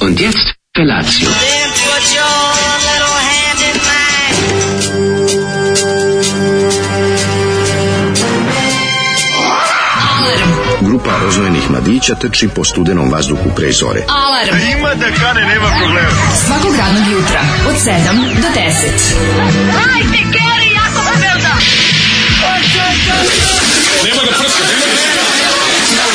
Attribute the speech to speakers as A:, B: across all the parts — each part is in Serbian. A: Und jetzt Felatio.
B: Then put your little hand in mine.
C: Grupa rozvojenih mladića trči po studenom vazduhu pre zore.
D: Alarm. Ima da kane, nema problema. Svakog radnog jutra, od 7 do 10.
E: Ej,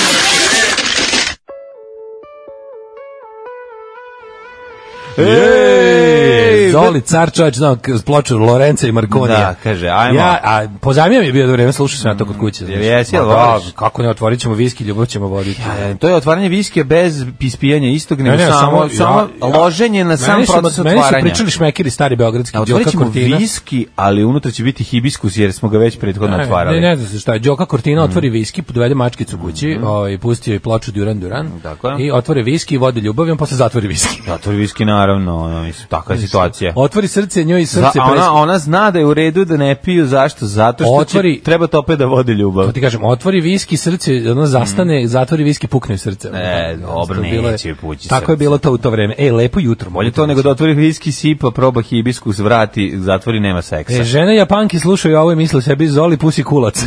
F: Ej,
E: E, Zoli, car čovječ, znao, k- ploču Lorenca i Markonija.
F: Da, kaže, ajmo.
E: Ja, a pozajmio mi je bio do vreme, slušao sam ja to kod kuće. znaš.
F: jesi, jel
E: Ma da,
F: voliš?
E: Kako ne, otvorit ćemo viski, ljubav ćemo voditi.
F: E, To je otvaranje viskija bez ispijanja istog, nego samo, samo loženje na sam
E: meni su-
F: proces
E: Meni su
F: otvaranja.
E: pričali šmekiri stari beogradski,
F: A
E: Đoka
F: otvorit ćemo
E: Kortina.
F: viski, ali unutra će biti hibiskus jer smo ga već prethodno otvarali. Mhm.
E: Ne, ne, ne znam se šta je. Đoka Kortina otvori viski, dovede mačkicu kući, ovaj, pusti joj ploču Duran Duran.
F: Tako je.
E: I otvori viski i vodi ljubav, i on posle zatvori viski.
F: Otvori viski naravno, ono, mislim, takva je situacija.
E: Otvori srce njoj i
F: Za,
E: srce
F: a
E: pres-
F: ona, ona zna da je u redu da ne piju, zašto? Zato što
E: Otvori-
F: će, treba to opet da vodi ljubav.
E: To ti kažem, otvori viski srce, ono zastane, zatvori viski, pukne u srce.
F: E,
E: Ono,
F: Mm. dobro,
E: to je bilo je-
F: neće pući
E: Tako je
F: srce.
E: bilo to u to vreme. Ej, lepo jutro. znači.
F: Bolje to nego da otvori viski, sipa, proba hibiskus, vrati, zatvori, nema seksa.
E: E, žene Japanki slušaju ovo i misle sebi Zoli pusi kulac.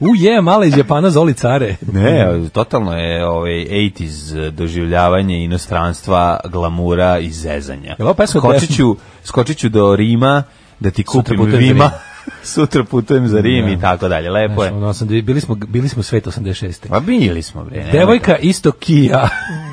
E: U je, mala iz Japana Zoli care.
F: Ne, totalno je ovaj 80s doživljavanje inostranstva, glamura i zezanja.
E: Jel ovo pesma od
F: skočiću, skočiću do Rima da ti
E: Sutra
F: kupim
E: putujem za
F: Rima.
E: Rim.
F: Sutra putujem za Rim i tako dalje. Lepo je.
E: Znaš, ono, osam- bili smo, bili smo svet 86.
F: Pa bili smo, bre. nemoj
E: Devojka isto Kija.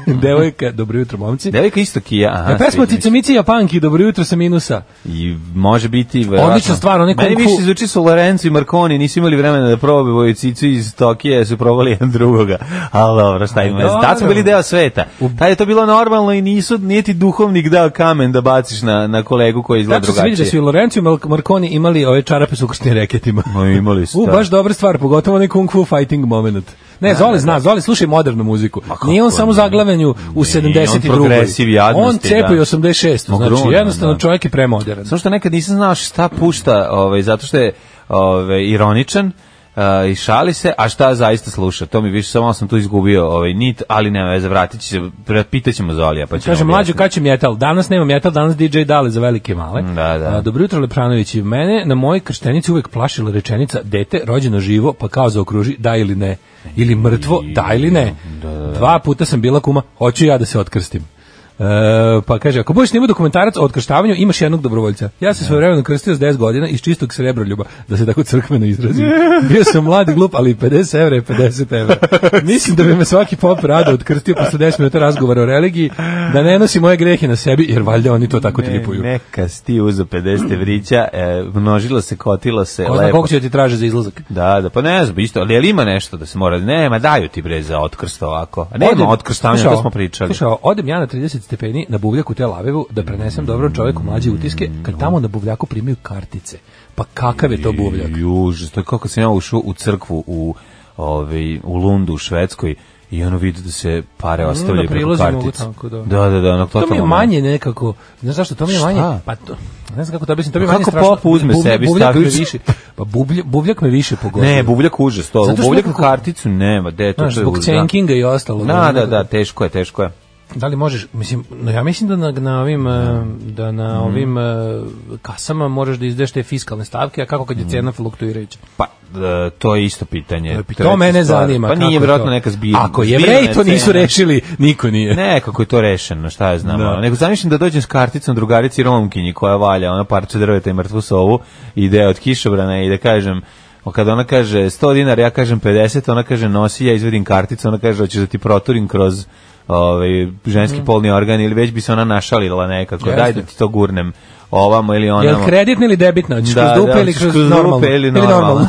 E: Devojka, dobro jutro, momci.
F: to. Devojka isto kija. Aha,
E: E, pesma
F: Mm. sviđa mi se.
E: Cice Mici Japanki, dobro jutro sa minusa.
F: I može biti... verovatno-
E: Odlična stvar, onaj
F: Meni
E: kung fu-
F: više zvuči su Lorenzo i Marconi, nisu imali vremena da probaju cicu iz Tokije, su probali jedan drugoga. Ali dobro, šta ima?
E: Dobro.
F: Da smo bili deo sveta. Tad je to bilo normalno i nisu, nije ti duhovnik dao kamen da baciš na, na kolegu koji izgleda
E: Tako se vidi da su i
F: drugačije.
E: Lorenzo i Mal- Marconi imali ove čarape s ukrštenim reketima.
F: Ma, imali su,
E: U,
F: da.
E: baš dobra stvar, pogotovo onaj kung fu fighting moment. Ne, Zoli zna, Zoli slušaj modernu muziku.
F: kako
E: Nije on samo
F: ne?
E: zaglavenju u
F: Nije,
E: 72.
F: on progresiv jadnosti,
E: On cepa
F: da.
E: i 86. Znači,
F: Ogromno,
E: jednostavno
F: da.
E: čovjek je premodern.
F: Samo što nekad nisam znao šta pušta, ovaj, zato što je ovaj, ironičan, eh, i šali se, a šta zaista sluša. To mi više, samo sam tu izgubio ovaj nit, ali nema veze, vratit ću se, pre- pitaćemo Zolija, pa ćemo
E: Kaže mlađo kad će metal. Danas nema metal, danas DJ Dale za velike i male.
F: Da, da.
E: A, dobro jutro Lepranović. Mene na mojoj krštenici uvek plašila rečenica dete rođeno živo, pa kao zaokruži da ili ne. Ili mrtvo, da ili ne. Dva puta sam bila kuma, hoću ja da se otkrstim. E, pa kaže, ako budeš snimao dokumentarac o otkrštavanju, imaš jednog dobrovoljca. Ja se svoje vremeno krstio s 10 godina iz čistog srebroljuba, da se tako crkveno izrazim. Bio sam mlad i glup, ali 50 evra je 50 evra. Mislim da bi me svaki pop rado otkrstio posle 10 minuta razgovora o religiji, da ne nosi moje grehe na sebi, jer valjda oni to tako tripuju.
F: Ne, E, neka si ti uzo 50 evrića, e, množilo se, kotilo se,
E: Ko zna
F: lepo.
E: koliko će ti traže za izlazak.
F: Da, da, pa ne znam, isto, ali jel ima nešto da se mora, nema, daju ti bre za otkrst ovako. A nema otkrstavanja,
E: slušaj
F: to
E: ovo,
F: smo pričali.
E: Slušaj, ovo, odem ja na 30 stepeni na buvljak u Tel Avivu da prenesem dobrom čoveku mlađe utiske, kad tamo na buvljaku primaju kartice. Pa kakav je to buvljak?
F: Juž, E, to je kako sam ja ušao u crkvu u, ovaj, u Lundu u Švedskoj i ono vidio da se pare ostavljaju preko
E: prilazu mogu
F: kartica.
E: tako, da.
F: da, da, da, ono,
E: To mi je
F: totalno
E: manje nekako, znaš zašto, to mi je
F: Šta?
E: manje, pa to, ne znam kako to objasnim, to mi je
F: Pa
E: manje
F: kako
E: strašno.
F: pop uzme sebi,
E: buvljak me
F: stavi-
E: više, pa bublja, buvljak me više pogodio.
F: Ne, buvljak užas, to,
E: Zato što
F: buvljak
E: nekako-
F: karticu nema, de, to,
E: Znaš,
F: to je
E: zbog
F: užas, da.
E: cenkinga i ostalo.
F: Da, da, da, teško je, teško je.
E: Da li možeš, mislim, no ja mislim da na, na ovim, e, da na
F: Mhm.
E: ovim e, kasama moraš da izdeš te fiskalne stavke, a kako kad
F: Mhm.
E: je cena fluktuirajuća?
F: Pa, e, to je isto pitanje.
E: To
F: Treća
E: mene
F: stvar.
E: zanima.
F: Pa
E: kako
F: nije
E: je
F: vjerojatno
E: to.
F: neka zbirna.
E: Ako jevreji to nisu
F: rešili.
E: rešili, niko nije.
F: Ne, kako je to rešeno, šta ja znam. ono. Nego zamišljam da dođem s karticom drugarici Romkinji koja valja, ona parče drveta i mrtvu sovu, ide od kišobrana i da kažem, o, kada ona kaže 100 dinara, ja kažem 50, ona kaže nosi, ja izvedim karticu, ona kaže hoćeš da ti proturim kroz ovaj, ženski polni organ ili već bi se ona našalila nekako,
E: Mm. Jeste.
F: daj da ti to gurnem ovamo ili
E: Jel
F: onamo.
E: kreditna ili debitna? Hoćeš
F: Da,
E: kroz dupe
F: da,
E: ili
F: hoćeš
E: kroz,
F: kroz dupe
E: normalno?
F: ili normalno.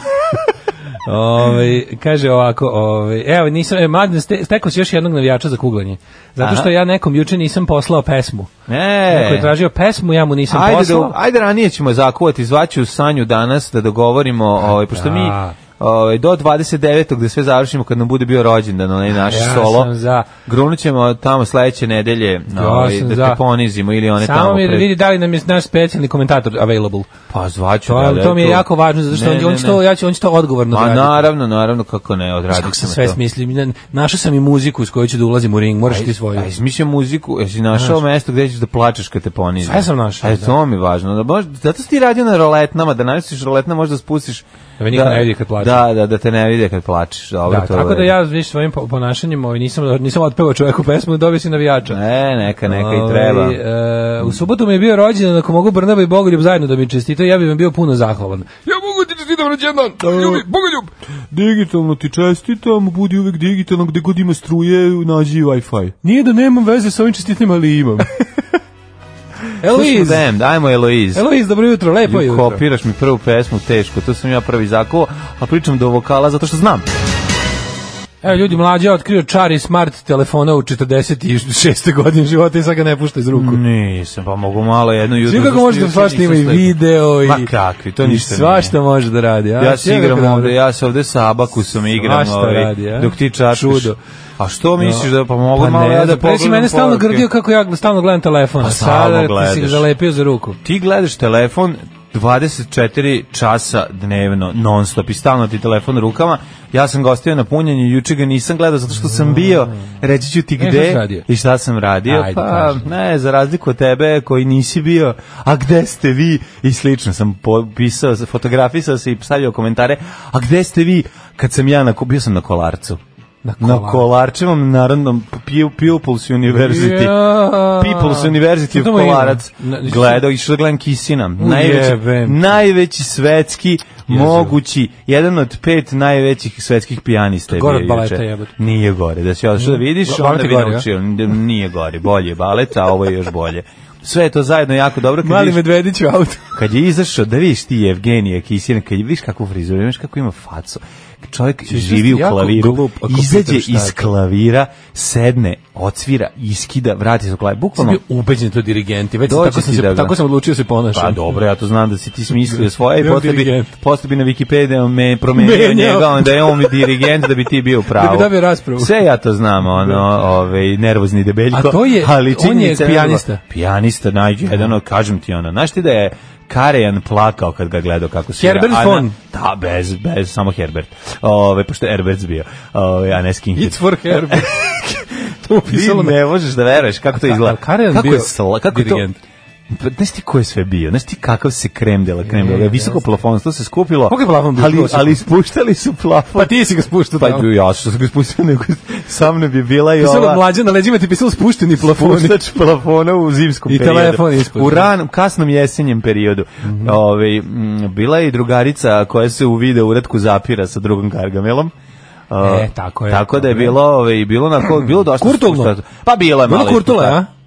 E: Ovaj, kaže ovako, ovaj, evo, nisam, e, mladen, ste, stekao si još jednog navijača za kuglanje. Zato što
F: Aha.
E: ja nekom juče nisam poslao pesmu.
F: Ne.
E: Neko je tražio pesmu, ja mu nisam
F: ajde,
E: poslao.
F: da, ajde ranije ćemo zakuvati, zvaću Sanju danas da dogovorimo, ovaj, pošto mi
E: da.
F: ovaj, do 29. da sve završimo kad nam bude bio rođendan, onaj naš
E: Ja
F: solo.
E: sam za.
F: Grunućemo tamo sledeće nedelje
E: Ja
F: ovaj,
E: sam
F: da
E: za.
F: te ponizimo ili one
E: Samo
F: tamo.
E: mi da
F: pred-
E: vidi da li nam je naš specijalni komentator available.
F: Pa zvaću.
E: To,
F: ga,
E: je,
F: da,
E: to mi je
F: tu.
E: jako važno, zato što
F: Ne,
E: on,
F: ne,
E: on,
F: ne.
E: će to, ja ću, on će to odgovorno
F: Ma
E: odraditi.
F: naravno, naravno, kako ne, odradi
E: Kako sam sve smislim, ne- našao sam i muziku s kojoj ću da ulazim u ring, moraš ti svoju.
F: A izmišlja Pa, muziku, jesi našao mesto gde ćeš da plačeš kad te ponize?
E: Sve sam našao,
F: E,
E: da.
F: to mi je važno. Da možda, zato si ti radio na roletnama, da najsiš roletna možda spustiš...
E: Da me niko ne vidi kad plačem.
F: Da, da, da te ne vidi kad plačeš. Dobro,
E: Da,
F: to
E: tako
F: je.
E: da ja više svojim po- ponašanjem ovaj, nisam, nisam otpevao čoveku pesmu, dobio si navijača.
F: E, neka, neka i treba.
E: Ovaj, e, u subotu mi je bio rođendan, ako mogu Brnaba i Bogoljub zajedno da mi čestite, ja bih vam bio puno zahvalan. Ja mogu ti čestitam rođendan, ljubi, Bogoljub!
F: Digitalno ti čestitam, budi uvek digitalno, gde god ima struje, nađi Wi-Fi.
E: Nije da nemam veze sa ovim čestitima, ali imam.
F: Eloise!
E: Eloise,
F: Damn, dajmo Eloise.
E: Eloise, dobro jutro, lepo
F: Ju,
E: jutro.
F: kopiraš mi prvu pesmu, teško, to sam ja prvi zakuo, a pričam do vokala zato što znam.
E: Evo ljudi, mlađe je otkrio čar i smart telefona u 46. godini života i sad ga ne pušta iz ruku.
F: Nisam, pa mogu malo jedno jutro.
E: Svi kako
F: zašto
E: može da
F: juče
E: svašta ima
F: nisam
E: i
F: slegao.
E: video i...
F: Ma kakvi, to
E: i
F: ništa nije.
E: Svašta može da radi. A?
F: Ja se
E: Sve
F: igram
E: kako
F: ovde,
E: dobro.
F: ja se ovde sa abakusom igram,
E: Svašta
F: ovaj,
E: radi, a?
F: dok ti čapiš.
E: Čudo.
F: A što misliš da pa mogu
E: Pa
F: malo
E: ne,
F: ja da
E: znam, pre si
F: pogledam?
E: mene stalno
F: poruke?
E: grdio kako ja stalno gledam telefon.
F: Pa
E: a
F: stalno
E: sada ti si ga
F: gledaš.
E: zalepio za ruku.
F: Ti gledaš telefon 24 časa dnevno, non stop, i stalno ti telefon u rukama. Ja sam ga ostavio na punjenju, juče ga nisam gledao zato što sam bio, reći ću ti
E: Mm. E, šta si
F: gde
E: radio?
F: i šta sam radio.
E: Ajde,
F: pa,
E: kaži.
F: ne, za razliku od tebe koji nisi bio, a gde ste vi? I slično sam popisao, fotografisao se i stavio komentare, a gde ste vi kad sam ja, na, ko- bio sam na kolarcu.
E: Na
F: Na Kolarčevom narodnom Pu- Pupils University.
E: Ja.
F: People's University
E: Što
F: of
E: tamo ima?
F: Kolarac.
E: Na-
F: Gledao, išao da gledam Kisina. Najveći,
E: jebem.
F: najveći svetski mogući, jedan od pet najvećih svetskih pijanista je
E: Gore
F: bio
E: od baleta,
F: juče.
E: jebote.
F: Nije gore, da si ja što da vidiš,
E: Ba-
F: onda
E: balet
F: bi
E: je gore,
F: naučio. Nije gore, bolje je balet, a ovo je još bolje. Sve je to zajedno jako dobro. Kad
E: Mali
F: vidiš-
E: medvedić u autu.
F: kad je izašao, da vidiš ti Evgenija Kisina, kad je- vidiš kakvu frizuru, imaš kako ima facu. Čovjek živi u
E: jako
F: klaviru,
E: glup ako
F: izađe
E: pitaš šta je
F: iz
E: to.
F: klavira, sedne, odsvira, iskida, vrati se u klavir. Bukvalno,
E: bio ubeđen to dirigenti. Već
F: Dođe
E: tako sam,
F: Ono. ti da
E: se,
F: ga-
E: tako sam odlučio se ponašam.
F: pa dobro, ja to znam da si ti smislio svoje i
E: Ja
F: posle bi,
E: dirigent.
F: posle bi na Wikipediju me promenio
E: Menjao.
F: njega, onda je on dirigent da bi ti bio pravo.
E: Da bi dobio raspravu.
F: Sve ja to znam, ono, ovaj, nervozni debeljko.
E: A to je-
F: ali
E: on je
F: činjenica nervo-
E: pijanista.
F: Pijanista, najjedan, od- kažem ti ono, znaš ti da je Karajan plakao kad ga gledao kako svira.
E: Herbert
F: a na-
E: von.
F: Da, bez, bez, samo Herbert. Ove, pošto je Herberts bio, ove, a ne Skinhead.
E: It's for Herbert. to
F: Ti
E: upisalo na
F: ne možeš da veruješ kako to
E: A- a
F: izgleda.
E: Karajan
F: kako
E: bio
F: je sla, kako je to,
E: dirigent?
F: Pa, Znaš ti ko je sve bio? Znaš ti kakav se krem dela krem dela?
E: E,
F: Visoko plafonstvo se skupilo.
E: Kako je plafon bio?
F: Ali,
E: Čuo sam.
F: ali ispuštali su plafon.
E: Pa ti si ga spuštao
F: Pa
E: tamo.
F: ja što sam ga spustio, nego sa mnom je bila i
E: Pisalo
F: ova
E: mlađe na leđima ti pisalo spušteni plafoni.
F: puštač plafona u zimskom
E: I
F: periodu.
E: telefon ispod. Mhm.
F: U ranom, kasnom jesenjem periodu. Ove, mm, bila je i drugarica koja se u video uratku zapira sa drugom gargamelom. O,
E: E, tako je.
F: Tako da je
E: Dobro.
F: bilo, ove, bilo na bilo dosta
E: Kurtulno.
F: spuštač- Pa bilo je malo.
E: Bilo kurtula,
F: ispuštač.
E: a?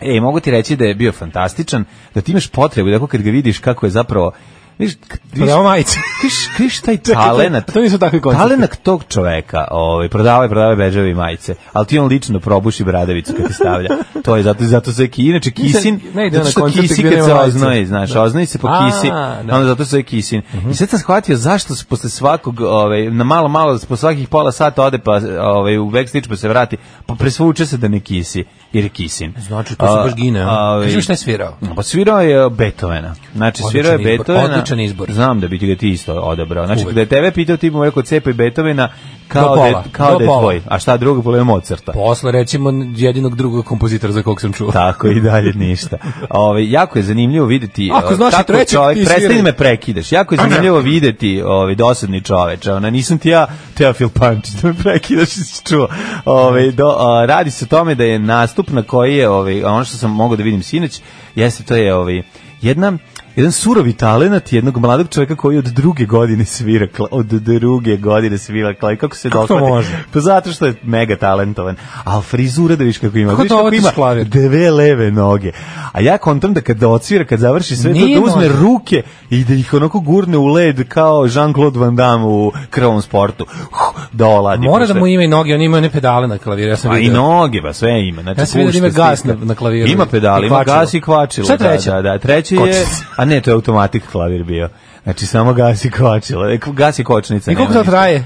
F: E, mogu ti reći da je bio fantastičan, da ti imaš potrebu, tako kad ga vidiš kako je zapravo, vidiš, kad vidiš,
E: Prodavao majice.
F: vidiš, vidiš taj
E: Čekaj, Dakle, to-
F: talenat,
E: to nisu takvi koncepti.
F: talenat tog čoveka, ovaj, prodavaj, prodavaj bežave i majice, ali ti on lično probuši bradavicu kad ti stavlja. To je zato, zato se ki, inače kisin,
E: ne ide
F: zato
E: na
F: što
E: koncerte
F: kisi
E: gde
F: kad
E: nema
F: se
E: majice.
F: oznoji, znaš, oznoji se po
E: A,
F: kisi,
E: da. Mhm.
F: onda zato se je kisin. I sad sam shvatio zašto se posle svakog, ovaj, na malo, malo, po svakih pola sata ode pa ovaj, u backstage pa se vrati, pa presvuče se da ne kisi, jer je kisin.
E: Znači, to se
F: A,
E: baš gine. a?
F: ovaj,
E: Kaži mi šta je svirao.
F: Pa svirao je Beethovena. Znači,
E: Odličan
F: svirao je
E: izbor,
F: Beethovena.
E: odličan izbor.
F: Znam da bi ti ga ti isto odabrao. Znači,
E: Uvek.
F: da je tebe pitao, ti bi mu rekao cepaj Beethovena kao,
E: Do
F: da, je-
E: pola,
F: kao
E: do
F: da je
E: pola.
F: tvoj. A šta drugo, polo je Mozarta.
E: Posle, recimo, jedinog drugog kompozitora za kog sam čuo.
F: Tako i dalje ništa. Ove, jako je zanimljivo videti
E: Ako
F: e,
E: znaš i
F: kako
E: trećeg,
F: čovjek,
E: ti
F: prestani
E: sviraj.
F: me prekidaš. Jako je zanimljivo videti ovaj dosadni čoveč. Ona nisam ti ja Teofil Pančić da me prekidaš si čuo. Ovaj do, a, radi se o tome da je nastup na koji je ovaj ono što sam mogao da vidim sinoć jeste to je ovaj jedna jedan surovi talenat jednog mladog čovjeka koji od druge godine svira kla- od druge godine svira klaj kako se
E: Kako to
F: dohvati?
E: može?
F: pa zato što je mega talentovan al frizura da vidiš kako ima
E: Kako
F: Vidiš
E: to
F: kako
E: ovatiš
F: ima
E: klavir?
F: dve leve noge. A ja kontam da kada odsvira, kad završi sve to,
E: Nije
F: da uzme
E: može.
F: ruke i da ih onako gurne u led kao Jean-Claude Van Damme u krvom sportu. Huh, Da oladi.
E: Mora da
F: pošto-
E: mu ima i noge, on ima one pedale na klaviru, ja sam
F: A i
E: vidio.
F: noge, ba, sve ima. Znači,
E: Ja sam vidio da ima
F: pušta,
E: gas
F: stisne.
E: na- na klaviru
F: Ima
E: i-
F: pedal,
E: i
F: ima
E: kvačilo.
F: gas i kvačilo.
E: Šta je treće?
F: Da, da, da. Treće je,
E: Kočica.
F: a ne, to je automatik klavir bio. Znači, samo gasi kočila. e, Gasi kočnica.
E: I koliko
F: nema
E: to traje?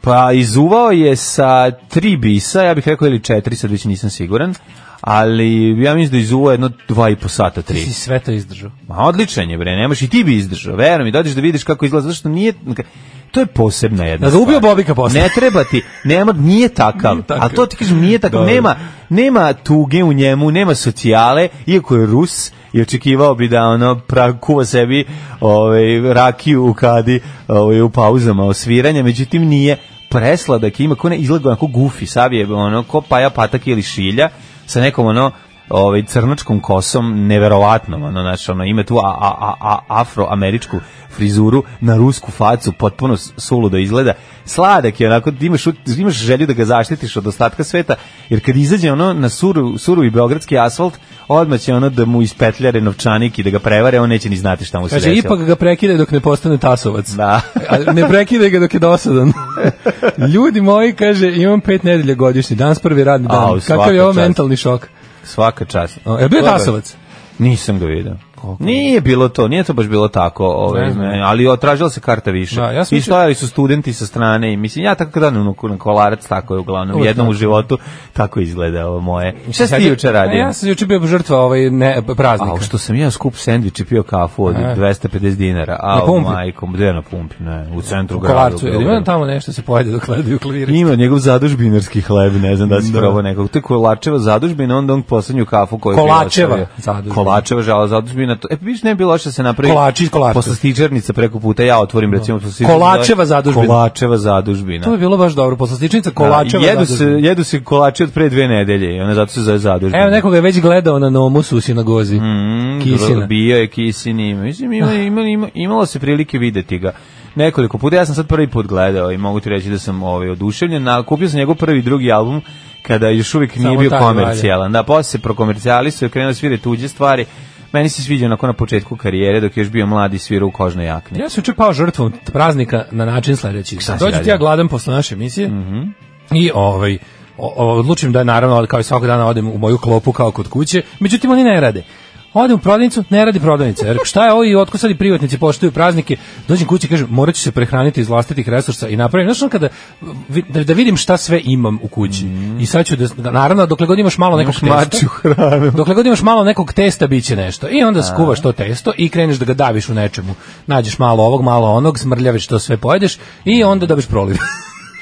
F: Pa izuvao je sa tri bisa, ja bih rekao ili četiri, sad već nisam siguran, ali ja mislim da je izuvao jedno dva i po sata, tri.
E: Ti si sve to izdržao.
F: Ma odličan je bre, nemaš i ti bi izdržao. Verujem mi, dođeš da vidiš kako izgleda, zašto nije to je posebna jedna.
E: Da ga
F: stvar.
E: ubio Bobika posle.
F: Ne treba ti, nema nije takav.
E: Nije takav.
F: A to ti kažem nije takav,
E: Dobro.
F: nema nema tuge u njemu, nema socijale, iako je Rus i očekivao bi da ono pra, kuva sebi ovaj, rakiju u kadi ovaj, u pauzama osviranja, međutim nije presladak, ima ko ne izgleda onako gufi, sav je ono ko paja patak ili šilja sa nekom ono ovaj crnačkom kosom neverovatnom ono znači ono ima tu a, a, a, a afroameričku frizuru na rusku facu potpuno s- suludo izgleda sladak je onako imaš ut- imaš želju da ga zaštitiš od ostatka sveta jer kad izađe ono na suru surovi beogradski asfalt odmah će ono da mu ispetlja novčanik i da ga prevare on neće ni znati šta mu se
E: Kaže,
F: desilo
E: ipak ga prekide dok ne postane tasovac.
F: Da.
E: A ne prekide ga dok je dosadan. Ljudi moji, kaže, imam pet nedelja godišnji, danas prvi radni dan.
F: Au, svaka
E: Kakav je ovo
F: čast.
E: mentalni šok?
F: svaka čast
E: O, je E, bio
F: Dobro.
E: tasovac?
F: Nisam ga video. Nije bilo to, nije to baš bilo tako, ovaj,
E: Ne znam.
F: ne, ali otražila se karta više.
E: Da, ja sam
F: I stojali su studenti sa strane i mislim, ja tako kad dam na- na kolarac, tako je uglavnom,
E: Uvek
F: jednom u
E: tako.
F: životu, tako izgleda ovo moje. Šta si ti juče
E: A
F: radio?
E: E, Ja sam juče bio žrtva ovaj ne, praznika.
F: A što sam ja skup sendvič i pio kafu od
E: E.
F: 250 dinara. A,
E: Na pumpi?
F: Majkom, gde na pumpi? Ne, u centru
E: u
F: grada.
E: kolarcu. Jel ima
F: Beogradu.
E: tamo nešto se pojede dok gledaju klavire?
F: Ima njegov zadužbinarski hleb, ne znam da si probao nekog. To je kolačeva zadužbina, onda on poslednju kafu koju je bio
E: Kolačeva
F: ostavio.
E: zadužbina.
F: Kolačeva žala zadužbina. To, e, viš, ne bi bilo loše da se napravi.
E: Kolači iz Kolarca.
F: Posle stičarnice preko puta ja otvorim, recimo. posle stičarnice-
E: Kolačeva zadužbina.
F: Kolačeva zadužbina.
E: To je bilo baš dobro. Poslastičnica kolačeva.
F: Da, jedu, se,
E: zadužbina.
F: jedu se kolači od pre dve nedelje i ona zato se zove zadužbina.
E: Evo, nekoga je već gledao na nomusu u sinagozi.
F: Mm,
E: Kisina. Ah.
F: Bio je kisini. Mislim, ima, ima, ima, imalo se prilike videti ga nekoliko puta. Ja sam sad prvi put gledao i mogu ti reći da sam ovaj, oduševljen. Na, kupio sam njegov prvi i drugi album kada još uvijek nije
E: Samo
F: bio
E: taj
F: komercijalan. Da, posle se prokomercijalisao i krenuo da svira tuđe stvari. Meni se sviđa onako na početku karijere dok je još bio mladi svira u kožnoj jakni.
E: Ja sam juče pao žrtvom t- praznika na način sledeći.
F: Šta si
E: Dođu ti
F: radio? Mm.
E: ja gladan posle naše emisije i ovaj, o- o- odlučim da naravno kao i svakog dana odem u moju klopu kao kod kuće, međutim oni ne rade. Odem u prodavnicu, ne radi prodavnica. Jer šta je ovo i otko sad i privatnici poštuju praznike? Dođem kući i kažem, morat ću se prehraniti iz vlastitih resursa i napravim. Znaš ono kada, vi- da, da vidim šta sve imam u kući. I sad ću, da, da- naravno, dokle god imaš malo nekog testa-
F: Mhm. mačju hranu.
E: Dokle god imaš malo nekog testa biće nešto. I onda skuvaš to testo i kreneš da ga daviš u nečemu. Nađeš malo ovog, malo onog, smrljaviš to sve pojedeš i onda dobiš proliv.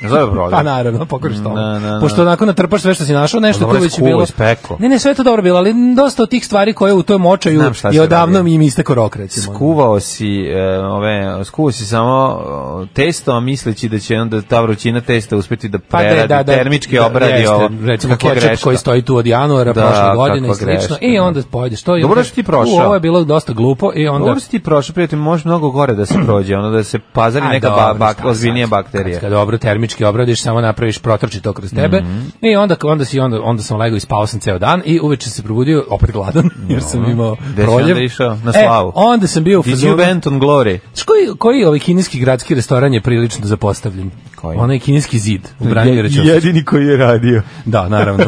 F: Zove program.
E: pa naravno, pokoriš to.
F: Na, na, na.
E: Pošto onako natrpaš sve što si našao, nešto
F: Dobro
E: tu
F: je
E: već je
F: skuvo,
E: bilo.
F: ispeklo.
E: Ne, ne, sve je to dobro bilo, ali dosta od tih stvari koje u tom očaju
F: Znam šta si
E: je odavno
F: radio.
E: mi im isteko rok, recimo.
F: Skuvao si, e, ove, skuvao si samo e, testo, a misleći da će onda ta vrućina testa uspeti da
E: Pa
F: preradi, termički obradi
E: jeste,
F: ovo.
E: Recimo
F: Kakva
E: kečap
F: greška.
E: koji stoji tu od januara
F: Da,
E: prošle godine i
F: kakva
E: slično.
F: greška,
E: I
F: da.
E: onda pojedeš to. i
F: Dobro
E: onda-
F: što si ti prošao.
E: U, Ovo je bilo dosta glupo i onda...
F: Dobro si ti prošao, prijatelj, može mnogo gore da se prođe, ono da se pazari
E: A,
F: neka ba,
E: dobro,
F: bak,
E: šta sad,
F: ozbiljnija
E: Kad,
F: bakterija.
E: kad dobro termički obradiš, samo napraviš protrči to kroz tebe.
F: Mhm.
E: I onda onda si onda onda sam legao i spavao sam ceo dan i uveče sam se probudio opet gladan jer sam imao
F: Gde si
E: proljev.
F: onda išao? Na
E: E,
F: slavu.
E: onda sam bio u
F: Did you
E: fazonu.
F: vent on glory?
E: Znaš Koji, koji ovaj kineski gradski restoran je prilično zapostavljen?
F: Koji?
E: Onaj kineski zid u Branimireću.
F: jedini koji je radio.
E: Da, naravno.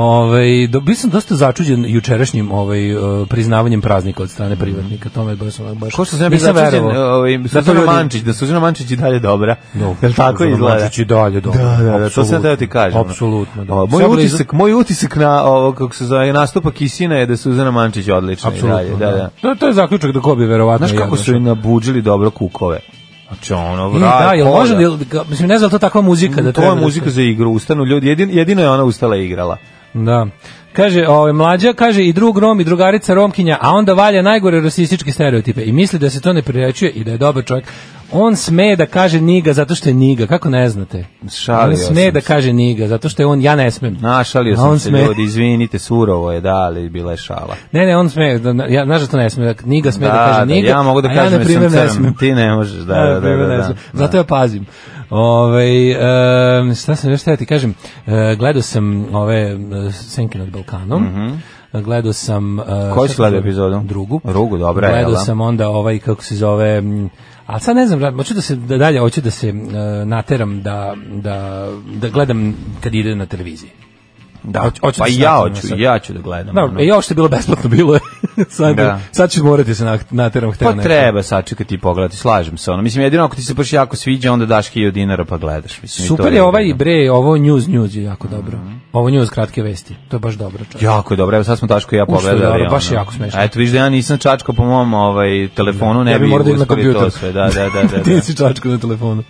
E: ovaj do, bio sam dosta začuđen jučerašnjim ovaj, eh, priznavanjem praznika od strane privatnika. To me baš... onako baš
F: Ko što sam ja bio
E: nisam
F: začuđen,
E: verovao.
F: ovaj,
E: Da to
F: Suzana
E: ljudi-
F: Mančić, da Suzana Mančić i dalje dobra. Jel tako
E: Suzana
F: izgleda?
E: Mančić i dalje dobro.
F: Da, da, da, to
E: Apsolutno.
F: sam teo ti kažem. ono.
E: Apsolutno, da.
F: O, Moj
E: Sve blizu-
F: utisak, moj utisak na ovo, kako se zove, nastupa Kisina je da je Suzana Mančić odlična i dalje.
E: Apsolutno,
F: Da, da.
E: To, to je zaključak da ko bi verovatno...
F: Znaš kako su i nabuđili dobro kukove? Znači ono,
E: I,
F: vraj,
E: E, da, jel
F: koda.
E: može, da- jel, ga- mislim, ne znam to takva muzika da
F: Mm, to
E: treba
F: je
E: da
F: muzika
E: se-
F: za igru, ustanu ljudi, jedin, jedino je ona ustala i igrala.
E: Da. Kaže, ovaj, mlađa, kaže i drug Rom i drugarica Romkinja, a onda valja najgore rasističke stereotipe i misli da se to ne prirećuje i da je dobar čovjek. On sme da kaže niga zato što je niga, kako ne znate?
F: Šalio
E: on sme
F: sam
E: da
F: se.
E: kaže niga zato što je on, ja ne smem.
F: Našalio
E: A
F: sam
E: on
F: se
E: sme.
F: ljudi, izvinite, surovo je, da, ali bila je šala.
E: Ne, ne, on sme, da, ja, znaš da to ne sme, da niga sme da, kaže niga,
F: ja mogu da
E: a
F: kažem
E: ja, na
F: da
E: primjer,
F: sam
E: ne smem.
F: crn, ti ne možeš, da,
E: Ja,
F: da,
E: na
F: da,
E: primjer,
F: da,
E: ne
F: da,
E: znam. Zato ja pazim. Ovaj em, šta sam još teo ti kažem, E, gledao sam ove e, Senke nad Balkanom. Gledao sam... e,
F: Mhm. Koju
E: šta
F: si gledao
E: sam-
F: epizodu?
E: Drugu.
F: Drugu, dobra je,
E: Gledao
F: jel da?
E: sam onda ovaj, kako se zove... m, A sad ne znam, ra- hoću da se da dalje, hoću da se e, nateram da, da, da gledam kad ide na televiziji.
F: da.
E: Hoću- hoću
F: pa
E: da se
F: ja
E: vratim na
F: hoću,
E: sad.
F: ja ću da gledam.
E: Da,
F: ono.
E: e, ja što je bilo besplatno bilo je. sad,
F: Da.
E: sad ćeš morati se na- nateram hteo
F: Pa
E: nešto.
F: treba sačekati i pogledati, slažem se. Ono. Mislim, jedino ako ti se baš jako sviđa, onda daš 1000 dinara pa gledaš. Mislim, i to
E: Super je ovaj
F: jedino. Mhm.
E: bre, ovo news news je jako dobro. Ovo news kratke vesti. To je baš dobro. čovječe.
F: Jako je dobro, evo sad smo Daško i ja
E: Ušto je
F: pogledali.
E: dobro, baš
F: ono.
E: je jako smešno.
F: A Eto, vidiš da ja nisam čačko po mom ovaj, telefonu, ne
E: Ja bi
F: bi,
E: morao da idem na
F: uspeli to
E: kompjuter.
F: sve. Da, da, da. da, da.
E: Ti si čačko na telefonu.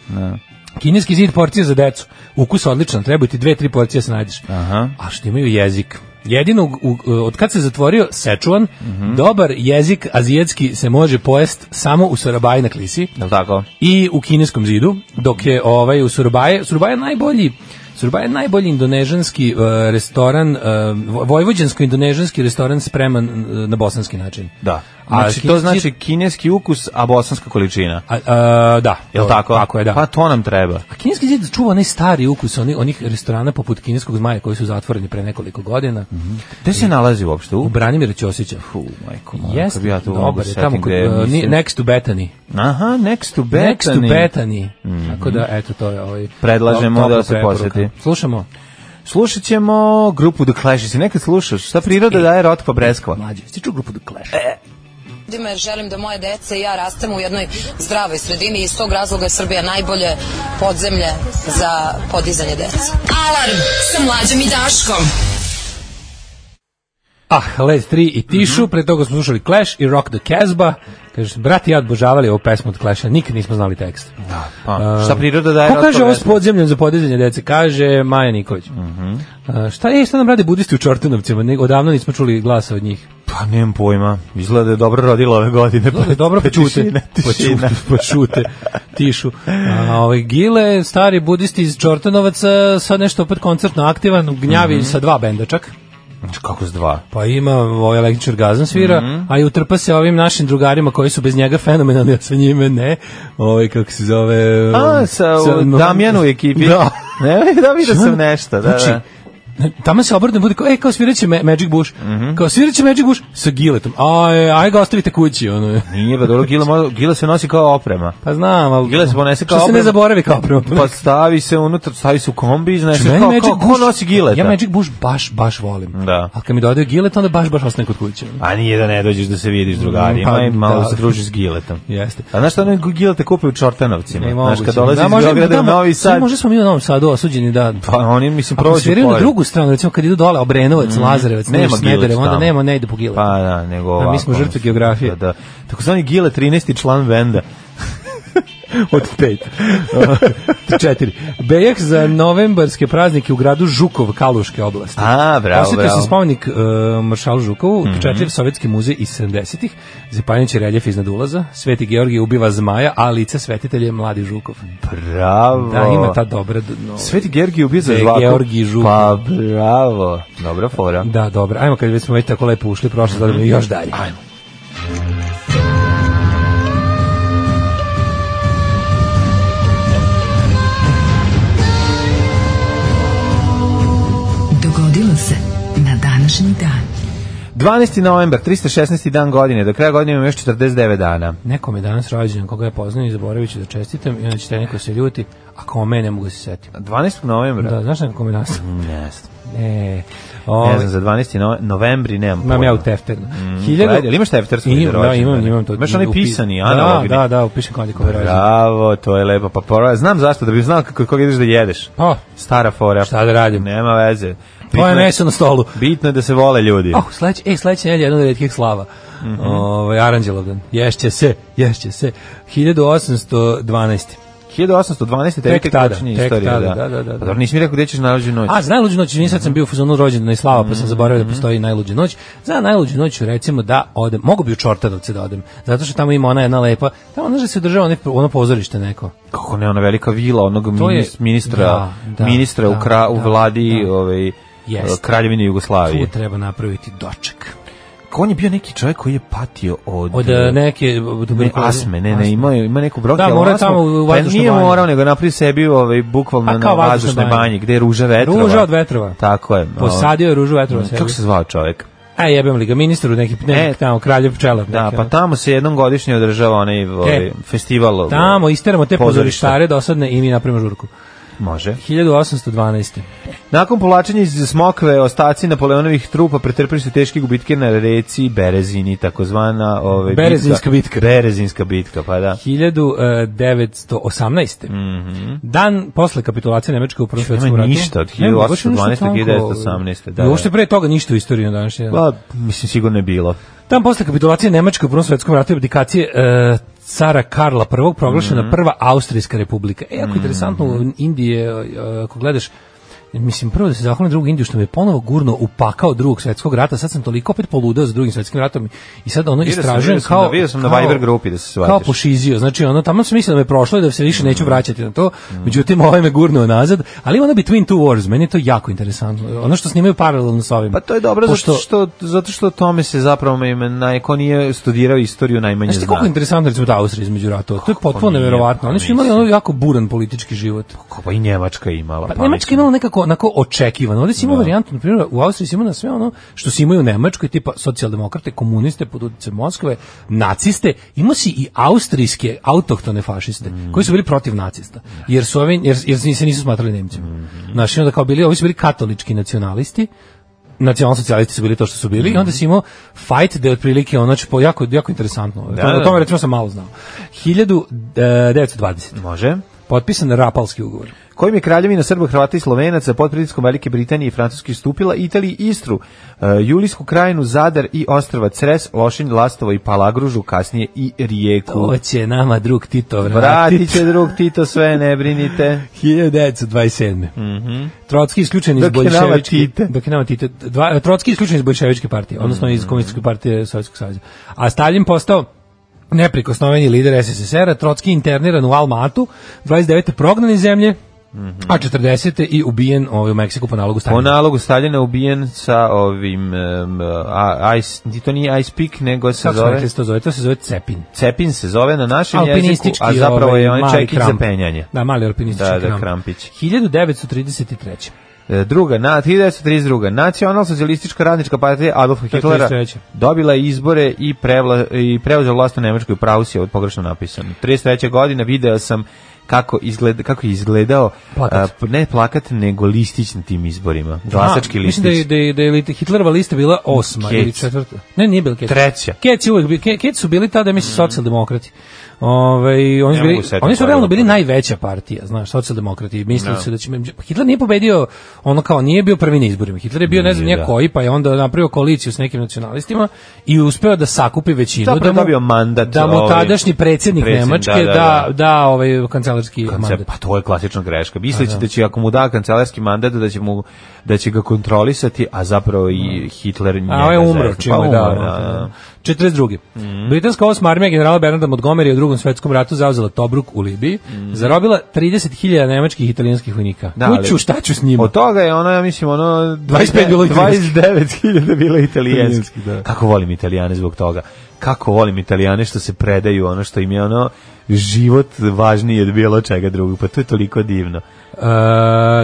E: Kineski zid porcije za decu. Ukus odličan, treba ti dve, tri porcije da se najdeš.
F: Aha.
E: A što imaju jezik? Jedino, u- u- od kad se zatvorio Sečuan,
F: Mhm.
E: dobar jezik azijetski se može pojest samo u Sarabaji na Klisi
F: Jel tako?
E: i u kineskom zidu, dok je ovaj u Surbaje, Surbaje je najbolji Surbaje je najbolji indonežanski e, restoran, e, vo- vojvođansko-indonežanski restoran spreman e, na bosanski način.
F: Da.
E: A
F: Znači, to
E: kineski-
F: znači kineski ukus, a bosanska količina.
E: A, a, da.
F: Jel
E: to-
F: tako?
E: Tako je, da.
F: Pa to nam treba.
E: A kineski zid čuva onaj stari ukus onih, onih restorana poput kineskog zmaja koji su zatvoreni pre nekoliko godina.
F: Gde se nalazi uopšte?
E: U
F: U
E: Branimira Ćosića.
F: Mhm. Fu, majko, moja,
E: Jeste,
F: kad bi ja to mogu
E: dobar je,
F: setim
E: tamo kod,
F: gde je,
E: uh, ni-
F: mislim-
E: next to Bethany.
F: Aha, next to Bethany. Mhm.
E: Next to Bethany. Tako da, eto, to je ovaj...
F: Predlažemo
E: topla
F: da se
E: preporuka.
F: poseti.
E: Slušamo.
F: Slušat ćemo grupu The Clash. Jesi nekad slušaš? Šta
E: E.
F: priroda daje rotkva breskva?
E: Mlađe, si čuo grupu The Clash?
A: ljudima jer želim da moje dece i ja rastemo u jednoj zdravoj sredini i iz tog razloga je Srbija najbolje podzemlje za podizanje dece.
D: Alarm sa mlađom i Daškom.
E: Ah, Les 3 i Tišu,
F: Mhm.
E: pre toga smo slušali Clash i Rock the Casbah. Kaže, brat i ja odbožavali ovu pesmu od Clasha, nikad nismo znali tekst.
F: Pa, šta priroda daje
E: Ko kaže
F: rotkva
E: ovo s
F: breskva?
E: podzemljom za podizanje dece? Kaže Maja Nikolić.
F: Mhm.
E: A, šta je, šta nam rade budisti u Čortanovcima? Ne- Odavno nismo čuli glasa od njih.
F: Pa nemam pojma. Izgleda da je dobro rodila ove godine. Pa,
E: Dobro,
F: pa
E: počute.
F: tišina, tišina.
E: Počute, počute, pa tišu. A, ovaj, Gile, stari budisti iz Čortanovaca, sad nešto opet koncertno aktivan, gnjavi
F: Mhm.
E: sa dva benda čak.
F: Znači, Kako s dva?
E: Pa ima ovaj električar gazan svira,
F: Mhm.
E: a i utrpa se ovim našim drugarima koji su bez njega fenomenalni, a sa njime ne. Ovaj, kako se zove... um,
F: A, sa, sa Damjanu u ekipi.
E: Da.
F: Ne, da vidio
E: Šta?
F: sam nešto. Da, da.
E: Znači, Tamo se obrne bude kao, e, kao sviraće Ma- Magic Bush.
F: Mhm.
E: Kao sviraće Magic Bush sa giletom. Aj, aj ga ostavite kući. Ono.
F: Nije, pa dobro, Gila, mo- Gila se nosi kao oprema.
E: Pa znam, ali...
F: Gile se ponese kao
E: Što se ne
F: oprema.
E: zaboravi kao prvo? Znači,
F: Pa stavi se unutra, stavi se u kombi, iznese
E: Meni
F: kao,
E: Magic
F: kao, ko
E: Bush-
F: nosi gileta?
E: Ja Magic Bush baš, baš volim.
F: Da.
E: A kad mi dodaju gilet, onda baš, baš ostanem kod kuće.
F: A nije da ne dođeš da se vidiš drugarima
E: Pa,
F: i malo
E: da.
F: se družiš s giletom.
E: Jeste.
F: A znaš šta one gilete kupe u Čortanovcima?
E: Ne
F: Pa, Znaš,
E: moguće.
F: kad dolazi iz
E: možda-
F: Beograda u
E: da,
F: Novi Sad,
E: Možda smo mi u Novom Sadu osuđeni da...
F: pa oni, mislim,
E: Ako
F: prođu
E: sviraju na
F: pored. Mhm.
E: drugu stranu, recimo kad idu dole, Obrenovac, Lazarevac,
F: Nema
E: nema
F: gilet
E: Smederevo, onda
F: tamo.
E: nema, ne ide po gilet.
F: Pa da, nego
E: A mi
F: ovako.
E: smo žrtve
F: mislim, pa
E: geografije.
F: Da, da. Tako zvani Gile, 13. član Venda.
E: Od pet. Četiri. Bejak za novembarske praznike u gradu Žukov, Kaluške oblasti.
F: A, bravo,
E: Posjetio
F: bravo. Mhm.
E: se spomenik e, maršalu Žukovu, mm sovjetski muzej iz 70-ih, zapanjen će reljef iznad ulaza, Sveti Georgije ubiva zmaja, a lice svetitelje mladi Žukov.
F: Bravo.
E: Da, ima ta dobra... d- no-
F: Sveti Georgij ubio za
E: Ge-
F: žvaku.
E: Georgij Žuk.
F: Pa bravo. Dobra fora.
E: Da, dobro. Ajmo, kad već smo već tako lepo ušli, prošle godine još dalje. Mhm. Ajmo.
D: Dogodilo se na današnji dan.
F: 12. novembar, 316. dan godine. Do kraja godine imamo još 49 dana.
E: Nekom je danas rođendan koga ja poznajem i zaboravit ću da čestitam i onda će te neko se ljuti, a kao me ne mogu da se setim.
F: 12. novembra?
E: Da, znaš nekako mi danas?
F: Ne znam.
E: E,
F: Ne
E: ovaj,
F: znam, za 12. No, novembri nemam
E: Imam ja u tefternu. Hiljadu-
F: gledaj, jel imaš tefter svoj za
E: Imam, da,
F: rođendan?
E: imam, imam to.
F: Imaš onaj
E: u-
F: pisani, analogni?
E: Da, da, da, upišem kad je kome rođen.
F: Bravo, to je lepo. Pa pora, znam zašto, da bih znao kako koga ideš da jedeš.
E: Pa,
F: Stara fora.
E: Šta da radim?
F: Nema veze.
E: to
F: Bitno
E: je
F: je-
E: meso na stolu.
F: Bitno je da se vole ljudi.
E: Oh, sledeće, ej, sledeće nedelje je jedna od retkih slava.
F: Mhm.
E: Ovaj Aranđelovdan. Ješće se, ješće se. 1812.
F: 1812.
E: Tek
F: tek
E: tada,
F: počinje
E: tek
F: istorija,
E: tada, da, da, da.
F: Pa dobro, nisi mi rekao gde ćeš nađu noć.
E: A, za najluđu noć, nisam sam bio u fazonu rođendana i slava, pa
F: Mm.
E: sam zaboravio da postoji najluđa noć. Za najluđu noć ću recimo da odem, mogu bi u Čortanovce da odem, zato što tamo ima ona jedna lepa, tamo znaš da se održava onaj- ono pozorište neko.
F: Kako ne, ona velika vila onog
E: To je-
F: minis- ministra,
E: da, da,
F: ministra u,
E: da,
F: kra, u
E: da,
F: vladi
E: da.
F: ovaj,
E: Jeste.
F: kraljevine Jugoslavije.
E: Tu treba napraviti doček.
F: On je bio neki čovjek koji je patio od...
E: Od e, neke
F: Ne,
E: tuberkuloze.
F: asme, ne, ne, ima, ima neku
E: Da,
F: bronhijalnu
E: morao je
F: asmu.
E: tamo u
F: Pa
E: vazdušnoj
F: nije
E: banji.
F: morao, nego je napravio sebi ovaj, bukvalno
E: A,
F: na
E: kao vazdušnoj
F: vazdušnoj
E: banji.
F: banji, gde je ruža vetrova.
E: Ruža od vetrova.
F: Tako je.
E: Posadio je ružu vetrova
F: Ovaj,
E: sebi.
F: Kako se zvao čovjek?
E: A E, jebem li ga, ministru neki, neki
F: E.
E: tamo, kraljev pčelar.
F: Da,
E: neki,
F: pa
E: ono. E,
F: tamo se jednom godišnje održava onaj ovaj, festival. ovaj,
E: Tamo isteramo te
F: pozorišta.
E: pozorištare dosadne i mi napravimo žurku.
F: Može.
E: 1812.
F: Nakon povlačenja iz Smokve, ostaci Napoleonovih trupa pretrpili su teške gubitke na reci Berezini, takozvana ovaj,
E: Berezinska bitka.
F: Berezinska bitka, pa da.
E: 1918. e, Dan posle kapitulacije Nemačke u Prvom svetskom
F: Mhm. nema
E: ratu.
F: ništa od
E: Nema, baš je nešto
F: 1812
E: tanko.
F: 1918, da,
E: I Uopšte
F: da.
E: pre toga ništa u istoriji na današnji dan.
F: Pa, mislim, sigurno je bilo.
E: Dan posle kapitulacije Nemačke u Prvom svetskom ratu i abdikacije e, cara Karla I proglašena
F: Mhm.
E: prva Austrijska republika. E, jako interesantno, u Indiji je, e, ako gledaš, mislim, prvo da se zahvalim drugu Indiju, što me je ponovo gurno upakao drugog svetskog rata, sad sam toliko opet poludeo za drugim svetskim ratom i sad ono
F: Vidio sam,
E: istražujem
F: vidio sam
E: kao...
F: na- vidio sam na
E: kao-
F: Viber grupi da se shvatiš. Mm.
E: Kao pošizio, znači ono, tamo sam mislio da me prošlo i da se više neću vraćati na to, međutim, ovaj me gurnuo nazad, ali ono Between Two Wars, meni je to jako interesantno, ono što snimaju paralelno s ovim.
F: Pa to je dobro
E: Pošto-
F: zato što zato što o tome se zapravo ima naj ko nije studirao istoriju najmanje
E: Znaš ti koliko
F: zna.
E: je interesantno recimo ta Austrija između ratova? To je potpuno
F: nije,
E: neverovatno.
F: pa
E: Oni su imali
F: mislim.
E: ono jako buran politički život.
F: Kako i Njemačka je imala.
E: Pa, Nemačka je imala nekako onako očekivano. Ovde si imao varijantu, na primjer, u Austriji si imao na sve ono što si imaju u Nemačkoj, tipa socijaldemokrate, komuniste pod uticajem Moskve, naciste, imao si i austrijske autohtone fašiste,
F: Mm.
E: koji su bili protiv nacista, jer, su ovi, jer, jer se nisu smatrali Nemcima.
F: Mm-hmm.
E: Znaš, i onda kao bili, ovi su bili katolički nacionalisti, nacionalsocijalisti su bili to što su bili i onda
F: Mm-hmm.
E: si imao fight da je otprilike ono, znači, po- jako, jako interesantno.
F: Da, da.
E: o tome recimo sam malo znao. 1920.
F: Može.
E: Potpisan Rapalski ugovor.
F: Kojim je kraljevina Srba, Hrvata i Slovenaca pod pritiskom Velike Britanije i Francuske ustupila Italiji Istru, e, Julijsku krajinu, Zadar i ostrva Cres, Lošinj, Lastovo i Palagružu, kasnije i Rijeku.
E: To će nama drug Tito
F: Vratit
E: vratiti.
F: će drug Tito sve, ne brinite.
E: 1927. Mm Trotski isključen iz
F: Mhm. Dok je nama
E: bolševičke
F: Tite.
E: dok je nama Tite dva, Trotski isključen iz bolševičke partije, odnosno
F: Mhm.
E: iz komunističke partije Sovjetskog saveza. A Stalin postao neprikosnoveni lider SSSR-a, Trotski interniran u Almatu, 29. prognan iz zemlje,
F: Mhm.
E: a 40. i ubijen ovaj, u Meksiku po nalogu
F: Po
E: Stalina.
F: nalogu Staljina ubijen sa ovim, em, a, ice, to nije ice pick, nego se
E: Kako se
F: zove...
E: rekli se to zove? To se zove Cepin.
F: Cepin se zove na našem jeziku,
E: Alpinistički
F: a zapravo je on
E: ovaj, mali
F: čekić za
E: kramp.
F: penjanje.
E: Da, mali alpinistički
F: Da, da,
E: kramp.
F: krampić.
E: 1933.
F: E, Druga, na 1932. Nacionalsocijalistička radnička partija Adolfa Hitlera
E: 33..
F: dobila je izbore i, prevla, i preuzela vlast u Nemačkoj u pravu si je ovo pogrešno napisano. 33. godine video sam kako, izgleda, kako je izgledao
E: Plakat.
F: a, ne plakat, nego listić na tim izborima. Glasački
E: A,
F: listić.
E: Mislim da je, da je, da je li- Hitlerova lista bila osma
F: Kec.
E: ili četvrta. Ne, nije bila Kec.
F: Treća.
E: Kec je uvek bio. Ke- Kec su bili tada, mislim, socijaldemokrati. Ove, oni,
F: Ne
E: su bili,
F: mogu setiti
E: oni su realno
F: toga.
E: bili najveća partija, znaš, socijaldemokrati. Mislili su da će... Hitler nije pobedio, ono kao, nije bio prvi na izborima. Hitler je bio, ne znam,
F: Nije,
E: nije,
F: da.
E: koji, pa je onda napravio koaliciju s nekim nacionalistima i uspeo da sakupi većinu.
F: Zapravo
E: da mu,
F: dobio mandat,
E: Da mu
F: ovaj,
E: tadašnji predsjednik
F: predsjednik,
E: Nemačke
F: da,
E: da,
F: da, da.
E: da, ovaj kancelarski
F: Kancel,
E: mandat.
F: pa to je klasična greška. Misleći da će ako mu da kancelarski mandat da će mu da će ga kontrolisati, a zapravo i Hitler njega.
E: A ovaj je umro,
F: zezne.
E: čim
F: Pa
E: je, da,
F: umro, da, da. Mhm.
E: 42. Britanska osma armija generala Bernarda Montgomery je u drugom svetskom ratu zauzela Tobruk u Libiji, zarobila 30.000 nemačkih i italijanskih vojnika.
F: Mhm. Da, ali-
E: Kuću, šta ću s njima?
F: Od toga je ono, ja mislim, ono...
E: 25 bilo italijanski.
F: 29.000 bilo italijanski.
E: Italijanski, da.
F: Kako volim italijane zbog toga. Kako volim italijane što se predaju ono što im je ono život važniji od bilo čega drugog. Pa to je toliko divno.
E: E,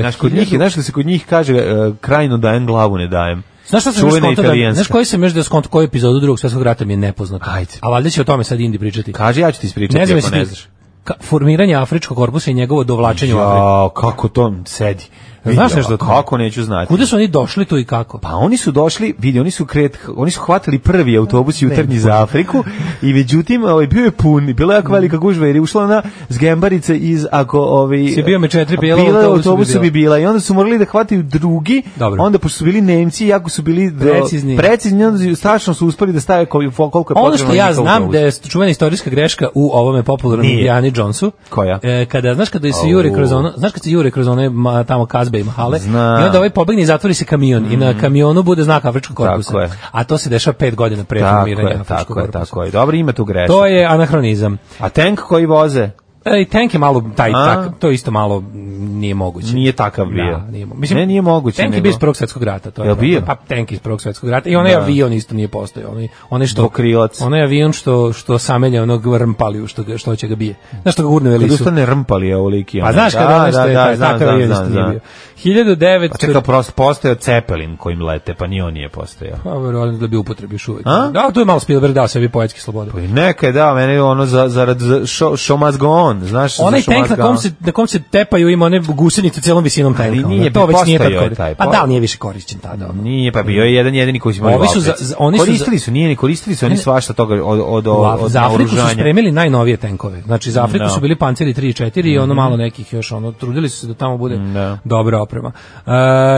F: Znaš, kod njih,
E: hiljadu-
F: je- znaš da se kod njih kaže e, krajinu dajem, glavu ne dajem.
E: Znaš šta sam još
F: Čuvena
E: skonto da,
F: italijanska.
E: znaš koji sam još da skonto koju epizodu drugog svjetskog rata mi je nepoznato.
F: Ajde.
E: A valjda će o tome sad Indi pričati.
F: Kaže, ja ću ti ispričati
E: ne znam
F: ako
E: jesi
F: ne
E: ti-
F: znaš.
E: Ka- formiranje afričkog korpusa i njegovo dovlačenje u Afriku.
F: Ja, kako to sedi. Vidi,
E: nešto o tome?
F: Kako neću znati.
E: Kuda su oni došli tu i kako?
F: Pa oni su došli, vidi, oni su kret, oni su hvatali prvi autobus jutarnji za Afriku i međutim, ovaj bio je pun, i bila je
E: Mhm.
F: jako velika gužva jer je ušla ona zgembarica iz ako ovaj
E: Si bio me četiri, bila u
F: bila u
E: autobusu bi
F: autobusu
E: bila.
F: bi bila i onda su morali da hvataju drugi.
E: Dobro.
F: Onda pošto su bili Nemci, jako su bili do-
E: Precizni.
F: precizni onda su- strašno su uspeli da stave koliko, koliko je Pa potrebno.
E: Ono što
F: na
E: ja
F: njihov
E: znam
F: autobus.
E: da je čuvena istorijska greška u ovome popularnom
F: Nije.
E: Indiani Jonesu.
F: Koja?
E: E, kada, znaš kada se
F: Au.
E: jure kroz ono, znaš kada se jure kroz one ma, tamo kazbe i mahale,
F: Znam.
E: i onda ovaj pobegne i zatvori se kamion i na kamionu bude znak afričkog korpusa.
F: Mm. Tako je.
E: A to se dešava pet godina pre
F: tako
E: formiranja
F: je,
E: afričkog
F: tako je,
E: korpusa.
F: tako je. Dobro, ima tu greška.
E: To je anahronizam.
F: A tank koji voze
E: E, I tank je malo taj,
F: A?
E: tak, to isto malo m, nije moguće.
F: nije takav bio.
E: Da, nije, mo-
F: ne, nije moguće.
E: Tank je
F: nego-
E: bio iz Prvog svjetskog rata. To je
F: Jel
E: problem.
F: bio?
E: Pa tank iz Prvog svjetskog rata. I onaj
F: Da.
E: avion isto nije postojao. Onaj, onaj što,
F: Dvokrilac.
E: Onaj avion što, što samelja onog rmpaliju što, ga, što će ga bije. Znaš što ga gurne u
F: Kad
E: Elisu?
F: ustane rmpali je ovoliki.
E: Pa
F: ono.
E: znaš kada ono što je taj,
F: znam,
E: takav avion
F: znam,
E: isto
F: znam.
E: nije bio. 1900...
F: Pa čekaj, prosto postojao Cepelin kojim lete, pa ni on nije postojao.
E: Pa verovatno da bi upotrebi još uvek.
F: A? Pa
E: Da, tu je malo Spielberg dao sebi poetske slobode.
F: Neka je da, meni ono za, zarad za, show, show must go on, on, znaš,
E: Onaj
F: za Šumadga
E: tank na kom
F: on.
E: se na kom se tepaju ima one gusenice celom visinom
F: Ali
E: tanka.
F: nije,
E: ono. to već nije
F: postao
E: tako.
F: je taj,
E: Pa
F: pa-
E: da, ali nije više korišćen tada. ono.
F: Nije, pa bio je jedan jedini koji su imali
E: Ovi su
F: Valpec.
E: za- za- oni su za-
F: koristili su, nije, ne koristili su oni
E: Ne, ne.
F: svašta toga od, od, od,
E: U Af-
F: od
E: za Afriku su
F: naoružanja.
E: spremili najnovije tenkove. Znači za Afriku
F: Da. Mhm.
E: su bili panceri 3 i 4 i ono malo nekih još ono trudili su se da tamo bude
F: Da.
E: dobra oprema. Uh,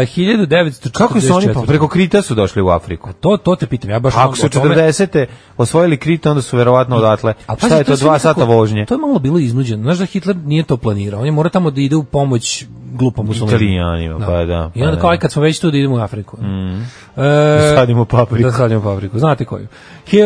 E: 1944.
F: Kako su oni, pa preko Krita su došli u Afriku.
E: To, to te pitam, ja baš... ono,
F: Ako su
E: o tome-
F: 40. osvojili Krit, onda su verovatno odatle.
E: Ali pazi,
F: Šta je to,
E: je sve
F: dva
E: nekako-
F: sata vožnje?
E: To je malo bilo iznuđeno. Znaš da Hitler nije to planirao. On je morao tamo da ide u pomoć glupom muslimanima.
F: Italijanima, pa da,
E: I onda
F: pa
E: kao,
F: da. Mhm.
E: aj, kad smo već tu da idemo u Afriku. Mm. E,
F: Da sadimo papriku.
E: Da sadimo papriku. Znate koju.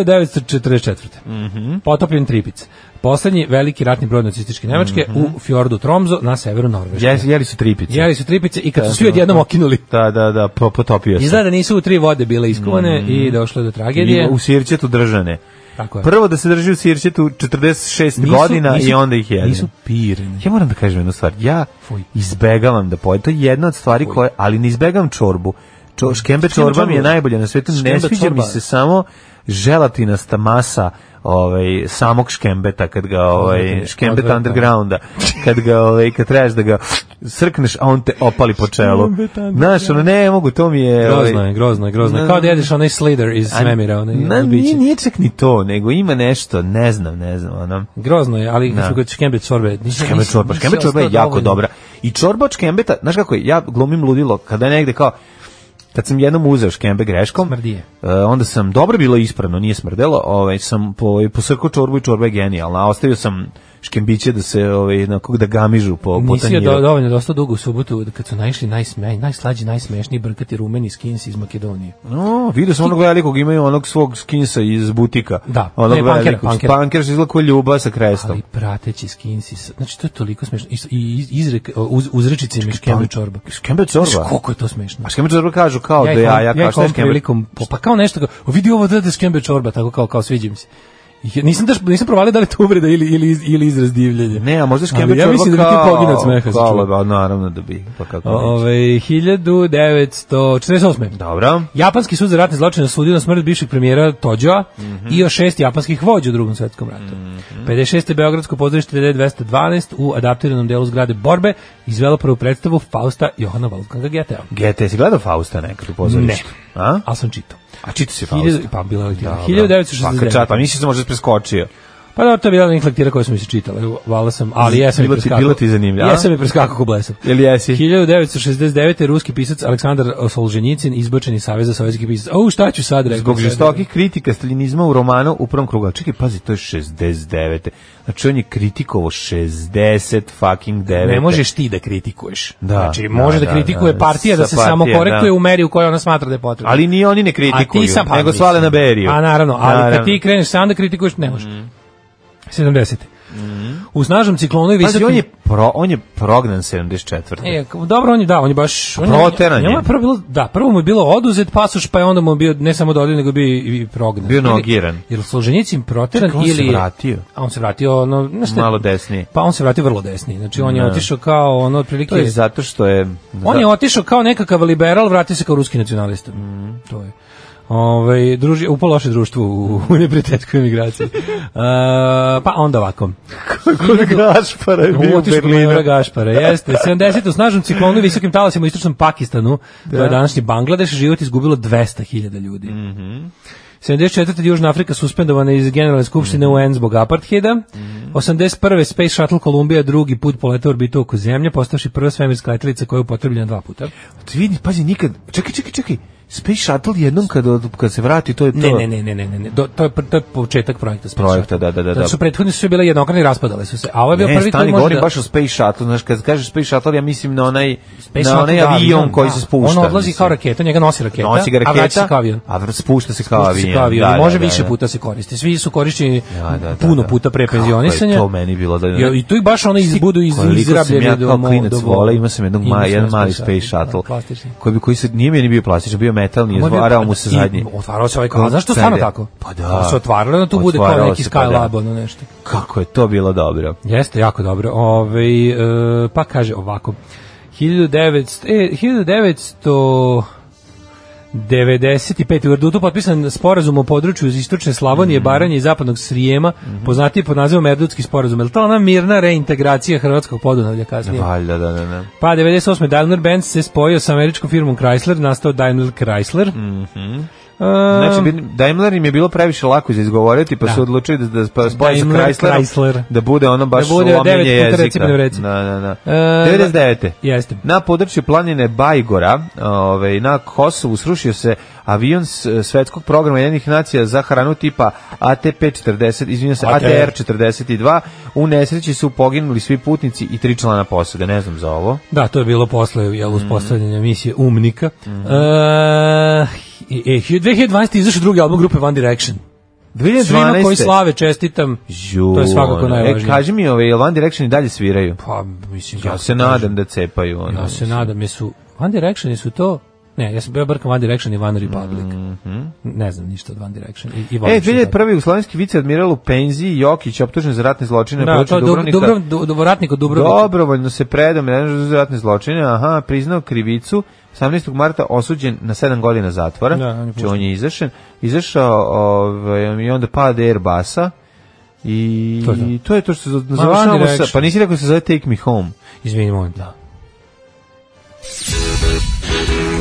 E: 1944. Mm
F: Mhm.
E: -hmm. Potopljen tripic. Poslednji veliki ratni brod nacističke Nemačke
F: Mhm.
E: u fjordu Tromzo na severu Norveške.
F: Jes- Jeli su tripice.
E: Jeli su tripice i kad su svi odjednom okinuli.
F: Da, da, da, po- potopio se.
E: Izgleda da nisu u tri vode bile iskuvane i došlo je do tragedije.
F: I Mhm. u sirćetu držane.
E: Tako je.
F: Prvo da se drži u sirćetu 46
E: Nisu-
F: godina
E: nisu-
F: i onda ih jede.
E: Nisu pirene.
F: Ja moram da kažem jednu stvar. Ja
E: Fuj.
F: izbegavam da pojedem. To je jedna od stvari koje, ali ne izbegavam čorbu. Čo, škembe čorba mi je
E: čorba.
F: najbolje na svetu. Ne
E: Škembe
F: sviđa mi
E: čorba.
F: se samo želatinasta masa ovaj samog škembeta kad ga ovaj
E: Odvratno,
F: škembet
E: odvratno.
F: undergrounda kad ga ovaj kad trebaš da ga srkneš a on te opali po čelu
E: Škembet underground.
F: znaš ono ne mogu to mi je ovaj,
E: Grozno je, ono, grozno je, grozno je. Kao da jedeš onaj Slater iz
F: a-
E: Memira, onaj
F: na,
E: biće.
F: nije, nije čak ni to nego ima nešto ne znam ne znam ono
E: Grozno je, ali
F: Da.
E: kad smo kod Cambridge sorbe, nisam...
F: Škembe
E: nisam-
F: čorba,
E: nisam
F: škembe čorba je
E: ostao
F: jako
E: dovoljno.
F: dobra. I čorba od škembeta, znaš kako je, ja glumim ludilo, kada je negde kao, kad sam jednom uzeo škembe greškom,
E: Smrdi je.
F: e, onda sam, dobro je bilo ispravno, nije smrdelo, ovaj, sam po, posrkao čorbu i čorba je genijalna, a ostavio sam škembiće da se, ovaj, onako, da gamižu po, po
E: Nisi joj
F: tanjiru.
E: do, dovoljno dosta dugo u subotu kad su naišli najsmej, najslađi, najsmešniji brkati rumeni skins iz Makedonije.
F: No, vidio sam onog velikog, imaju onog svog skinsa iz butika.
E: Da,
F: onog
E: ne, punkera,
F: velikog.
E: punkera.
F: Punker što izgleda kao ljuba sa krestom.
E: Ali prateći skinsi, sa- znači to je toliko smešno. I, i izrek, uz, uzrečice mi škembe
F: punk-
E: čorba.
F: škembe čorba?
E: Znaš koliko je to smešno?
F: A škembe čorba kažu kao do
E: ih volim-
F: Pa jaja, kao
E: ih
F: šta je
E: volim
F: škembe.
E: prilikom, po- pa kao nešto, kao, "O, vidi ovo da je skembe čorba, tako kao, kao sviđa mi se. Ja nisam, daš, nisam provalio da li je to uvreda ili, ili, iz- ili izraz divljenja.
F: Ne, a možda
E: Ali
F: škembe čorba
E: Ja mislim da bi ti poginuo od smeha.
F: kao,
E: sačuvaj.
F: ba, naravno da bi, pa kako neće.
E: Ove, 1948.
F: Dobro.
E: Japanski sud za ratne zločine osudio na smrt bivšeg premijera Tođoa i još šest japanskih vođa u drugom svetskom ratu.
F: Mhm.
E: 56. Beogradsko pozorište 1912 u adaptiranom delu zgrade Borbe izvelo prvu predstavu Fausta Johana Wolfganga Goethea.
F: Gete, si gledao Fausta nekad u pozorištu? Ne. A?
E: Ali sam čitao.
F: A čito si Fausta?
E: Hiljadu- pa bila je lektira.
F: Dobro. Pa,
E: 1969.
F: kad čat, pa nisi se možda preskočio.
E: Pa da, to je bila jedna lektira koju sam mi se čitala. evo, Vala sam, ali jesam je
F: Bila ti-
E: preskakao.
F: bila ti zanimljiva, a?
E: Jesam je preskakao ko blesam.
F: Ili jesi?
E: 1969. ruski pisac Aleksandar Solženjicin izbačen iz Saveza sovjetskih pisaca. O, šta ću sad reći?
F: Zbog žestokih kritika staljinizma u romanu u prvom krugu. Ali Čekaj, pazi, to je 69. Znači, on je kritikovo 60 fucking 9.
E: Ne možeš ti da kritikuješ.
F: Da,
E: znači,
F: da,
E: može da,
F: da,
E: kritikuje
F: da,
E: partija da
F: sa
E: se
F: partije,
E: samo korektuje
F: da.
E: u meri u kojoj ona smatra da je potrebna.
F: Ali ni oni ne kritikuju, nego
E: pa mislim.
F: svale na Beriju. Mm.
E: A naravno, ali kad ti kreneš sam da kritikuješ, ne može. 70. U snažnom ciklonu i
F: Pazi,
E: visokim...
F: on je, pro, on je prognan 74.
E: E, k- dobro, on je, da, on je baš... On
F: Proteran je.
E: Njemu je prvo bilo, da, prvo mu je bilo oduzet pasoš, pa je onda mu bio ne samo dodeljen, nego bio i, i prognan.
F: Bio nogiran.
E: Jer Solženjicin proteran
F: Čekaj, on se
E: ili... je-
F: vratio.
E: A on se vratio, ono, znaš šta je-
F: Malo desnije.
E: Pa on se vratio vrlo desni. Znači, on je otišao kao, ono, otprilike...
F: To je zato što je...
E: On je otišao kao nekakav liberal, vratio se kao ruski nacionalista.
F: Mhm.
E: Mm, To je. Ove, druži, upao loše društvo u, u neprijateljskoj emigraciji. E, pa onda ovako.
F: Kod Gašpara je bio u
E: Otišao kod
F: Berlinu.
E: Majora Gašpara, jeste. 70. u snažnom ciklonu i visokim talasima u istočnom Pakistanu, to je današnji Bangladeš, život izgubilo 200.000 ljudi. Mm
F: Mhm.
E: 74. Južna Afrika suspendovana iz Generalne skupštine
F: Mhm.
E: UN zbog apartheida. 81. Space Shuttle Columbia drugi put poleta u orbitu oko Zemlje, postavši prva svemirska letelica koja je upotrebljena dva puta.
F: Ti vidi, pazi, nikad... Čekaj, čekaj, čekaj. Space Shuttle jednom kad, od- kad se vrati, to je to.
E: Ne, ne, ne, ne, ne, ne, ne. Do, to, je, pr- to je početak projekta. Space
F: Projekta,
E: Shuttle.
F: da, da, da,
E: Zato su
F: da.
E: prethodni su bile jednokratne i raspadale su se. A ovo je bio
F: Ne,
E: prvi koji
F: stani,
E: može
F: govorim
E: da...
F: baš o Space Shuttle, znaš, kad kažeš Space Shuttle, ja mislim na onaj,
E: Space
F: na
E: Shuttle,
F: onaj
E: da,
F: avion
E: avion,
F: koji
E: da.
F: se spušta.
E: On odlazi
F: mislim.
E: kao raketa, njega nosi raketa,
F: Nosi ga
E: a vraća se
F: raketa,
E: kao avion.
F: a vr- spušta se kao
E: Pušta se
F: avion.
E: kao avion.
F: Da,
E: i može
F: da, da,
E: više
F: da.
E: puta se koristi. Svi su korišćeni
F: Da, da, da,
E: puno
F: da.
E: puta pre
F: Kako je
E: penzionisanja.
F: to meni bilo da-
E: I, i tu i baš ono iz, budu iz,
F: Koliko
E: izrabljeni.
F: sam ja
E: do
F: kao
E: mo-
F: klinac
E: do vo-
F: volao, imao sam jednog ma,
E: Imao sam
F: jedan mali
E: Shuttle,
F: Space
E: da,
F: Shuttle,
E: plastični.
F: koji, bi, koji se, nije meni bio plastičan, bio metalni,
E: Moj bio
F: izvarao mu
E: patak
F: se
E: i
F: zadnji.
E: Otvarao se ovaj kao, znaš to
F: Cede.
E: stvarno tako?
F: Pa da.
E: Ovo Se otvaralo, da tu bude kao
F: Otvaralo
E: neki
F: se, pa da.
E: Skylab, ono nešto.
F: Kako je to bilo dobro.
E: Jeste, jako dobro. Ove, e, pa kaže ovako. 1900, e, 1900 95. u Erdutu potpisan sporazum o području iz istočne
F: Mhm.
E: Slavonije, Baranje i zapadnog Srijema, poznatiji pod nazivom Erdutski sporazum. Je li to ona mirna reintegracija hrvatskog podunavlja kasnije?
F: Valjda, da, da, da.
E: Pa 98. Daimler Benz se spojio sa američkom firmom Chrysler, nastao Daimler Chrysler. Um,
F: Mhm. Znači, bi- Daimler im je bilo previše lako za izgovoriti, pa su odlučili da, da sp- spoje sa
E: Daimler,
F: Chryslerom,
E: Chrysler.
F: da bude ono baš
E: Da bude
F: lomljenje
E: devet puta
F: jezika.
E: recipne vreci.
F: Da, da, da.
E: E,
F: 99.
E: Jeste.
F: Na području planine Bajgora, ovaj, na Kosovu, srušio se avion s- svetskog programa jednih nacija za hranu tipa ATP-40, izvinjam se,
E: ATR.
F: ATR-42. U nesreći su poginuli svi putnici i tri člana posade, ne znam za ovo.
E: Da, to je bilo posle jel,
F: Mhm.
E: uspostavljanja misije Umnika. Mm -hmm. e, 2012. je izašao drugi album grupe One Direction. Svima koji
F: 2012.
E: slave čestitam,
F: Ju,
E: to je svakako
F: ono,
E: najvažnije.
F: E, kaži mi, ove, jel One Direction i dalje sviraju?
E: pa, mislim,
F: Ja
E: kako
F: se
E: da kažem.
F: nadam da cepaju. Ono,
E: Ja se nadam, jesu One Direction su to... Ne, ja sam bio brkam One Direction i One Republic. Ne znam ništa od One Direction. I, i volim
F: Mhm. E,
E: što
F: 2001. Jugoslovenski viceadmiral u penziji Jokić optužen za ratne zločine
E: da.
F: na
E: Da,
F: području
E: to je Dubrovnik,
F: Dubrovnika.
E: Dubrov, du, Dubrovnik od Dubrovnika.
F: Dobrovoljno se predao mrežu za ratne zločine, aha, priznao krivicu, 18. marta osuđen na 7 godina zatvora,
E: Da, on je
F: znači
E: pušten.
F: on je izašen, izašao ovaj, i onda pade Airbusa, I
E: To
F: to
E: je to.
F: je to, što za-
E: One
F: završavamo sa,
E: Direction.
F: pa nisi rekao da se zove Take Me Home.
E: Izvini, molim. Da.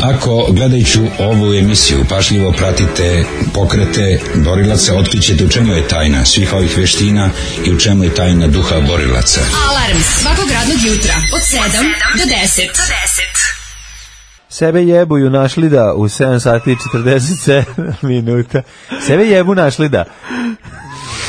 G: Ako gledajući ovu emisiju pašljivo pratite pokrete borilaca, otkrićete u čemu je tajna svih ovih veština i u čemu je tajna duha borilaca.
D: Alarm svakog radnog jutra od 7 do 10.
F: Sebe jebuju našli da u 7 sati i 47 minuta. Sebe jebu našli da.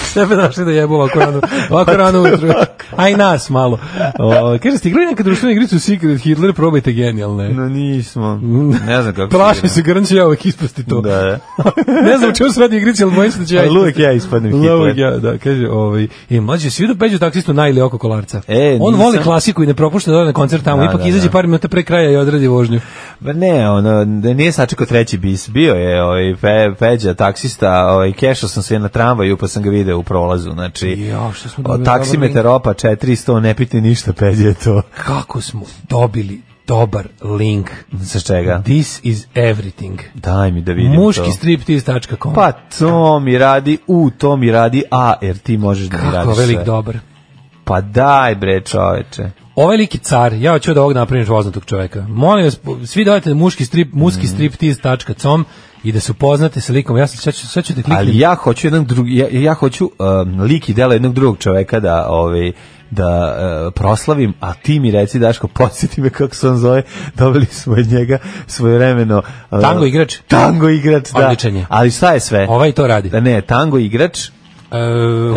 E: Sebe našli da jebu ovako rano, ovako
F: Pa
E: rano ujutru. Aj nas malo. O, kaže, ste igrali nekad društvenu igricu Secret Hitler, probajte genijalne.
F: No nismo. Ne znam kako.
E: Plašim
F: igra.
E: se, garanti ja uvek ispasti to.
F: Da, da.
E: ne znam u čemu se radi igrica, ali bojim se da ću ja
F: Ali uvek
E: ispasti.
F: ja ispadnem
E: Lovog
F: Hitler.
E: ja, da, kaže, ovaj, i mlađe, svi da peđu taksistu najli oko kolarca.
F: E,
E: On
F: nisam.
E: voli klasiku i ne propušta da ode na koncert tamo,
F: Da,
E: ipak
F: da,
E: izađe
F: da.
E: par minuta pre kraja i odradi vožnju.
F: Ba ne, ono, da nije sačekao treći bis. Bio je ovaj, pe, peđa, taksista, ovaj, kešao sam se na tramvaju pa sam ga video u prolazu. Znači,
E: Jo, što smo
F: o,
E: dobili
F: taksimetar opa 400, ne piti ništa, peđa je to.
E: Kako smo dobili dobar link.
F: Sa čega?
E: This is everything.
F: Daj mi da vidim to.
E: Muški striptease.com
F: Pa to mi radi U, to mi radi A, jer ti možeš da mi
E: Kako
F: radiš
E: velik
F: sve.
E: dobar.
F: Pa daj bre čoveče.
E: Ovaj lik je car, ja hoću da ovog napravim poznatog čoveka. Molim vas, po- svi dodajte muški strip, muški
F: Mm.
E: striptease.com i da se upoznate sa likom. Ja sam sad ću, sad ću da kliknem.
F: Ali ja hoću jednog drugi, ja, ja hoću um, lik i dela jednog drugog čoveka da ovaj da e, proslavim, a ti mi reci Daško, podsjeti me kako se on zove, dobili smo od njega svojevremeno e,
E: Tango igrač?
F: Tango igrač, da.
E: Odličan je.
F: Ali šta je sve?
E: Ovaj to radi.
F: Da ne, tango igrač,
E: E,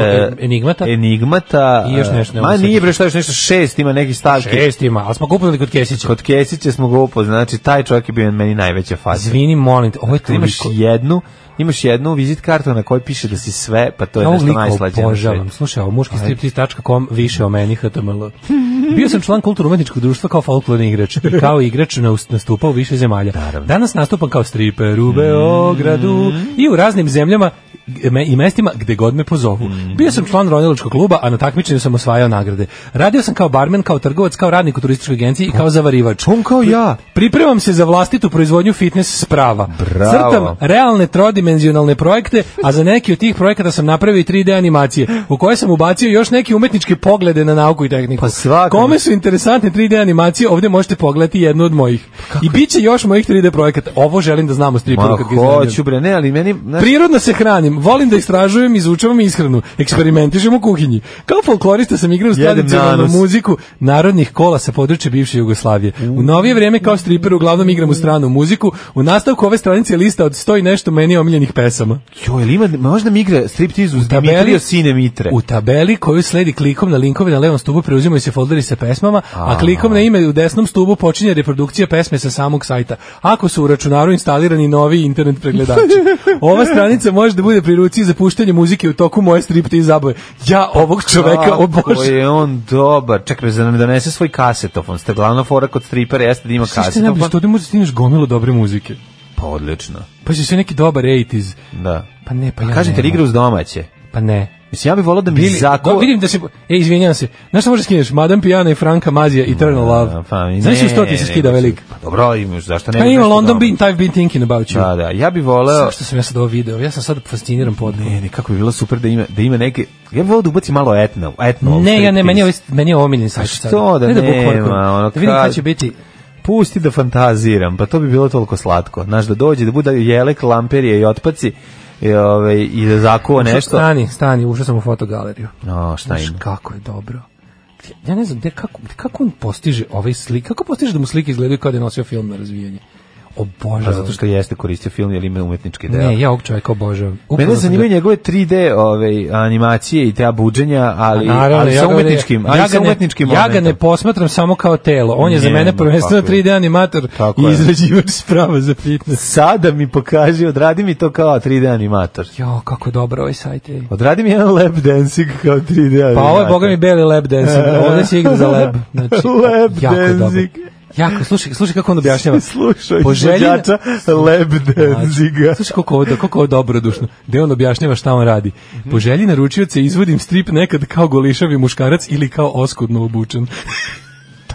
F: e,
E: Enigmata?
F: Enigmata.
E: I još
F: e,
E: nešto, ne
F: Ma
E: mogu
F: nije
E: sjetiti.
F: bre šta još nešto šest, ima neki stavke.
E: Šest ima, ali smo ga upoznali kod Kesića.
F: Kod Kesića smo ga upoznali, znači taj čovjek je bio meni najveća faza.
E: Zvini, molim te, ovaj ovo je
F: Ti imaš
E: toliko...
F: jednu, imaš jednu vizit kartu na kojoj piše da si sve, pa to je
E: Ja ovog
F: nešto
E: lika
F: najslađe. na
E: obožavam.
F: svetu.
E: Slušaj, ovo muški striptease.com više o meni, html. Bio sam član kulturno-umetničkog društva kao folklorni igrač i kao igrač naus- nastupao u više zemalja. Danas nastupam kao striper u Beogradu
F: Mm.
E: i u raznim zemljama me- i mestima gde god me pozovu.
F: Mm.
E: Bio sam član ronilačkog kluba, a na takmičenju sam osvajao nagrade. Radio sam kao barmen, kao trgovac, kao radnik u turističkoj agenciji i kao zavarivač.
F: On kao ja.
E: Pripremam se za vlastitu proizvodnju fitness sprava.
F: Bravo.
E: Crtam realne trodimenzionalne projekte, a za neki od tih projekata sam napravio i 3D animacije, u koje sam ubacio još neke umetničke poglede na nauku i tehniku.
F: Pa svakako.
E: Kome su interesantne 3D animacije, ovdje možete pogledati jednu od mojih. I bit će još mojih 3D projekata. Ovo želim da znam o
F: Ma
E: striperu kad ga
F: hoću
E: iznajmljujem.
F: bre, ne, ali meni... Znaš,
E: Prirodno se hranim, volim da istražujem, izučavam ishranu, eksperimentišem u kuhinji. Kao folklorista sam igrao uz
F: Jedem
E: tradicionalnu
F: nanos.
E: muziku narodnih kola sa područja bivše Jugoslavije. U novije vrijeme kao striper uglavnom igram u stranu muziku. U nastavku ove stranice je lista od 100 i nešto meni omiljenih pesama.
F: joj, ili ima, možda mi igra striptiz uz
E: tabeli-
F: Dimitrija Sine Mitre.
E: U tabeli koju sledi klikom na linkove na levom stubu preuzimaju se folderi sa pesmama, a klikom na ime u desnom stubu počinje reprodukcija pesme sa samog sajta. Ako su u računaru instalirani novi internet pregledači. Ova stranica može da bude pri ruci za puštanje muzike u toku moje stripte i zabave. Ja ovog čoveka
F: Kako
E: obožavam.
F: je on dobar. Čekaj, bre, da nam donese svoj kasetofon. Ste glavna fora kod stripera jeste da ima
E: Šta ste najbolje,
F: kasetofon.
E: što ovdje možda stigneš gomilu dobre muzike.
F: Pa odlično.
E: Pa će se neki dobar 80s.
F: Da.
E: Pa ne, pa ja
F: Kažem ti,
E: nemam.
F: igra uz domaće.
E: Pa ne.
F: Mislim, ja bih volao da mi
E: Bili,
F: zako...
E: da, vidim da se... E, izvinjam se. Znaš što možeš skineš? Madame Pijana i Franka Mazija i Eternal Love.
F: Pa,
E: Znaš
F: ne,
E: u sto ti se
F: ne,
E: skida
F: mislim,
E: velik.
F: Pa dobro, imaš, zašto ne?
E: Pa
F: bi
E: ima
F: nešto
E: London
F: dobro?
E: Bean, I've been thinking about you.
F: Da, da, ja bih voleo...
E: Zašto sam ja sad ovo video? Ja sam sad fasciniran potpuno.
F: E, Ne, ne, kako bi bilo super da ima, da ima neke... Ja bih volao da ubaci malo etno. etno
E: Ne, ja ne, meni je
F: ovo...
E: ovaj, meni je ovo omiljeni sajt. sad.
F: Pa što da
E: ne, da
F: nema,
E: bukvalno-
F: ono,
E: da vidim kada
F: kad-
E: će biti.
F: Pusti da fantaziram, pa to bi bilo toliko slatko. Znaš, da dođe, da bude jelek, lamperije i otpaci i, ove, i da zakuva nešto.
E: Stani, stani, ušao sam u fotogaleriju.
F: O, šta
E: Znaš
F: ima?
E: kako je dobro. Ja ne znam, gde, kako, kako on postiže ovaj slik, kako postiže da mu slike izgledaju kao da je nosio film na razvijanje?
F: Pa
E: Obožavam.
F: zato što jeste koristio film jer ima umetnički deo.
E: Ne, ja ovog čovjeka obožavam.
F: Mene
E: Upravo sam
F: zanimaju
E: ga-
F: njegove 3D ove, animacije i te buđenja, ali,
E: A Pa naravno,
F: ali sa
E: ga ne-
F: umetničkim, ali
E: ja
F: sa
E: ga ne-
F: umetničkim
E: Ja ga ne
F: momentom.
E: posmatram samo kao telo. On je za
F: Ne,
E: mene
F: ma,
E: prvenstveno
F: tako je.
E: 3D animator
F: Tako
E: i
F: je.
E: izrađivač sprava za fitness.
F: Sada mi pokaži, odradi mi to kao 3D animator.
E: Jo, kako je dobro ovaj sajt. ej.
F: Odradi mi jedan lap dancing kao 3D animator.
E: Pa ovo je, boga mi, beli lab dancing. Ovdje se igra za lab. Znači,
F: Lab
E: jako je dobro.
F: dancing.
E: Jako, slušaj, slušaj kako on objašnjava.
F: Slušaj,
E: Poželjen-
F: izvođača lap dancinga.
E: Slušaj koliko ovo, koliko ovo dobrodušno. Gde on objašnjava šta on radi. Po želji naručioce izvodim strip nekad kao golišavi muškarac ili kao oskudno obučen.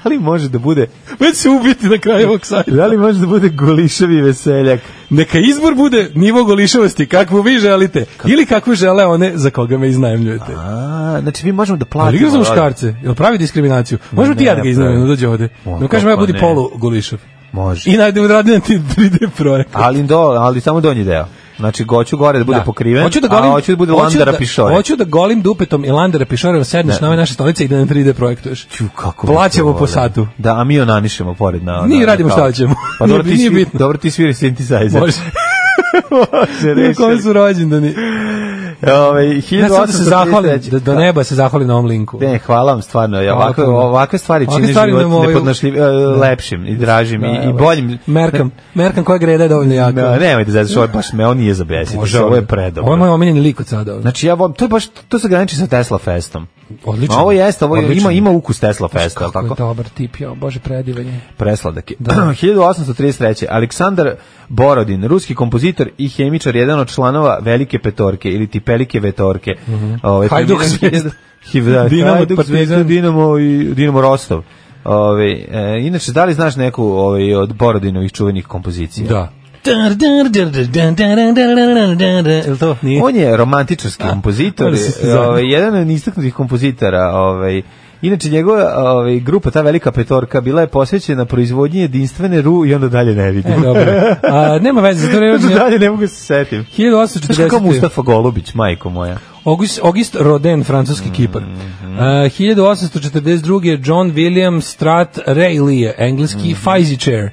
F: Da li može da bude,
E: Već se ubiti na kraju ovog sajta.
F: da li može da bude goliševi veseljak?
E: Neka izbor bude nivo golišavosti kakvu vi želite ili kakvu žele one za koga me iznajmljujete.
F: A, znači mi možemo da platimo.
E: Ali igra za
F: ali-
E: muškarce, jel pravi diskriminaciju? Možemo ti
F: ne,
E: ja da ga
F: ne
E: iznajmim,
F: pravi.
E: dođe ovde.
F: O,
E: No kažem, ja
F: kako
E: budi
F: ne.
E: polu golišav.
F: Može.
E: I najde radi na ti 3D projekat.
F: Ali, do, ali samo donji deo. Znači, hoću gore da bude pokriven, a hoću da bude landara
E: da,
F: pišore.
E: Hoću da golim dupetom i landara pišorevom sedneš
F: Ne.
E: na ove naše stolice i da na 3D projektuješ.
F: Ću, kako
E: Plaćamo
F: bi to
E: po
F: voleo.
E: satu.
F: Da, a mi onanišemo pored na.
E: Nije,
F: na- na
E: radimo šta
F: kauču.
E: hoćemo.
F: Pa dobro, ti
E: Nije
F: sviri,
E: bitno.
F: dobro ti sviri synthesizer.
E: Može.
F: Može,
E: Na kome
F: rešili.
E: su rođendani.
F: Ovaj
E: Ja sam da se
F: 1833.
E: zahvalim, da do neba se zahvalim na ovom linku.
F: Ne, hvala vam stvarno. Ja,
E: Hvala
F: ovakve,
E: puno.
F: ovakve stvari
E: Ovakve
F: čine
E: stvari nam
F: život
E: ovaj-
F: nepodnošljiv, e, lepšim i dražim
E: Da,
F: i, i
E: evo.
F: boljim.
E: Merkam, merkam koja greda je dovoljno jaka.
F: Ne, nemoj da zezaš, ovo je baš me, on nije za besiti. Ovo je predobro.
E: Ovo je moj omiljeni lik od sada.
F: Znači ja volim, to je baš to se graniči sa Tesla Festom.
E: Odlično.
F: Ma Ovo jeste, ovo je,
E: Odlično.
F: ima ima ukus Tesla Festa, al
E: Kako je
F: tako?
E: dobar tip, jo, bože, predivan je.
F: Presladak je.
E: Da.
F: 1833. Aleksandar Borodin, ruski kompozitor i hemičar, jedan od članova Velike petorke ili ti Pelike vetorke. Mm -hmm. Ove,
E: Mhm. Hajduk
F: premiran-
E: Zvezda.
F: Hiv- da,
E: Dinamo,
F: Hajduk
E: Partizan.
F: Zvezda, Dinamo i Dinamo Rostov. Ove, e, inače, da li znaš neku ove, od Borodinovih čuvenih kompozicija?
E: Da. Jel to? Nije.
F: On je romantičarski kompozitor,
E: moram se
F: e,
E: zajedno.
F: ovaj, jedan od istaknutih kompozitora. Ovaj, inače, njegova ovaj, grupa, ta velika petorka, bila je posvećena proizvodnji jedinstvene ru i onda dalje ne vidim.
E: E, dobro. A, nema veze, za to
F: Onda
E: je
F: dalje ne mogu se setim. Znaš kako
E: 1840.
F: Mustafa Golubić, majko moja.
E: August, August Roden,
F: Mhm.
E: francuski kipar. Uh, 1842. John William Strat Rayleigh, engleski
F: Mhm.
E: Fizzy chair.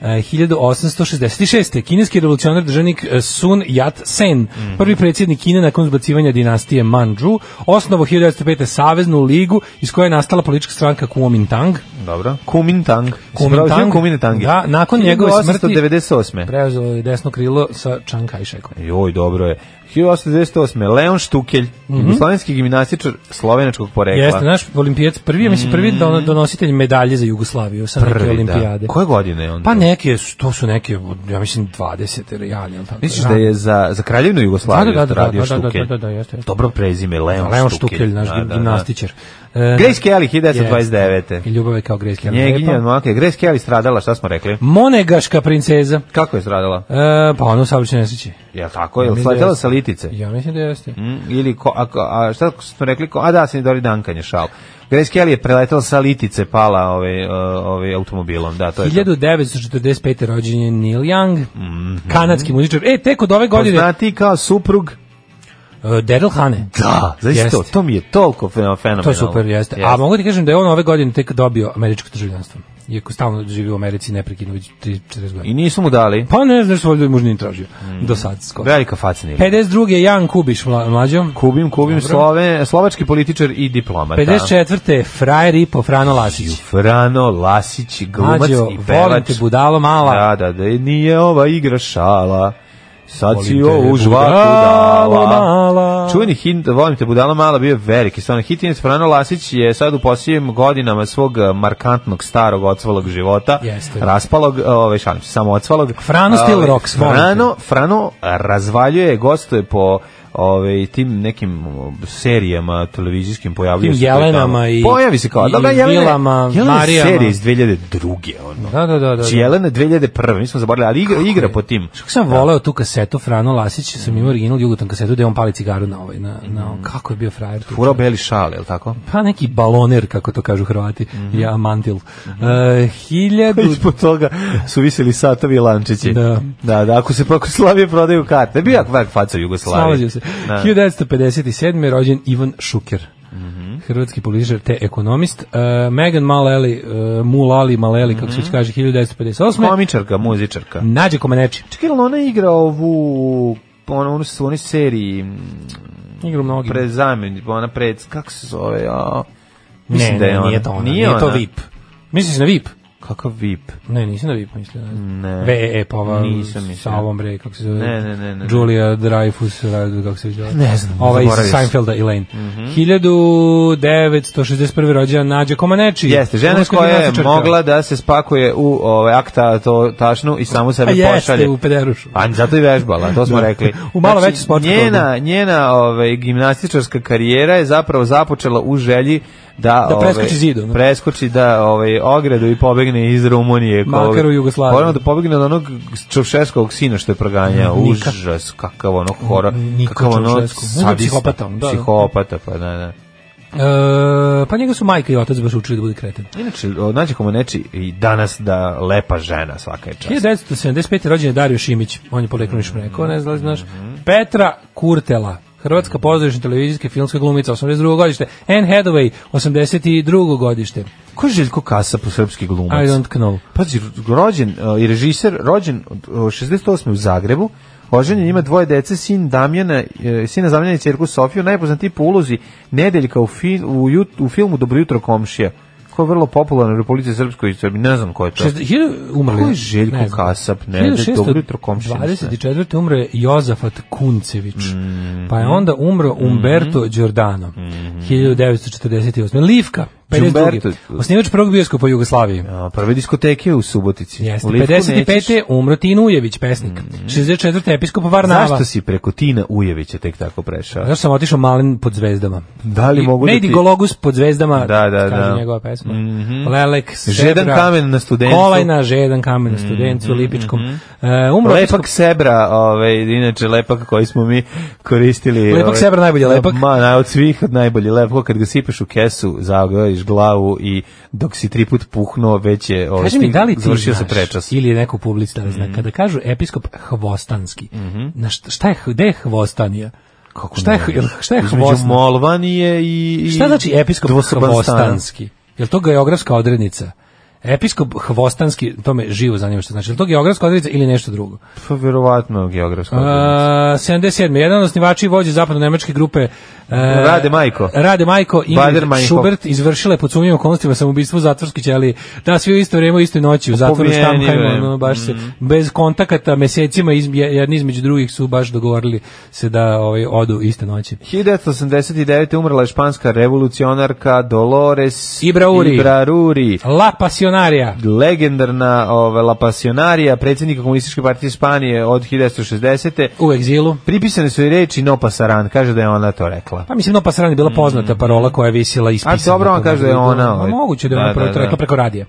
E: Uh, 1866. Kineski revolucionar državnik eh, Sun Yat-sen,
F: Mhm.
E: prvi predsjednik Kine nakon zbacivanja dinastije Manđu, osnovo 1905. Saveznu ligu iz koje je nastala politička stranka Kuomintang.
F: Dobro. Kumintang.
E: Kuomintang.
F: Kumintang.
E: Da, nakon njegove smrti-
F: 1898.
E: Preuzelo je desno krilo sa Chiang Kai-shekom.
F: Joj, dobro je. 1898. Leon Štukelj, jugoslovenski gimnastičar slovenačkog porekla.
E: Mhm. Jeste, naš olimpijac prvi, ja mislim prvi don- donositelj medalje za Jugoslaviju sa neke
F: Mhm. Prvi, da.
E: olimpijade.
F: Koje godine je on?
E: Pa neke, su- to su neke, ja mislim 20 reali, jel tako?
F: Misliš da je za, za kraljevnu Jugoslaviju
E: Da, da, da, da,
F: radio
E: da, da, da,
F: Štukelj?
E: da, da, jeste, jeste.
F: Dobro prezime, Leon,
E: Leon
F: Štukelj.
E: Štukelj, naš
F: Da, da, da.
E: gimnastičar. E,
F: Grace Kelly, 1929.
E: I ljubav je kao Grace Kelly.
F: Njeginja,
E: Lepa.
F: mlaka. Grace Kelly stradala, šta smo rekli?
E: Monegaška princeza.
F: Kako je stradala?
E: E, pa ono saobraćaj nesreći.
F: Ja tako je,
E: Mislim da
F: sletela
E: jeste.
F: sa litice.
E: Ja mislim da jeste.
F: Mm, ili ko, a, a šta smo rekli? Ko, a da, se Dori Duncan je šal. Grace Kelly je preletela sa litice, pala ovaj, e, ovaj automobilom. Da, to je to.
E: 1945. rođen je Neil Young,
F: Mhm.
E: kanadski muzičar. E, tek od ove godine,
F: Poznati kao suprug.
E: e, Daryl Hane.
F: Da, zaista to,
E: Jeste.
F: to mi je toliko fenomenalno.
E: To je super, jeste. A mogu ti kažem da je on ove godine tek dobio američko državljanstvo. Iako stalno živi u Americi neprekidno već 3-40 godina.
F: I Mhm. nisu mu dali.
E: Pa ne znaš, valjda muž nije tražio. Do sad skoro.
F: Velika facina.
E: 52. je Jan Kubiš mla- mlađo.
F: Kubim, Kubim,
E: Dobro.
F: Slove, slovački političar i diplomat.
E: 54. je Frajer Ripo Frano Lasić.
F: Frano Lasić, glumac
E: Mlađo,
F: i
E: volim
F: pevač.
E: te budalo mala.
F: Da, da, da, nije ova igra šala. Sad
E: Volim
F: si
E: te,
F: ovu žvaku
E: budalo
F: dala.
E: mala.
F: Čuveni hit, volim te budala mala, bio je veliki. Stvarno, hitinec Frano Lasić je sad u posljednjim godinama svog eh, markantnog, starog, ocvalog života.
E: Jeste.
F: Raspalog, ovaj, šalim se, samo ocvalog.
E: Frano still
F: Ovaj,
E: rocks, molim te.
F: Frano, Frano razvaljuje, gostuje po ovaj tim nekim o, serijama televizijskim pojavljuje
E: Tim
F: se tu tamo.
E: Jelenama i-
F: pojavi se kao
E: i
F: da da Jelena
E: Vilama,
F: Jelena je
E: Marijama.
F: serija iz 2002 ono
E: Da, da, da, da.
F: Znači, Jelena je 2001 mi smo zaboravili ali igra, igra po tim
E: Kako sam voleo tu kasetu Frano Lasić, sam imao original Jugotan kasetu gde on pali cigaru na ovaj, na, na
F: Mhm.
E: ovom. kako je bio frajer tu.
F: Furao beli šal, je li tako?
E: Pa neki baloner, kako to kažu Hrvati,
F: Mhm.
E: ja mantil. E, hiljadu...
F: Ispod toga su visili satovi i lančići.
E: Da.
F: Da, da, ako se po Jugoslavije prodaju karte. Bio jak vek faca u Jugoslaviji.
E: Slažem se.
F: Da.
E: 1957. je rođen Ivan Šuker.
F: Mhm.
E: Hrvatski političar te ekonomist. E, Megan Maleli, e, Mulali Maleli, kako
F: Mhm.
E: se već kaže, 1958.
F: Komičarka, muzičarka.
E: Nađe Komaneči.
F: Čekaj, jel ona igra ovu ono, ono, su oni seriji mm,
E: Igru mnogi.
F: pre zamjeni, ona pred, kako se zove, ja?
E: ne, ne, nije to ona. Nije, to VIP. Misliš na VIP?
F: Kakav VIP?
E: Ne, nisam na VIP mislio.
F: Ne.
E: VE, pa ova
F: Nisam mislio.
E: sa ovom bre, kako se zove?
F: Ne, ne, ne, ne.
E: Julia Dreyfus, Radu, kako se zove?
F: Ne znam,
E: Ova iz
F: zaboravio sam. Mhm.
E: Seinfelda, Elaine. 1961. rođena Nađa Komaneči.
F: Jeste, žena
E: Ruska
F: koja je
E: gimnastičarka.
F: mogla da se spakuje u ovaj, akta to, tašnu i samu
E: A
F: sebe
E: Pa jeste,
F: pošalje.
E: u pederušu.
F: Pa zato i vežbala, to smo
E: Da.
F: rekli. Znači,
E: U malo većoj sportskoj
F: Njena, njena ovaj, gimnastičarska karijera je zapravo započela u želji da,
E: Da preskoči zidu, ne?
F: Preskoči da ovaj, ogradu i pobegne iz Rumunije. ko-
E: Makar u Jugoslaviju.
F: Moramo da pobegne od onog Čovšeskog sina što je proganjao.
E: Nika.
F: Užas, kakav ono horor.
E: Niko
F: kakav ono
E: Čaušesku. On je
F: sadista.
E: psihopata, on, da, da.
F: Psihopata, pa da, da.
E: E, pa njega su majka i otac baš učili da bude kreten.
F: Inače, nađe komu neči i danas da lepa žena svaka je čast.
E: 1975. rođen je Dario Šimić, on je poleklon iš mleko, ne znam da li znaš. Petra Kurtela, hrvatska pozorišna televizijska i filmska glumica, 82. godište. Anne Hathaway, 82. godište.
F: Ko je Željko Kasa po srpski
E: I
F: glumac?
E: don't know.
F: Pazi, rođen uh, i režiser, rođen uh, 68. u Zagrebu, oženjen ima dvoje dece, sin Damjana, uh, sina Damjana i cerku Sofiju, najpoznatiji po ulozi Nedeljka u, fi, u, jut, u filmu Dobro jutro komšija, koji je vrlo popularan u Republici Srpskoj i Srbiji, ne znam ko je to.
E: Šest- hiljadu- umrli.
F: Ko je Željko
E: Ne znam.
F: Kasap? Ne, da je
E: 1624
F: dobro jutro komšinice.
E: 24. umro je Jozafat Kuncević,
F: Mhm.
E: pa je onda umro Umberto Giordano, 1948. Livka, 52.
F: Umberto.
E: Osnivač prvog bioskopa Jugoslavije.
F: A, prve diskoteke u Subotici.
E: Jeste,
F: U Livku
E: 55.
F: nećeš. Mhm.
E: je umro Tin Ujević, pesnik. 64. episkop Varnava.
F: Zašto si preko Tina Ujevića tek tako prešao?
E: Zašto sam otišao malen pod zvezdama?
F: Da li mogu da
E: Lady
F: ti-
E: Gologus pod zvezdama,
F: Da, da,
E: kaže
F: da.
E: njegova pesma.
F: Mhm.
E: Lelek,
F: Žedan
E: Sebra,
F: kamen na Studencu. Mhm,
E: Kolajna, žedan kamen na studencu, Lipičkom. E, umro
F: Lepak sebra, ovaj, inače lepak koji smo mi koristili.
E: Lepak
F: ovaj,
E: sebra najbolji lepak.
F: Ma, na, od svih od najbolji lepak, kad ga sipaš u kesu, zagreviš glavu i dok si tri put puhnuo, već je ovaj,
E: Kaži mi,
F: stig-
E: da li ti
F: završio se
E: znaš,
F: prečas. Mhm.
E: ili je neko publicista da zna, kada kažu episkop Hvostanski, na šta, šta je, gde je Hvostanija? Kako šta je,
F: ne?
E: jel- šta je
F: Između
E: Hvostan?
F: Molvanije i... i
E: Šta znači episkop
F: dvosoban stan.
E: Hvostanski? Jel to geografska odrednica? Episkop Hvostanski, to me živo zanima što znači. Jel to geografska odrednica ili nešto drugo?
F: Pa, verovatno geografsko.
E: Uh, 77. Jedan od osnivači i vođe zapadno-nemačke grupe uh,
F: Rade Majko.
E: Rade Majko i
F: Bader-Meinhof.
E: Schubert izvršila je pod sumnjivim okolnostima samoubistvo u zatvorskoj ćeliji. Da, svi u isto vrijeme, u istoj noći
F: Pa
E: u zatvoru
F: Pobijeni, bre.
E: Štamheim, ono, baš se
F: Mhm.
E: bez kontakata mesecima iz, jedni između drugih su baš dogovorili se da ovaj odu iste noći.
F: 1989. umrla je španska revolucionarka Dolores
E: Ibrauri.
F: Ibrauri.
E: La Pasionarija.
F: legendarna ova, La Pasionarija, predsjednika komunističke partije Španije od 1960.
E: U egzilu.
F: Pripisane su i reči No Pasaran, kaže da je ona to rekla.
E: Pa mislim, no pa je bila poznata parola koja je visila ispisana.
F: Mhm. A dobro, on kaže da je ona,
E: Ma
F: ovaj.
E: moguće da je
F: Da,
E: ona
F: da,
E: prvo to
F: da. Mhm.
E: rekla preko radija.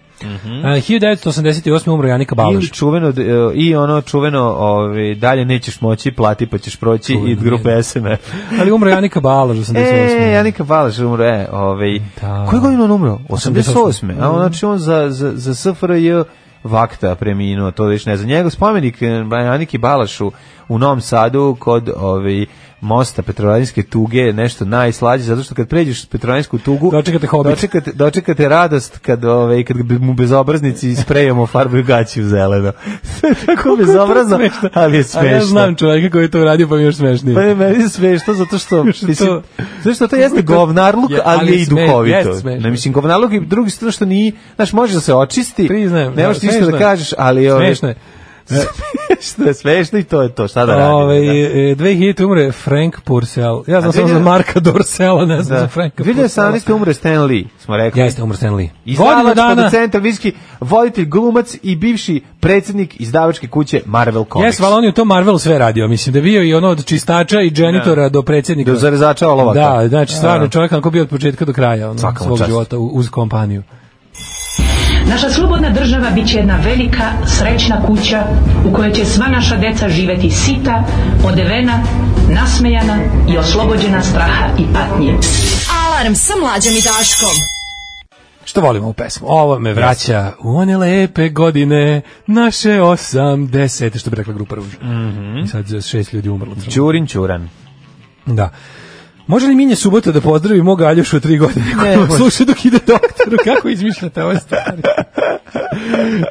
E: A, 1988. umro Janika
F: Ili
E: Balaš.
F: čuveno, d- e, i ono čuveno, ovaj, dalje nećeš moći, plati pa ćeš proći
E: Čuveno,
F: i od grupe E.
E: je.
F: SMF.
E: Ali umro Janika Balaš 88.
F: E, Janika Balaš umro, e, ovaj,
E: Da.
F: koji godin on umro? 88.
E: 88..
F: A on, znači on za, za, za SFRJ vakta preminuo, to već ne znam. Njegov spomenik e, Janiki Balašu u Novom Sadu kod ovaj, mosta Petrovaradinske tuge je nešto najslađe, zato što kad pređeš Petrovaradinsku tugu,
E: Dočekate Hobbit.
F: dočekate, dočekate radost kad, ovaj, kad bi- mu bezobraznici sprejamo farbu i gaći u zeleno. Tako bezobrazno,
E: smešno.
F: ali je
E: A
F: smešno.
E: ja znam čoveka koji je to uradio, pa mi je još smešnije.
F: Pa je meni smešno zato što mislim,
E: to-
F: zato što to jeste
E: to-
F: govnarluk,
E: je,
F: ali
E: ali
F: je i
E: sme-
F: duhovito.
E: jeste smešno.
F: Ne mislim govnarluk i drugi strano što ni, znaš, može da se očisti.
E: Priznajem,
F: Ne
E: da,
F: možeš ništa
E: smešno
F: da
E: je.
F: kažeš, ali je
E: Smešno je.
F: Što je smešno i to je to, šta da radimo.
E: Ove,
F: da.
E: e, 2000 umre Frank Purcell. Ja znam
F: A
E: samo za
F: 2000
E: Marka Dorsela, ne znam za
F: Da.
E: Franka Purcella.
F: 2018. umre Stan Lee, smo rekli. pa
E: Jeste, umre Stan Lee. Godinu
F: Izdavač,
E: dana.
F: producent, televizijski voditelj, glumac i bivši predsjednik izdavačke kuće Marvel Comics.
E: Jes, hvala, on je u tom Marvelu sve radio, mislim, da je bio i ono od čistača i dženitora do predsjednika.
F: Do zarezača olovaka.
E: Da, znači, stvarno,
F: Da.
E: čovjek kako bio od početka do kraja, ono,
F: Svaka mu
E: svog
F: čast.
E: života u- uz kompaniju.
H: Naša slobodna država bit će jedna velika, srećna kuća u kojoj će sva naša deca živeti sita, odevena, nasmejana i oslobođena straha i patnje.
D: Alarm sa mlađom i Daškom.
E: Što volimo u pesmu? Ovo me vraća u one lepe godine, naše 80, što bi rekla grupa Ruž.
F: Mhm.
E: I sad za šest ljudi umrlo.
F: Ćurin Ćuran.
E: Da. Može li Minja Subota da pozdravi mog Aljošu od tri godine koji vas sluša dok ide doktoru? Kako izmišljate ove stvari?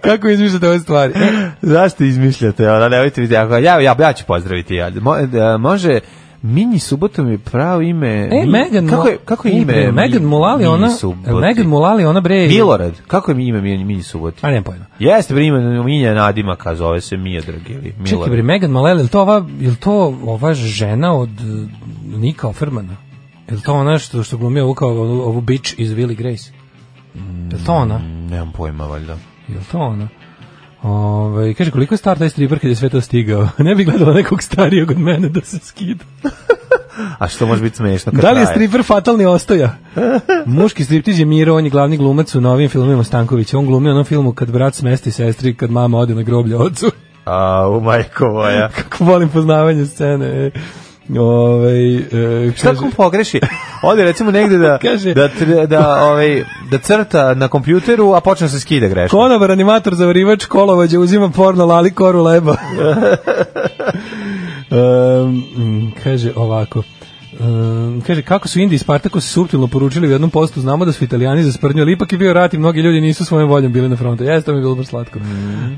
E: Kako izmišljate ove stvari? E,
F: Zašto izmišljate? Ona nemojte vidjeti. Ako, ja, ja, ja ću pozdraviti. Ja. Mo, da, može Mini Subotom je pravo ime.
E: E,
F: Mi-
E: Megan
F: kako je, kako je ime? Mi-
E: Megan Mulali,
F: Mini
E: ona...
F: Suboti?
E: Megan Mulali, ona bre...
F: Milorad. Kako je ime Mini, Mini Suboti?
E: A nemam pojma.
F: Jeste bre ime Minja Nadimaka, zove se Mija Drag ili
E: Čekaj bre,
F: Milorad.
E: Megan Mulally, je to ova, je li to ova žena od eh, Nika Offermana? Je li to ona što, što glumio kao ovu, ovu bitch iz Willy Grace? Je li to ona?
F: Nemam pojma, valjda.
E: Je li to ona? Ove, kaže, koliko je star taj striper kad je sve to stigao? Ne bi gledala nekog starijog od mene da se skida.
F: A što može biti smešno kad
E: Da li je
F: traje?
E: striper fatalni ostoja? Muški striptiz je Miro, on je glavni glumac u novim filmima Stankovića. On glumi u onom filmu kad brat smesti sestri, kad mama ode na groblje ocu.
F: A, u majko moja.
E: Kako volim poznavanje scene. e. Ove, e,
F: Šta
E: kaže-
F: ako pogreši? Ode recimo negde da,
E: Kaže-
F: da, tr- da, ovaj, da crta na kompjuteru, a počne se skida greška.
E: Konobar, animator, zavarivač, kolovođa, uzima porno, lali koru leba. um, mm, kaže ovako. Um, kaže, kako su Indi i Spartaku se suptilno poručili u jednom postu, znamo da su italijani za sprdnju, ali ipak je bio rat i mnogi ljudi nisu svojom voljom bili na frontu. Jeste, to mi je bilo baš slatko.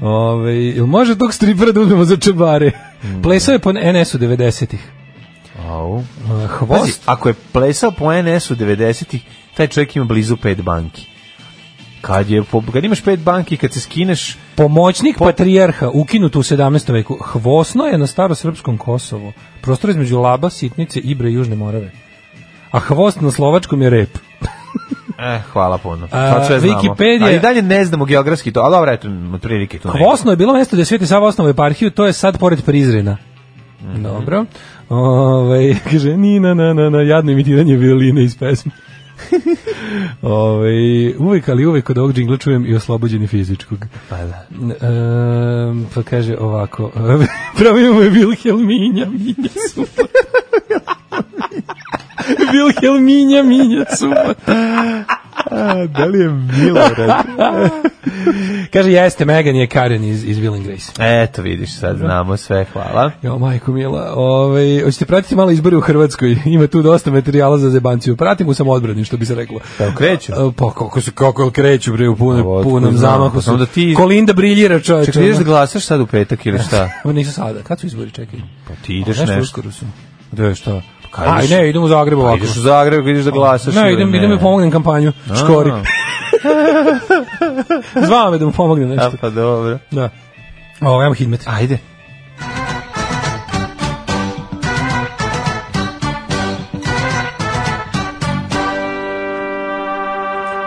E: Ove, jel može tog stripera da uzmemo za čebare? Plesao je po NS-u 90-ih.
F: Au.
E: Uh,
F: Pazi,
E: Hvost?
F: ako je plesao po NS-u 90-ih, taj čovjek ima blizu pet banki. Kad, je, po- kad imaš pet banki, kad se skineš,
E: Pomoćnik patrijarha ukinut u 17. veku. Hvosno je na starosrpskom Kosovu. Prostor između Laba, Sitnice, Ibre i Južne Morave. A hvost na slovačkom je rep.
F: eh, hvala puno.
E: A,
F: Sad sve znamo.
E: Wikipedia-
F: Ali i dalje ne znamo geografski to, ali dobro, eto, otprilike tu. nekako.
E: Hvosno je bilo mesto gde je Sveti Sava osnovao eparhiju, to je sad pored Prizrena. Dobro. Ove, kaže, ni na na na na, jadno imitiranje violine iz pesme. Ove, uvek, ali uvek kod ovog džingla čujem i oslobođeni fizičkog.
F: Pa da.
E: Ehm, pa kaže ovako, pravo imamo je Vilhelminja, Minja Subota. Vilhelminja, Minja Subota.
F: Da li je Milorad?
E: Kaže, jeste, Megan je Karen iz, iz Will and Grace.
F: eto, vidiš, sad znamo sve, hvala.
E: Jo, majko mila, ovaj, hoćete pratiti malo izbore u Hrvatskoj, ima tu dosta materijala za zebanciju, pratim u samoodbrani, što bi se reklo.
F: Evo, kreću.
E: E, Pa kako se kako kreću bre u
F: Pa,
E: punom
F: otkud
E: punom
F: znam,
E: zamahu.
F: samo
E: su.
F: da ti-
E: Kolinda briljira čoveče.
F: Čekaj, ideš da glasaš sad u petak ili šta?
E: Ovo nisu sada. Kad su izbori, čekaj?
F: Pa ti ideš
E: Nešto
F: nešto.
E: uskoro su. Da je šta?
F: Pa kad
E: Aj
F: ideš-
E: ne, idem u Zagreb
F: Pa
E: ovako.
F: ideš u Zagreb, ideš da glasaš.
E: Ne,
F: ili
E: idem, idem da pomognem kampanju. Škori. Zvao me da mu pomogne
F: A,
E: nešto.
F: pa dobro.
E: Da. O, ajmo hidmet.
F: Ajde.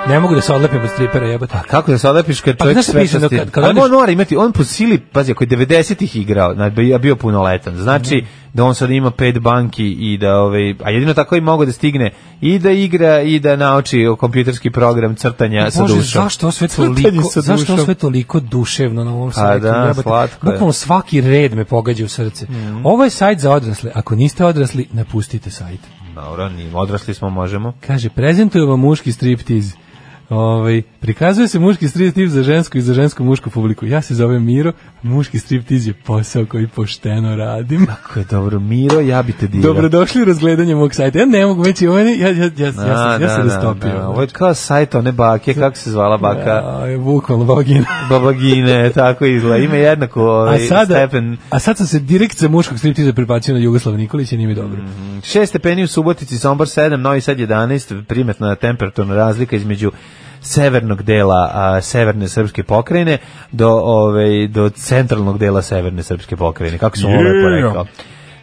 E: Ne mogu da se odlepim od stripera, jebate.
F: A kako da se odlepiš kad
E: Pa,
F: čovjek
E: znaš šta
F: sve
E: piše,
F: sa
E: no,
F: stil-
E: kad- kad
F: Ali
E: odeš-
F: on mora imati, on po sili, pazi, ako je 90-ih igrao, znači, bio- bio punoletan,
E: Mhm.
F: znači da on sad ima pet banki i da, ovaj, a jedino tako i mogo da stigne i da igra i da nauči o kompjuterski program crtanja sa
E: Bože,
F: dušom.
E: zašto ovo sve
F: Crtanje
E: toliko,
F: sa
E: zašto ovo
F: dušom. Pa
E: sve toliko duševno na ovom sajtu?
F: da,
E: jebote?
F: slatko je. Mhm.
E: Bukvalno svaki red me pogađa u srce. Ovo je sajt za odrasle. Ako niste odrasli, napustite sajt.
F: Dobro, ni- odrasli smo, možemo.
E: Kaže, prezentuje vam muški striptiz. Ovaj, prikazuje se muški striptiz za žensku i za žensku mušku publiku. Ja se zovem Miro, muški striptiz je posao koji pošteno radim.
F: Kako je dobro, Miro, ja bi te dirao.
E: Dobrodošli u razgledanje mog sajta. Ja ne mogu već, ovo je- ja, ja, ja, ja, sam- ja,
F: A,
E: sam
F: da, da,
E: rastopio.
F: da, Ovo je kao sajt one bake, kako se zvala baka?
E: Ja, je bukvalno vagina.
F: Babagine, tako izgleda. Ima jednako ovaj,
E: A sada,
F: stepen.
E: a sad sam se direkt sa muškog striptiza prebacio na Jugoslav Nikolić i nije mi dobro.
F: Mhm. 6 stepeni u Subotici, Sombor 7, Novi Sad 11, primetna temperaturna razlika između severnog dela a, severne srpske pokrajine do, ovaj, do centralnog dela severne srpske pokrajine, kako sam ovo lepo
E: Yeah.
F: rekao.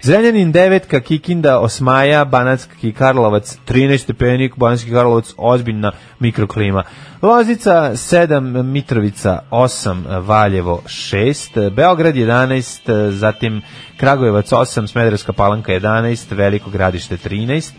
F: Zrenjanin 9, Kikinda, Osmaja, Banatski Karlovac 13 stepenik, Banatski Karlovac ozbiljna mikroklima. Lozica 7, Mitrovica 8, Valjevo 6, Beograd 11, zatim Kragujevac 8, Smederevska Palanka 11, Veliko Gradište 13.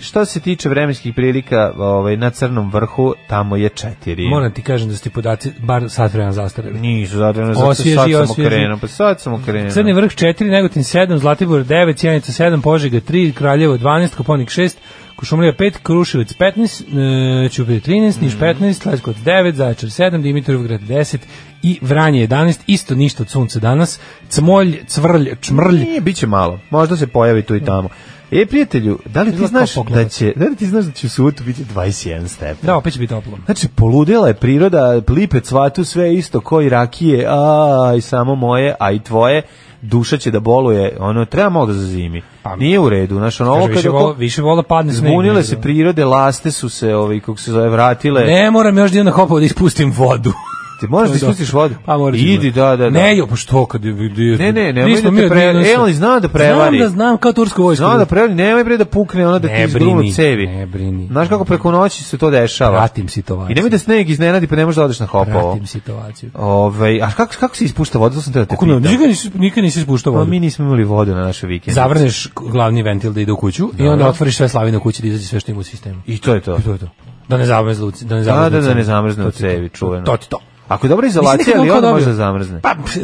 F: Što se tiče vremenskih prilika, ovaj na Crnom vrhu tamo je 4.
E: Moram ti kažem da ste podaci bar sat vremena zastareli.
F: Nisu zadreno, zato
E: Osvježi,
F: sad sam
E: osvježi.
F: okrenuo. Pa sad sam okrenuo.
E: Crni vrh 4, Negotin 7, Zlatibor 9, Cijenica 7, Požega 3, Kraljevo 12, Koponik 6, Kušumlija 5, Kruševac 15, e, Ćuprije 13,
F: Mhm.
E: Niš 15, Leskovac 9, Zaječar 7, Dimitrovgrad 10 i Vranje 11, isto ništa od sunca danas, Cmolj, Cvrlj, Čmrlj,
F: Nije, bit će malo. Možda se pojavi tu i tamo. E, prijatelju, da li ti
E: Izgleda
F: znaš
E: kao
F: da
E: poklopac.
F: će, da li ti znaš da će u subotu biti 21 stepen?
E: da opet će biti toplo.
F: Znači, poludela je priroda, lipe cvatu, sve isto, koji rakije, a, i samo moje, a i tvoje, duša će da boluje, ono, treba malo da zazimi.
E: Pa,
F: Nije u redu, znaš, ono, ovo
E: Kaže, više,
F: kada
E: vola, više vola padne sneg. nego-
F: zbunile se prirode, laste su se, ovaj, kako se zove, vratile.
E: Ne moram još da idem na hopovo da ispustim vodu.
F: Ti moraš da
E: To je
F: ispustiš
E: dosta.
F: vodu.
E: Pa moraš.
F: Idi, da, da, da.
E: Ne, jo, pa što kad je... Ne,
F: Ne, ne, nemoj da te pre- e, ali zna da prevari.
E: Znam da znam kao tursko vojsko.
F: Zna da prevari, nemoj bre da pukne ona da
E: Ne
F: ti izgrunu
E: brini,
F: cevi.
E: ne brini.
F: Znaš kako preko noći se to dešava?
E: Pratim situaciju.
F: I nemoj da sneg iznenadi pa ne možeš da odeš na hopovo.
E: Pratim situaciju.
F: Ove, a kako, kako se ispušta voda? To sam teo da te
E: Kako ne,
F: pitam.
E: nikad nisi, nikad nisi spuštao
F: Pa
E: vodu.
F: mi nismo imali vodu na našoj vikend.
E: Zavrneš glavni ventil da ide u kuću i onda otvoriš sve slavine u kući da izađe sve što ima u sistemu.
F: I to je to.
E: I to je to. Da ne zamrznu, da ne
F: Da, da,
E: zamrznu.
F: da
E: cevi.
F: ne zamrzne
E: To
F: u
E: ti je to.
F: cevi, čuveno.
E: To ti to.
F: Ako je dobra
E: Mislim,
F: izolacija,
E: nekad
F: ali
E: on kao
F: onda
E: dobio.
F: može da zamrzne.
E: Pa, p-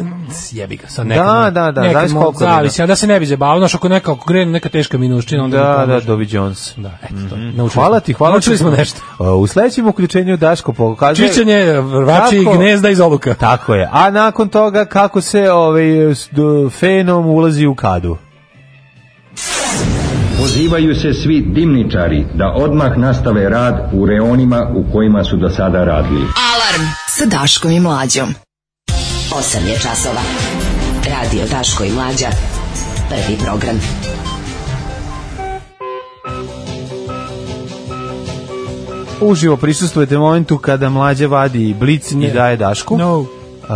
E: jebi ga sad nekad.
F: Da,
E: mo-
F: da, da,
E: nekad
F: zavisi
E: mo-
F: koliko bi,
E: ono Zavisi, a da se ne bi zabavio, znaš, ako neka, ako krene neka teška minuščina, onda...
F: Da,
E: mi
F: da,
E: pomože.
F: Dovi Jones.
E: Da, eto to. Naučili
F: Hvala
E: smo.
F: ti, hvala.
E: Naučili
F: ti.
E: smo nešto.
F: O, U sledećem uključenju Daško pokazuje...
E: Čišćenje vrvači i
F: Kako?
E: gnezda iz oluka.
F: Tako je. A nakon toga kako se ovaj s- d- fenom ulazi u kadu.
I: Pozivaju se svi dimničari da odmah nastave rad u reonima u kojima su do sada radili.
D: Alarm sa Daškom i Mlađom.
B: 8 je časova. Radio Daško i Mlađa. Prvi program.
F: Uživo prisustujete momentu kada mlađa vadi blic i
E: Ne.
F: daje Dašku.
E: No.
F: Uh,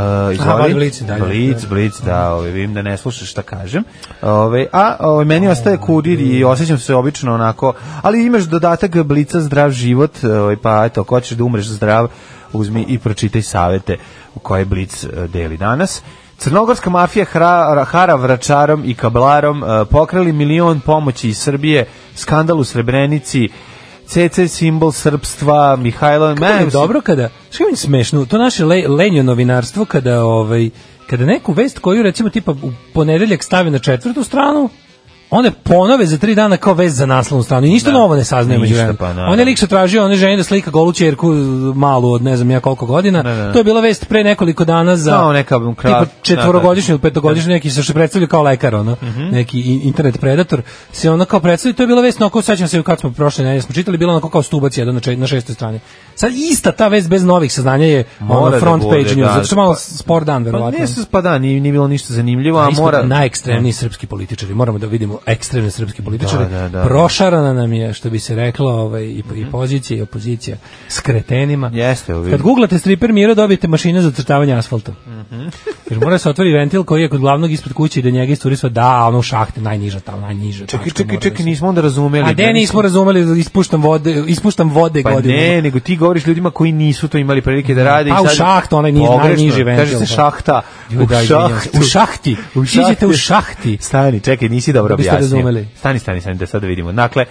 E: Aha, vadi blic i daje.
F: blic,
E: Da.
F: blic, da, ovaj, vidim da ne slušaš šta kažem. Ovaj, a ovaj, meni ostaje kudir i osjećam se obično onako, ali imaš dodatak blica zdrav život, ovaj, pa eto, ako hoćeš da umreš zdrav, uzmi i pročitaj savete u koje blic eh, deli danas. Crnogorska mafija hra, hara vračarom i kablarom, eh, pokrali milion pomoći iz Srbije, skandal u Srebrenici, CC simbol srpstva, Mihajlo...
E: Kako je dobro kada, što je meni smešno, to naše le, lenjo novinarstvo kada ovaj kada neku vest koju recimo tipa u ponedeljak stave na četvrtu stranu, one ponove za tri dana kao vest za naslovnu stranu i ništa
F: Da.
E: novo ne saznaje
F: Ništa,
E: među vremenom.
F: pa naravno.
E: on je lik što tražio, on je ženi da slika golu čerku malu od ne znam ja koliko godina.
F: da.
E: To je bila vest pre nekoliko dana za
F: Kao neka kra-
E: tipa četvorogodišnji ili petogodišnji neki se što predstavlja kao lekar ono,
F: Mhm.
E: neki i- internet predator se ono kao predstavlja, to je bila vest na koju sećam se kad smo prošle nedelje smo čitali, bila onako kao stubac jedan na, čet, na šestoj strani. Sad ista ta vest bez novih saznanja je
F: Mora
E: ono
F: da
E: front
F: bude,
E: page news,
F: da,
E: zato što je malo
F: pa-
E: spor dan
F: Pa
E: verovatno.
F: ne, s- pa da, nije, nije bilo ništa zanimljivo, a
E: Ispod
F: mora...
E: najekstremniji srpski političari. Moramo da vidimo ekstremne srpski političari.
F: Da, Mhm. da, da.
E: Prošarana nam je, što bi se reklo, ovaj, i, i pozicija i opozicija s kretenima.
F: Jeste, ovi-
E: Kad googlate striper Miro, dobijete mašine za crtavanje asfalta.
F: Mhm.
E: Jer mora se otvori ventil koji je kod glavnog ispred kuće i da njega isturi sva, da, ono u šahte, najniža tamo, najniža.
F: Čekaj,
E: tačka
F: čekaj,
E: mora da
F: čekaj,
E: se-
F: nismo onda razumeli.
E: A
F: Ja
E: de nismo razumeli, da ispuštam vode, ispuštam vode
F: Pa
E: godinama. Znači,
F: ne, nego ti govoriš ljudima koji nisu to imali prilike da rade. i
E: Pa u
F: sad-
E: šahtu, onaj niz-
F: Pogrešno,
E: najniži ventil,
F: Kaže se
E: da.
F: šahta.
E: Joj, da, izvinjavam se. U šahti. Siđite u šahti.
F: Stani, čekaj, nisi dobro
E: Da biste
F: objasnio.
E: razumeli.
F: Stani, stani, stani, da sad vidimo. Dakle,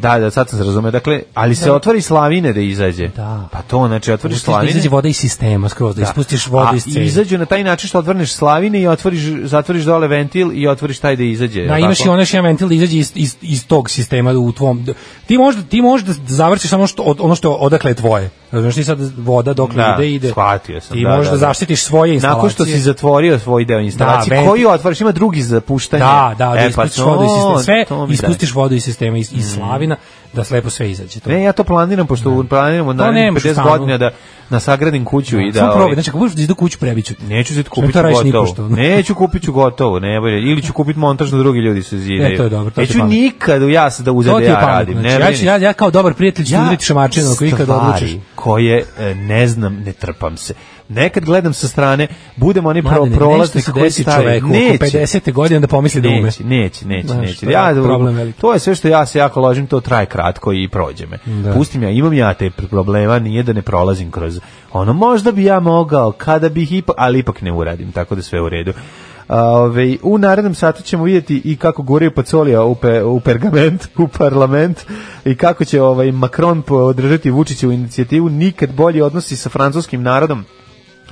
F: Da, da, sad sam se razumeo. Dakle, ali se otvori slavine da izađe.
E: Da.
F: Pa to, znači, otvoriš
E: Pustiš da
F: slavine.
E: izađe voda iz sistema skroz, da, ispustiš vodu iz
F: A
E: cene.
F: izađu na taj način što odvrneš slavine i otvoriš, zatvoriš dole ventil i otvoriš taj da izađe.
E: Da,
F: jel
E: imaš
F: tako?
E: i onaš jedan ventil da izađe iz, iz, iz tog sistema u tvom... d- Ti možda, ti možda završiš samo što, od, ono što je odakle je tvoje. Razumeš ti sad voda dokle
F: Da,
E: ide, ide.
F: shvatio sam,
E: Ti
F: da,
E: možda
F: da, da.
E: zaštitiš svoje instalacije.
F: Nakon što si zatvorio svoj deo instalacije,
E: Da, ventil-
F: koji otvoriš, ima drugi za puštanje.
E: Da, da, da
F: E, pa
E: ispustiš
F: to-
E: vodu iz sistema.
F: to
E: Sve
F: mi daj. Mm.
E: ispustiš vodu iz sistema, iz, iz slavina. da slepo sve izađe. To.
F: Ne, ja to planiram, pošto planiram od narednih
E: nemaš u
F: 50
E: stanu.
F: godina da, da sagradim kuću i da...
E: Samo probaj,
F: ovaj,
E: znači ako budeš da idu kuću prebiću. ti.
F: Neću zid
E: Sve
F: kupiti
E: to radiš
F: gotovo.
E: nipošto.
F: Neću kupit ću gotovo, ne bolje. Ili ću kupiti montaž da drugi ljudi se zidaju.
E: E, to je dobro, to ti je
F: Neću
E: pametno.
F: nikad u jas da uzem
E: To
F: da
E: ti je
F: ja
E: pametno.
F: radim. Ne
E: Znači, ja, ću,
F: brini.
E: ja, ja kao dobar prijatelj ću ja, udariti šamačinu ako ikad
F: stvari
E: odlučiš.
F: koje e, ne znam, ne trpam se. Nekad gledam sa strane, budem onaj pro,
E: Mladene, nešto
F: prolaznik
E: se
F: koji
E: desi
F: stavi.
E: čoveku
F: Neće.
E: oko 50. godine da pomisli da ume.
F: Neće, neće, neće,
E: Znaš,
F: neće.
E: to je
F: Ja,
E: problem veliki.
F: to je sve što ja se jako ložim, to traje kratko i prođe me. Pustim ja, imam ja te problema, nije da ne prolazim kroz ono, možda bi ja mogao, kada bih ipak, ali ipak ne uradim, tako da sve u redu. A, Ove, u narednom satu ćemo vidjeti i kako guraju Pacolija u, pe, u pergament, u parlament i kako će ovaj Macron podržati Vučićevu inicijativu nikad bolji odnosi sa francuskim narodom.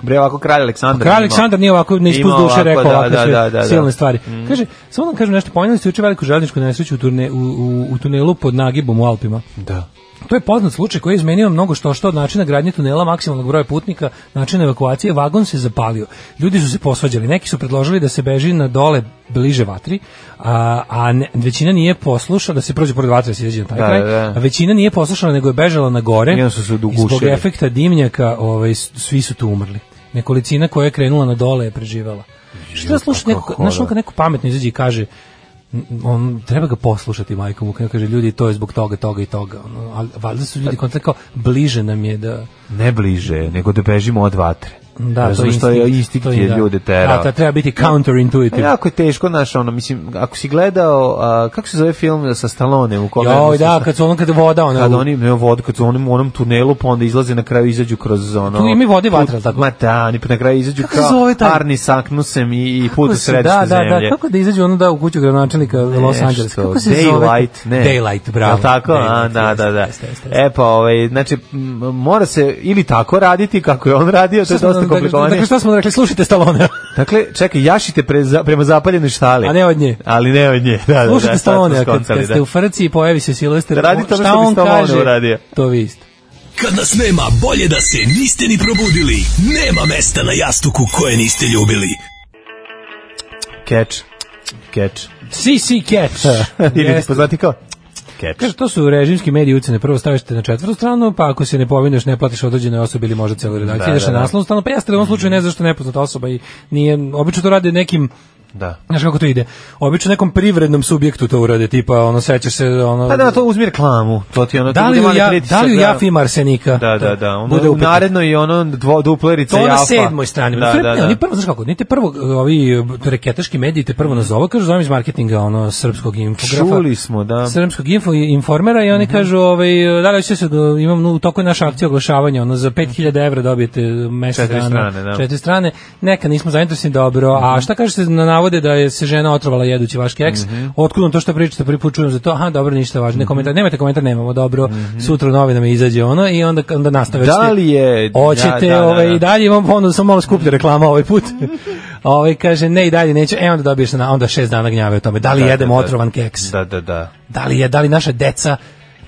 F: Bre, ovako kralj Aleksandar.
E: Pa Kralj
F: ima-
E: Aleksandar nije ovako ne ispust
F: ima
E: duše
F: ovako,
E: rekao
F: da,
E: ovakve
F: da,
E: sve
F: da, Mm. da, da.
E: silne stvari. Kaže, samo da vam kažem nešto, pomenuli ste juče veliku željezničku nesreću u, turne, u, u, u tunelu pod Nagibom u Alpima.
F: Da.
E: To je poznat slučaj koji je izmenio mnogo što što od načina gradnje tunela, maksimalnog broja putnika, načina evakuacije, vagon se zapalio. Ljudi su se posvađali, neki su predložili da se beži na dole bliže vatri, a, a ne- većina nije poslušala da se prođe pored vatre da se izađe na taj
F: Da,
E: kraj,
F: da, da.
E: a većina nije poslušala nego je bežala na gore.
F: I onda su se
E: E, I zbog
F: ugušili.
E: efekta dimnjaka ovaj, s- svi su tu umrli. Nekolicina koja je krenula na dole je preživela. Šta slušaš neko,
F: kako
E: znaš on
F: da.
E: kad neko pametno izađe i kaže n- on treba ga poslušati majkom kad kaže ljudi to je zbog toga toga i toga ono, ali valjda su
F: E.
E: ljudi kontakt kao bliže nam je da
F: ne bliže, nego da bežimo od vatre.
E: da to je
F: Razumeš, to je instinkt
E: to
F: je ljude terao.
E: da, da treba biti counterintuitive
F: Jako je teško, znaš, ono, mislim, ako si gledao, a, kako se zove film sa Stallone u kome...
E: Joj, da, kad su ono kad je voda, ono,
F: Kad oni ne vodu, kad su onim u onom tunelu, pa onda izlaze na kraju izađu kroz ono.
E: Tu ima i vode i vatra,
F: put-
E: jel tako?
F: Ma da, oni na kraju izađu
E: Kako se
F: kao
E: zove taj?
F: Arni Saknusem i, i put u
E: Kako se- da,
F: središte
E: da,
F: zemlje.
E: da, kako da izađu ono da u kuću gradonačelnika Los
F: Nešto,
E: Angeles. Kako se zove?
F: Daylight, ne.
E: Daylight, bravo.
F: Jel tako? A,
E: Daylight,
F: da, da,
E: jeste,
F: da.
E: jeste, jeste, jeste.
F: E pa, ovaj, znači, m, mora se ili tako raditi kako je on radio, to je
E: Šta smo-
F: dosta
E: dakle,
F: komplikovanije.
E: Dakle, što smo rekli, slušajte Stallone.
F: Dakle, čekaj, jašite pre, za, prema zapaljenoj štali.
E: A ne od nje.
F: Ali ne od nje. Da, da, da,
E: Slušajte
F: sad smo
E: Stallone, kad,
F: skontali,
E: kad ste
F: da.
E: u frci i pojavi se Silvester,
F: Radite ono
E: šta
F: što bi
E: on
F: Stallone
E: kaže,
F: uradio.
E: to vi isto.
J: Kad nas nema, bolje da se niste ni probudili. Nema mesta na jastuku koje niste ljubili.
F: Catch. Catch.
E: CC Catch.
F: Ili ti
E: Jeste.
F: poznati kao catch.
E: Kaže, to su režimski mediji ucene. Prvo stavište na četvrtu stranu, pa ako se ne povinuješ, ne platiš određenoj osobi ili možda celoj redakciji.
F: Da,
E: ideš
F: da,
E: na
F: da.
E: naslovnu stranu, pa jeste da u ovom slučaju ne znaš što je nepoznata osoba i nije, obično to rade nekim
F: Da.
E: Znaš kako to ide? Obično nekom privrednom subjektu to urade, tipa ono sećaš se ono
F: Pa da, to uzmi reklamu. To ti je ono... to
E: da li
F: bude
E: u
F: mali
E: ja,
F: pritisak,
E: da li u jafi ima arsenika?
F: Da, da, da. Ono,
E: Bude
F: u
E: upitno.
F: narednoj i ono dvo, duplerica
E: To
F: jafa.
E: na sedmoj strani.
F: Da, da, da.
E: Oni prvo, znaš kako, ni te prvo e, ovi e, reketaški mediji te prvo nazovu, kažu zovem iz marketinga ono srpskog infografa.
F: Čuli smo, Mhm. da.
E: Srpskog info informera i oni kažu ovaj e, da li hoćete se do- imam no, u toku je naša akcija oglašavanja ono za 5000 evra dobijete mesec
F: Četiri
E: dana
F: strane, da. Mhm.
E: četiri strane neka nismo zainteresni dobro a šta kažete na navode da je se žena otrovala jedući vaš keks mm
F: Mhm.
E: otkud on to što pričate prvi put čujem za to aha dobro ništa važno ne komentar nemate komentar nemamo dobro sutra u novinama izađe ono i onda onda nastave
F: Mhm. Da li je...
E: Hoćete,
F: da, da, da.
E: ovaj, i dalje imam ponudu, samo malo skuplja reklama ovaj put. ovaj kaže, ne i dalje neću, e onda dobiješ na, onda šest dana gnjave o tome. Da li
F: Da, da,
E: jedemo
F: da.
E: otrovan keks?
F: Da, da, da.
E: Da li je, da li naša deca,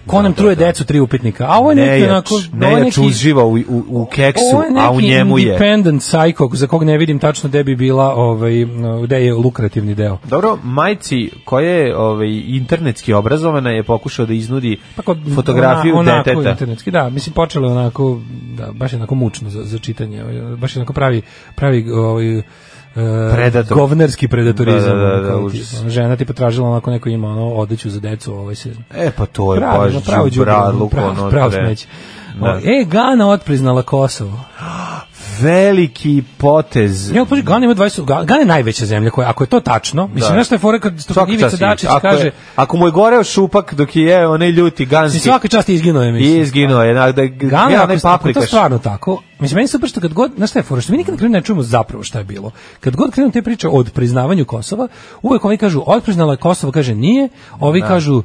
E: ko nam truje decu tri upitnika? A ovo je neki,
F: Nejač,
E: onako, ovo je
F: nejač
E: neki,
F: uživa u, u, u keksu,
E: ovo je
F: a u
E: neki
F: njemu je.
E: independent psycho, za kog ne vidim tačno gde bi bila, ovaj, no, gde je lukrativni deo.
F: Dobro, majci koja je ovaj, internetski obrazovana je pokušao da iznudi
E: Tako,
F: fotografiju
E: Pa ona, onako
F: deteta.
E: internetski, da, mislim počelo je onako da baš je onako mučno za, za čitanje, ovaj, baš je onako pravi pravi ovaj e,
F: Predator.
E: govnerski predatorizam.
F: Da, da, da, da,
E: Kao ti,
F: užas.
E: ono, žena ti potražila onako neko ima ono odeću za decu, ovaj se
F: E pa to je
E: pravo,
F: baš
E: ono, pravo
F: đubradluk,
E: đubravo, pravo,
F: ono,
E: pravo
F: tre-
E: smeće.
F: Da.
E: Ovaj, E, Gana otpriznala Kosovo.
F: Veliki potez.
E: Ja, pa Gana ima 20, Ga- Gana je najveća zemlja koja, ako je to tačno, mislim,
F: Da.
E: znaš šta je fora kad
F: Svaka
E: Ivica
F: čast Ivici.
E: Dačić
F: ako je-
E: kaže,
F: ako mu je goreo šupak dok je jeo onaj ljuti
E: mislim,
F: ganski
E: svaka čast izginuo je,
F: i
E: mislim.
F: izginuo je, da, da,
E: Gana,
F: ja
E: ako,
F: onaj
E: ste- ako je to
F: paprikaš.
E: stvarno tako, mislim, meni je super što kad god, znaš šta je fora, što mi nikad na kraju ne čujemo zapravo šta je bilo. Kad god krenu te priče od priznavanju Kosova, uvek ovi kažu, odpriznala je Kosovo, kaže nije, ovi kažu,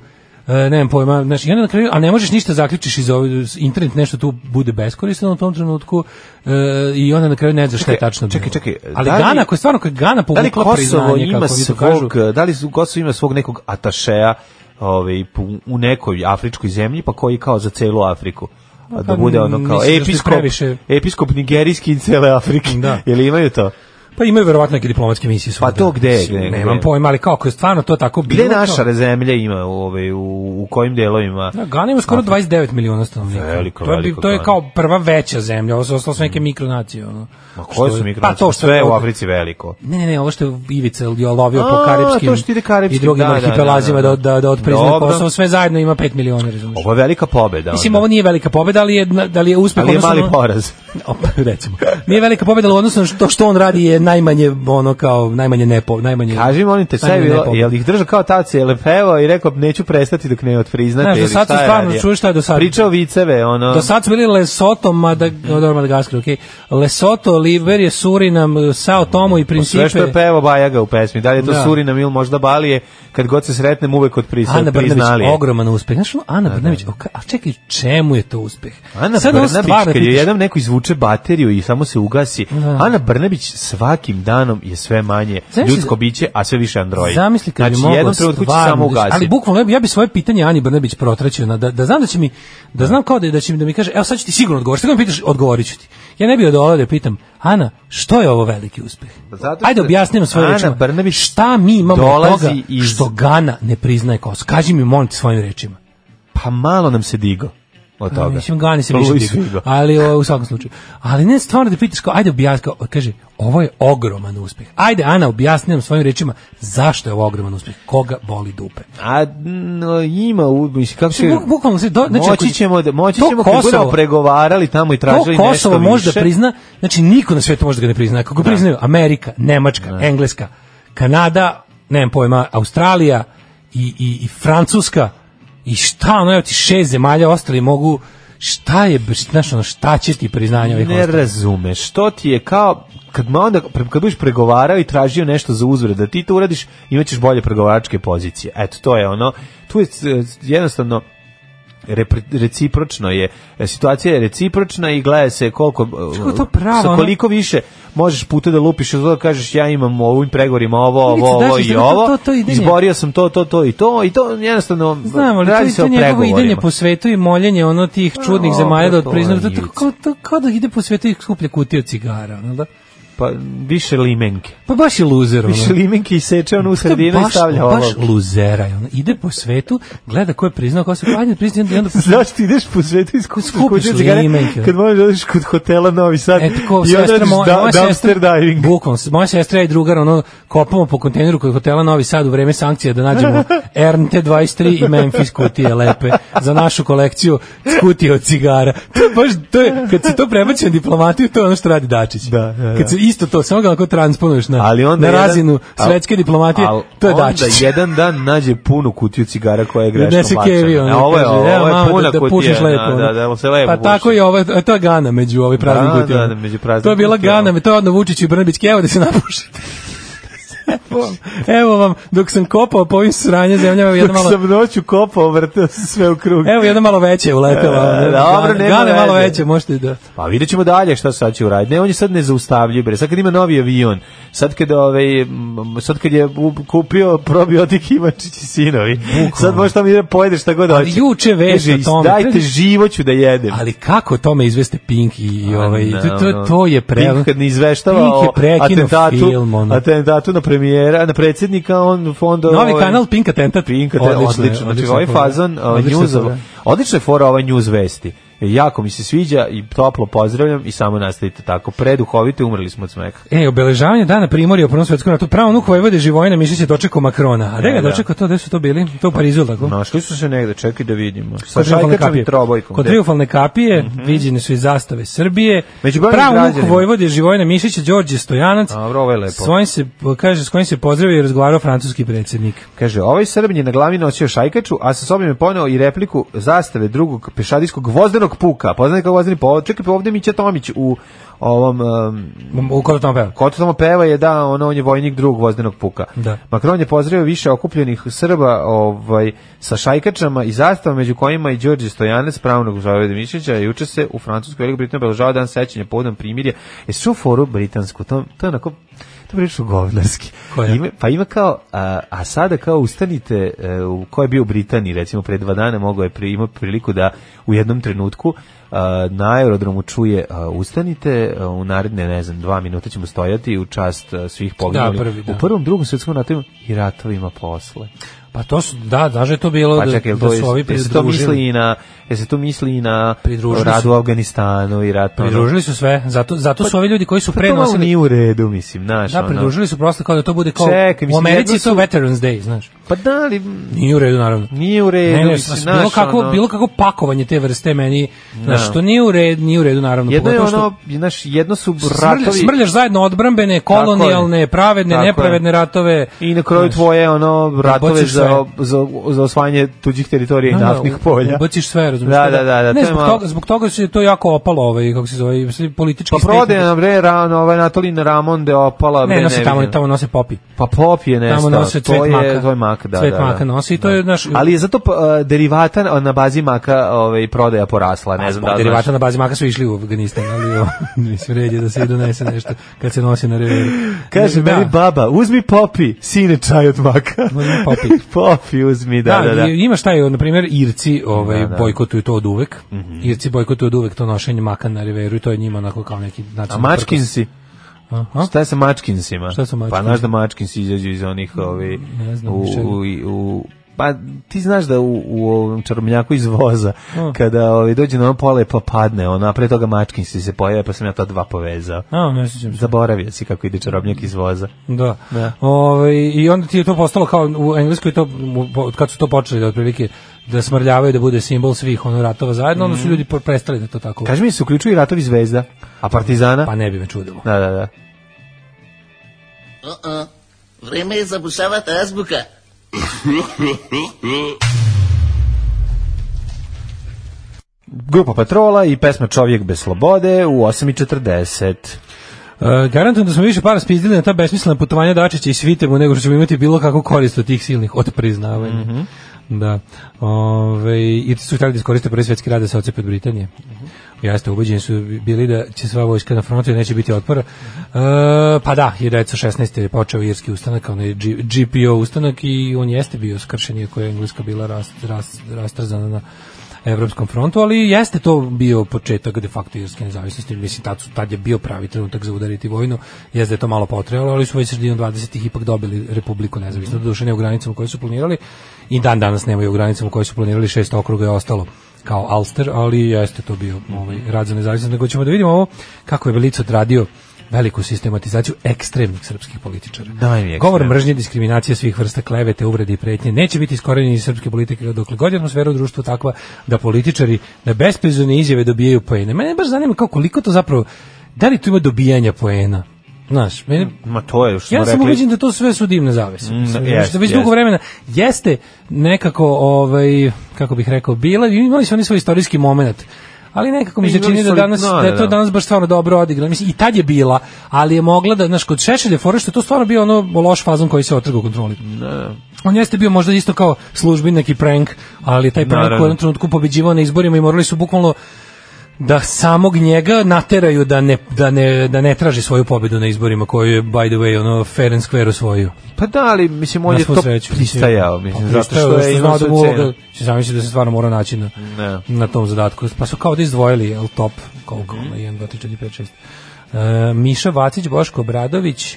E: e, ne znam pojma, znaš, i onda na kraju, a ne možeš ništa zaključiš iz ovog, internet nešto tu bude beskoristan u tom trenutku e, i onda na kraju ne znaš šta je
F: Čekaj,
E: tačno bilo.
F: čekaj, čekaj,
E: Ali
F: da li-
E: Gana, ako je stvarno, ako je Gana
F: Da li
E: povukla
F: Kosovo
E: priznanje, kako
F: ima
E: vi to kažu,
F: svog, da li Kosovo ima svog nekog atašeja ovaj, pu- u nekoj afričkoj zemlji, pa koji kao za celu Afriku? A da
E: pa,
F: bude ono kao
E: mislim da ste
F: episkop,
E: previše-
F: episkop nigerijski iz cele Afrike.
E: Da.
F: Jel imaju to?
E: Pa imaju verovatno neke diplomatske misije
F: Pa
E: svuda.
F: to gde,
E: Mislim,
F: gde,
E: Nemam
F: gde?
E: pojma, ali kako je stvarno to tako bilo.
F: Gde
E: to-
F: naša zemlja ima u, ovaj, u, u kojim delovima?
E: Da, Gana ima skoro 29 miliona stanovnika.
F: Veliko,
E: to je, bi-
F: veliko
E: to je
F: Gana.
E: kao prva veća zemlja, ovo su ostalo su neke mikronacije. Ono.
F: Mm. Ma
E: Što
F: koje
E: je-
F: su
E: Pa to
F: migracije?
E: što
F: Sve
E: je
F: u
E: od-
F: Africi veliko.
E: Ne, ne, ne, ovo što je Ivica jo lovio po
F: A,
E: karipskim
F: to što ide karipskim,
E: i drugim
F: da, da,
E: arhipelazima
F: da,
E: da,
F: da.
E: da, da, otpriznaju
F: Dobro.
E: Kosovo, sve zajedno ima 5 miliona, razumiješ.
F: Ovo je velika pobeda.
E: Mislim,
F: onda.
E: ovo nije velika pobeda, ali je, da li je uspeh...
F: Ali je
E: odnosno
F: mali
E: na-
F: poraz.
E: O, pa, recimo. Nije velika pobeda, ali odnosno što, što on radi je najmanje, ono kao, najmanje nepo... Najmanje,
F: Kaži, molim te, sve je
E: najmanje
F: bilo,
E: nepo-
F: jel ih držao kao taci, jel pevao i rekao, neću prestati dok ne otpriznate.
E: Znaš, do
F: ili
E: sad
F: šta
E: su
F: je
E: stvarno
F: radio?
E: čuli šta je do sad.
F: Pričao viceve, ono.
E: Do sad su bili Lesoto, Madag,
F: Mhm.
E: no, dobro, Madagaskar, okej. Lesoto, Liberije, Surinam, um, Sao Tomo i
F: Pa
E: Principe.
F: Sve što je pevao Bajaga u pesmi, da li je to
E: Da.
F: Surinam ili možda Balije, kad god se sretnem uvek od prisa,
E: Ana Brnabić,
F: priznali. je.
E: ogroman uspeh. Znaš, ono, Ana Brnabić, o, ka- a čekaj, čemu je to uspeh?
F: Ana
E: Sad ono
F: Brnabić,
E: stvarno
F: kad je
E: pitaš-
F: jednom neko izvuče bateriju i samo se ugasi, Ana Brnabić svakim danom je sve manje
E: Zamisli-
F: ljudsko biće, a sve više android.
E: Zamisli kad
F: znači,
E: bi mogla
F: jednom trenutku će
E: stvarno
F: samo
E: da se-
F: ugasiti.
E: Ali bukvalno ja bi, ja bi svoje pitanje Ani Brnabić protraćio na, da, da znam da će mi da znam kao da, da će mi da mi kaže evo sad ću ti sigurno odgovoriti. Kako me pitaš odgovoriću ti. Ja ne bih odolao da je pitam Ana što je ovo veliki uspeh?
F: Pa zato što
E: Ajde objasnimo svoje
F: Ana
E: rečima.
F: Brnabić
E: šta mi imamo od
F: dolazi
E: toga
F: iz-
E: što Gana ne priznaje Kosovo? Kaži mi molim te svojim rečima. Pa
F: Pa malo nam se digo od toga. Pa
E: Mislim, gani se više
F: Luis
E: digo.
F: Figo.
E: Ali o, u svakom slučaju. Ali ne stvarno da pitaš kao, ajde objasni, kao, kaže, ovo je ogroman uspeh. Ajde, Ana, objasni nam svojim rečima zašto je ovo ogroman uspeh. Koga boli dupe?
F: A no, ima, u- mislim, kako će...
E: Znači, buk- bukvalno se do, znači, ako-
F: moći ćemo, da, moći
E: to
F: ćemo kad budemo pregovarali tamo i tražili
E: to
F: nešto
E: Kosovo može da
F: više.
E: prizna, znači niko na svetu može da ga ne prizna. Ako ga priznaju Amerika, Nemačka, Engleska, Kanada, nemam pojma, Australija i, i, i Francuska i šta, ono, evo ti šest zemalja ostali mogu, šta je, znaš, ono, šta će ti priznanje ovih
F: Ne
E: ostalih?
F: razumeš, to ti je kao kad ma onda pre- kad budeš pregovarao i tražio nešto za uzvrat, da ti to uradiš, imaćeš bolje pregovaračke pozicije. Eto, to je ono. Tu je e, jednostavno repre- recipročno je e, situacija je recipročna i gleda se koliko e,
E: Kako je to pravo,
F: sa
E: ono?
F: koliko više možeš puta da lupiš od toga kažeš ja imam u ovim pregovorima ovo ovo
E: Ivica,
F: ovo
E: daš,
F: i
E: to- to-
F: ovo
E: to- to idenje.
F: izborio sam to to to i to i to jednostavno
E: Znam, ali
F: radi
E: to,
F: se
E: to
F: o
E: njegovo idenje
F: pregovorima Pa,
E: po svetu i moljenje ono tih čudnih
F: A,
E: zemalja da
F: to
E: odpriznaju, to,
F: je
E: to, kao, to, kao da ide po svetu i skuplja kutije od cigara, ono da?
F: pa više limenke
E: Pa baš je luzer, ono.
F: Više limenke i seče on u
E: To je
F: sredinu i
E: baš-
F: stavlja ovo.
E: baš luzera je ono. ide po svetu gleda ko je priznao ko se ajde priznao i onda
F: Zašto ti ideš po svetu i skupiš
E: Skupiš
F: kućne cigare
E: limenke.
F: kad možeš da odeš kod hotela Novi Sad
E: E, tako,
F: i onda
E: sestra,
F: radiš
E: moja,
F: da,
E: moja
F: dumpster
E: sestra,
F: diving.
E: bukvalno, s- moja sestra i drugar, ono, kopamo po kontejneru kod hotela Novi Sad u vreme sankcija da nađemo Ernte 23 i Memphis kutije lepe za našu kolekciju kutije od cigara. To je baš, to je, kad se to prebaci na diplomatiju, to je ono što radi Dačić.
F: Da, da, da.
E: Kad se isto to, samo ga ako transponuješ na,
F: Ali onda
E: na
F: jedan-
E: razinu
F: al-
E: svetske diplomatije,
F: al
E: to je
F: onda
E: Dačić.
F: jedan dan nađe punu kutiju cigara koja je greškom
E: Nese kevi,
F: bačena.
E: ono,
F: E, ovo je,
E: kaže,
F: ovo
E: "Evo,
F: je
E: mama,
F: puna
E: da, da pušiš
F: kutija.
E: lepo,
F: Da,
E: ono.
F: da, da, ovo se lepo
E: Pa
F: puši.
E: tako i ovo, je- to je Gana među ovim praznim
F: Da,
E: kutijama.
F: da, da, među ono. praznim
E: ono. To je bila
F: kutijama.
E: Gana, to je odno Vučić i Brnabić, evo da se napušite. Evo vam, dok sam kopao po ovim sranje zemljama, jedna
F: Dok
E: malo,
F: sam noću kopao, vrteo se sve u krug.
E: evo jedna malo veće je uletela.
F: E,
E: ono.
F: dobro, nema
E: Gane malo
F: veze.
E: veće, možete da...
F: Pa vidjet ćemo dalje šta sad će uraditi. Ne, on je sad nezaustavljiv, bre. Sad kad ima novi avion, sad kad, ovaj, m, sad kad je u- kupio probiotik Ivačić i sinovi, sad može tamo ide pojede šta god
E: Ali
F: hoće.
E: juče vest
F: Kaže,
E: o tome.
F: Dajte živo ću da jedem.
E: Ali kako tome izveste Pink i, i ovaj,
F: ne,
E: to, to,
F: ono,
E: to je pre...
F: Pink kad ne izveštava
E: Pink je
F: o
E: prekinuo
F: atentatu,
E: film, ono.
F: atentatu na premijera, na predsjednika, on ovaj- fonda...
E: Novi kanal Pink Atentat.
F: Pinka, te, odlično,
E: Odlično je,
F: odlično. Znači,
E: odlična
F: ovaj
E: fora.
F: fazon, ovaj
E: Odlična
F: news,
E: fora.
F: odlična je fora ovaj news vesti. Jako mi se sviđa i toplo pozdravljam i samo nastavite tako. Preduhovite, umrli smo od smeka.
E: E, obeležavanje dana primorja u Prvom svetskom ratu. Pravo nuk Vojvode Živojina Mišić je dočekao Makrona. A gde ga je
F: E, da.
E: dočekao to? Gde su to bili? To u Parizu, jel tako?
F: Našli su se negde, čekaj da vidimo. Sa
E: Kod triumfalne
F: šajkačom
E: kapije.
F: i trobojkom.
E: Kod
F: gde?
E: triumfalne kapije viđene su i zastave Srbije.
F: Među brojnim
E: Pravo
F: građanima.
E: nuk Vojvode Živojina Mišića, Đorđe Stojanac.
F: Dobro, ovo je lepo.
E: S kojim se, kaže, s kojim se pozdravio i razgovarao francuski predsjednik.
F: Kaže, ovaj Srbin je na glavi nosio šajkaču, a sa sobom je poneo i repliku zastave drugog pešadijskog vozdenog puka. Poznat kao vozdeni povod. Čekaj, pa ovde je Mića Tomić u ovom... Um,
E: U kodu tamo peva.
F: Koto tamo peva je da ono on je vojnik drugog vozdenog puka.
E: Da.
F: Makron je pozdravio više okupljenih Srba ovaj sa šajkačama i zastavama među kojima i Đorđe Stojanac pravnog Žaveda Mišića juče se u Francuskoj Velikoj Britaniji obeležava dan sećanja povodom primirja. E su foru britansku to to je onako to je prilično govnarski.
E: Koja?
F: Ima, pa ima kao a, a sada kao ustanite e, u ko je bio u Britaniji recimo pre dva dana mogao je pri, imao priliku da u jednom trenutku a, na aerodromu čuje a, ustanite e, u naredne, ne znam, dva minuta ćemo stojati u čast e, svih poginulih.
E: prvi, da.
F: U prvom, drugom svetskom ratu i ratovima posle.
E: Pa to su, da, znaš da je to bilo
F: Pa
E: da,
F: čekaj, jel
E: da
F: to,
E: su ovi
F: je, se to misli
E: pridružili.
F: i na, jel se to misli i na
E: Pridružili
F: rad
E: su-
F: u Afganistanu i rat
E: Pa
F: ono?
E: Pridružili su sve, zato, zato su ovi ljudi koji su
F: Pa to malo
E: prenosili...
F: nije u redu, mislim, znaš,
E: Da,
F: ono.
E: pridružili su prosto kao da to bude kao...
F: Čekaj,
E: u
F: mislim,
E: Americi
F: jedno
E: je to
F: su-
E: Veterans Day, znaš.
F: Pa da, ali
E: Nije u redu, naravno.
F: nije u redu,
E: Ne, ne,
F: mislim,
E: s-
F: znaš,
E: bilo kako,
F: ono.
E: bilo kako pakovanje te vrste meni, znaš,
F: Da.
E: što nije u redu, nije u redu, naravno.
F: Jedno je
E: pogotovo što-
F: ono, znaš, jedno su
E: Smrlja,
F: ratovi...
E: smrljaš zajedno odbrambene, kolonijalne, pravedne,
F: Tako je.
E: nepravedne ratove.
F: I na kraju tvoje ono ratove
E: Ubaciš
F: za, za, za osvajanje tuđih teritorija i naftnih polja.
E: Ubaciš sve, razumiješ? pa
F: Da, da, da, da,
E: ne,
F: to je
E: zbog,
F: malo-
E: toga, zbog toga se to jako opalo, ovaj, kako se zove, mislim, politički
F: Pa prode nam bre rano, ovaj Natolin Ramon de opala.
E: Ne,
F: bre,
E: nose tamo,
F: vidim.
E: tamo nose popi.
F: Pa pop je
E: Tamo
F: nešto.
E: nose
F: to
E: cvet
F: je,
E: maka.
F: To je mak, da.
E: Cvet
F: da, da.
E: maka nosi i to je naš-
F: Ali je zato uh, derivatan a, na bazi maka ovaj, prodaja porasla, ne znam da
E: Pa,
F: li
E: derivata
F: znaš.
E: na bazi maka su išli u Afganistan, ali o, mislim, red je da se i donese nešto kad se nosi na reveru.
F: Kaže
E: da,
F: meni baba, uzmi popi, sine čaj od maka.
E: Uzmi popi.
F: popi uzmi, da,
E: Da,
F: da, da.
E: i- imaš taj, na primjer, Irci ovaj,
F: Da, Mhm. da.
E: bojkotuju to od uvek. Irci bojkotuju od uvek to nošenje maka na reveru i to je njima onako kao neki način.
F: A mačkinsi?
E: Aha.
F: Šta je sa mačkinsima?
E: Šta su
F: Pa
E: mačkinsi?
F: znaš da mačkinsi izađu iz onih ovi...
E: Ne znam,
F: u,
E: iz čega?
F: u, u, pa ti znaš da u, u ovom čarobnjaku iz voza, kada ovi, dođe na ono pole pa padne, ona, a pre toga mačkinsi se pojave, pa sam ja to dva povezao.
E: A, ne sjećam se.
F: Zaboravio si kako ide čarobnjak iz voza.
E: Da.
F: Da.
E: Ovaj, I onda ti je to postalo kao u Engleskoj to, u- od kad su to počeli da otprilike da smrljavaju da bude simbol svih ono ratova zajedno,
F: Mhm.
E: onda su ljudi po- prestali da to tako.
F: Kaži mi, se uključuju i ratovi zvezda, a partizana?
E: Pa ne bi me čudilo.
F: Da, da, da.
K: Vreme je zabušavati azbuka.
F: Grupa Patrola i pesma Čovjek bez slobode u 8.40.
E: E, garantujem da smo više para spizdili na ta besmislena putovanja Dačića i Svitemu nego što ćemo imati bilo kako korist od tih silnih odpriznavanja. Da. Ove, I su htjeli da iskoriste prvi svjetski rad da se ocepe od Britanije. Jasno, ubeđeni su bili da će sva vojska na frontu i neće biti otpora. E, pa da, 1916. je počeo irski ustanak, onaj G- GPO ustanak i on jeste bio skršen, iako je Engleska bila rast, rast, rastrzana na evropskom frontu, ali jeste to bio početak de facto irske nezavisnosti. Mislim, tad, su- tad je bio pravi trenutak za udariti vojnu. Jeste da je to malo potrebalo, ali su već sredinom 20. ipak dobili republiku nezavisno. Doduše ne u granicama koje su planirali i dan danas nemaju u granicama koje su planirali. Šest okruga je ostalo kao Alster, ali jeste to bio ovaj, rad za nezavisnost. Nego ćemo da vidimo ovo kako je Velic odradio veliku sistematizaciju ekstremnih srpskih političara.
F: Daj mi
E: Govor
F: ekstremne.
E: mržnje, diskriminacija svih vrsta klevete, uvrede i pretnje neće biti iskorenjeni iz srpske politike dokle god je atmosfera u društvu takva da političari na besprizorne izjave dobijaju poene. Mene baš zanima kako koliko to zapravo da li tu ima dobijanja poena. Znaš, mene,
F: Ma to je, što smo
E: ja sam
F: rekli, Mm,
E: ubeđen da to sve su divne zavese. Mislim,
F: jest,
E: što već
F: jest.
E: dugo vremena jeste nekako ovaj kako bih rekao bila imali su oni svoj istorijski momenat. Ali nekako mi se
F: Imali
E: čini da
F: su li-
E: danas
F: no,
E: da je
F: da,
E: to
F: da.
E: danas baš stvarno dobro odigrano. Mislim i tad je bila, ali je mogla da znaš kod Šešelja fora što je to stvarno bio ono loš fazon koji se otrgao kontroli. On jeste bio možda isto kao službi neki prank, ali taj prank u
F: Naravno.
E: jednom trenutku pobeđivao na izborima i morali su bukvalno da samog njega nateraju da ne, da ne, da ne traži svoju pobedu na izborima koju je, by the way, ono, fair and square osvojio.
F: Pa da, ali mislim, on
E: Na
F: je
E: svu
F: to
E: sreću, Pa
F: pristajao, mislim, zato
E: pristajao,
F: što je
E: znao
F: imao
E: da
F: svoju
E: mu
F: cenu.
E: ovoga, se zamisli da se stvarno mora naći na,
F: Ne. Mhm.
E: na tom zadatku. Pa su kao da izdvojili, jel, top, koliko, ono, 1, 2, 3, 4, 5, 6. E, Miša Vacić, Boško Obradović,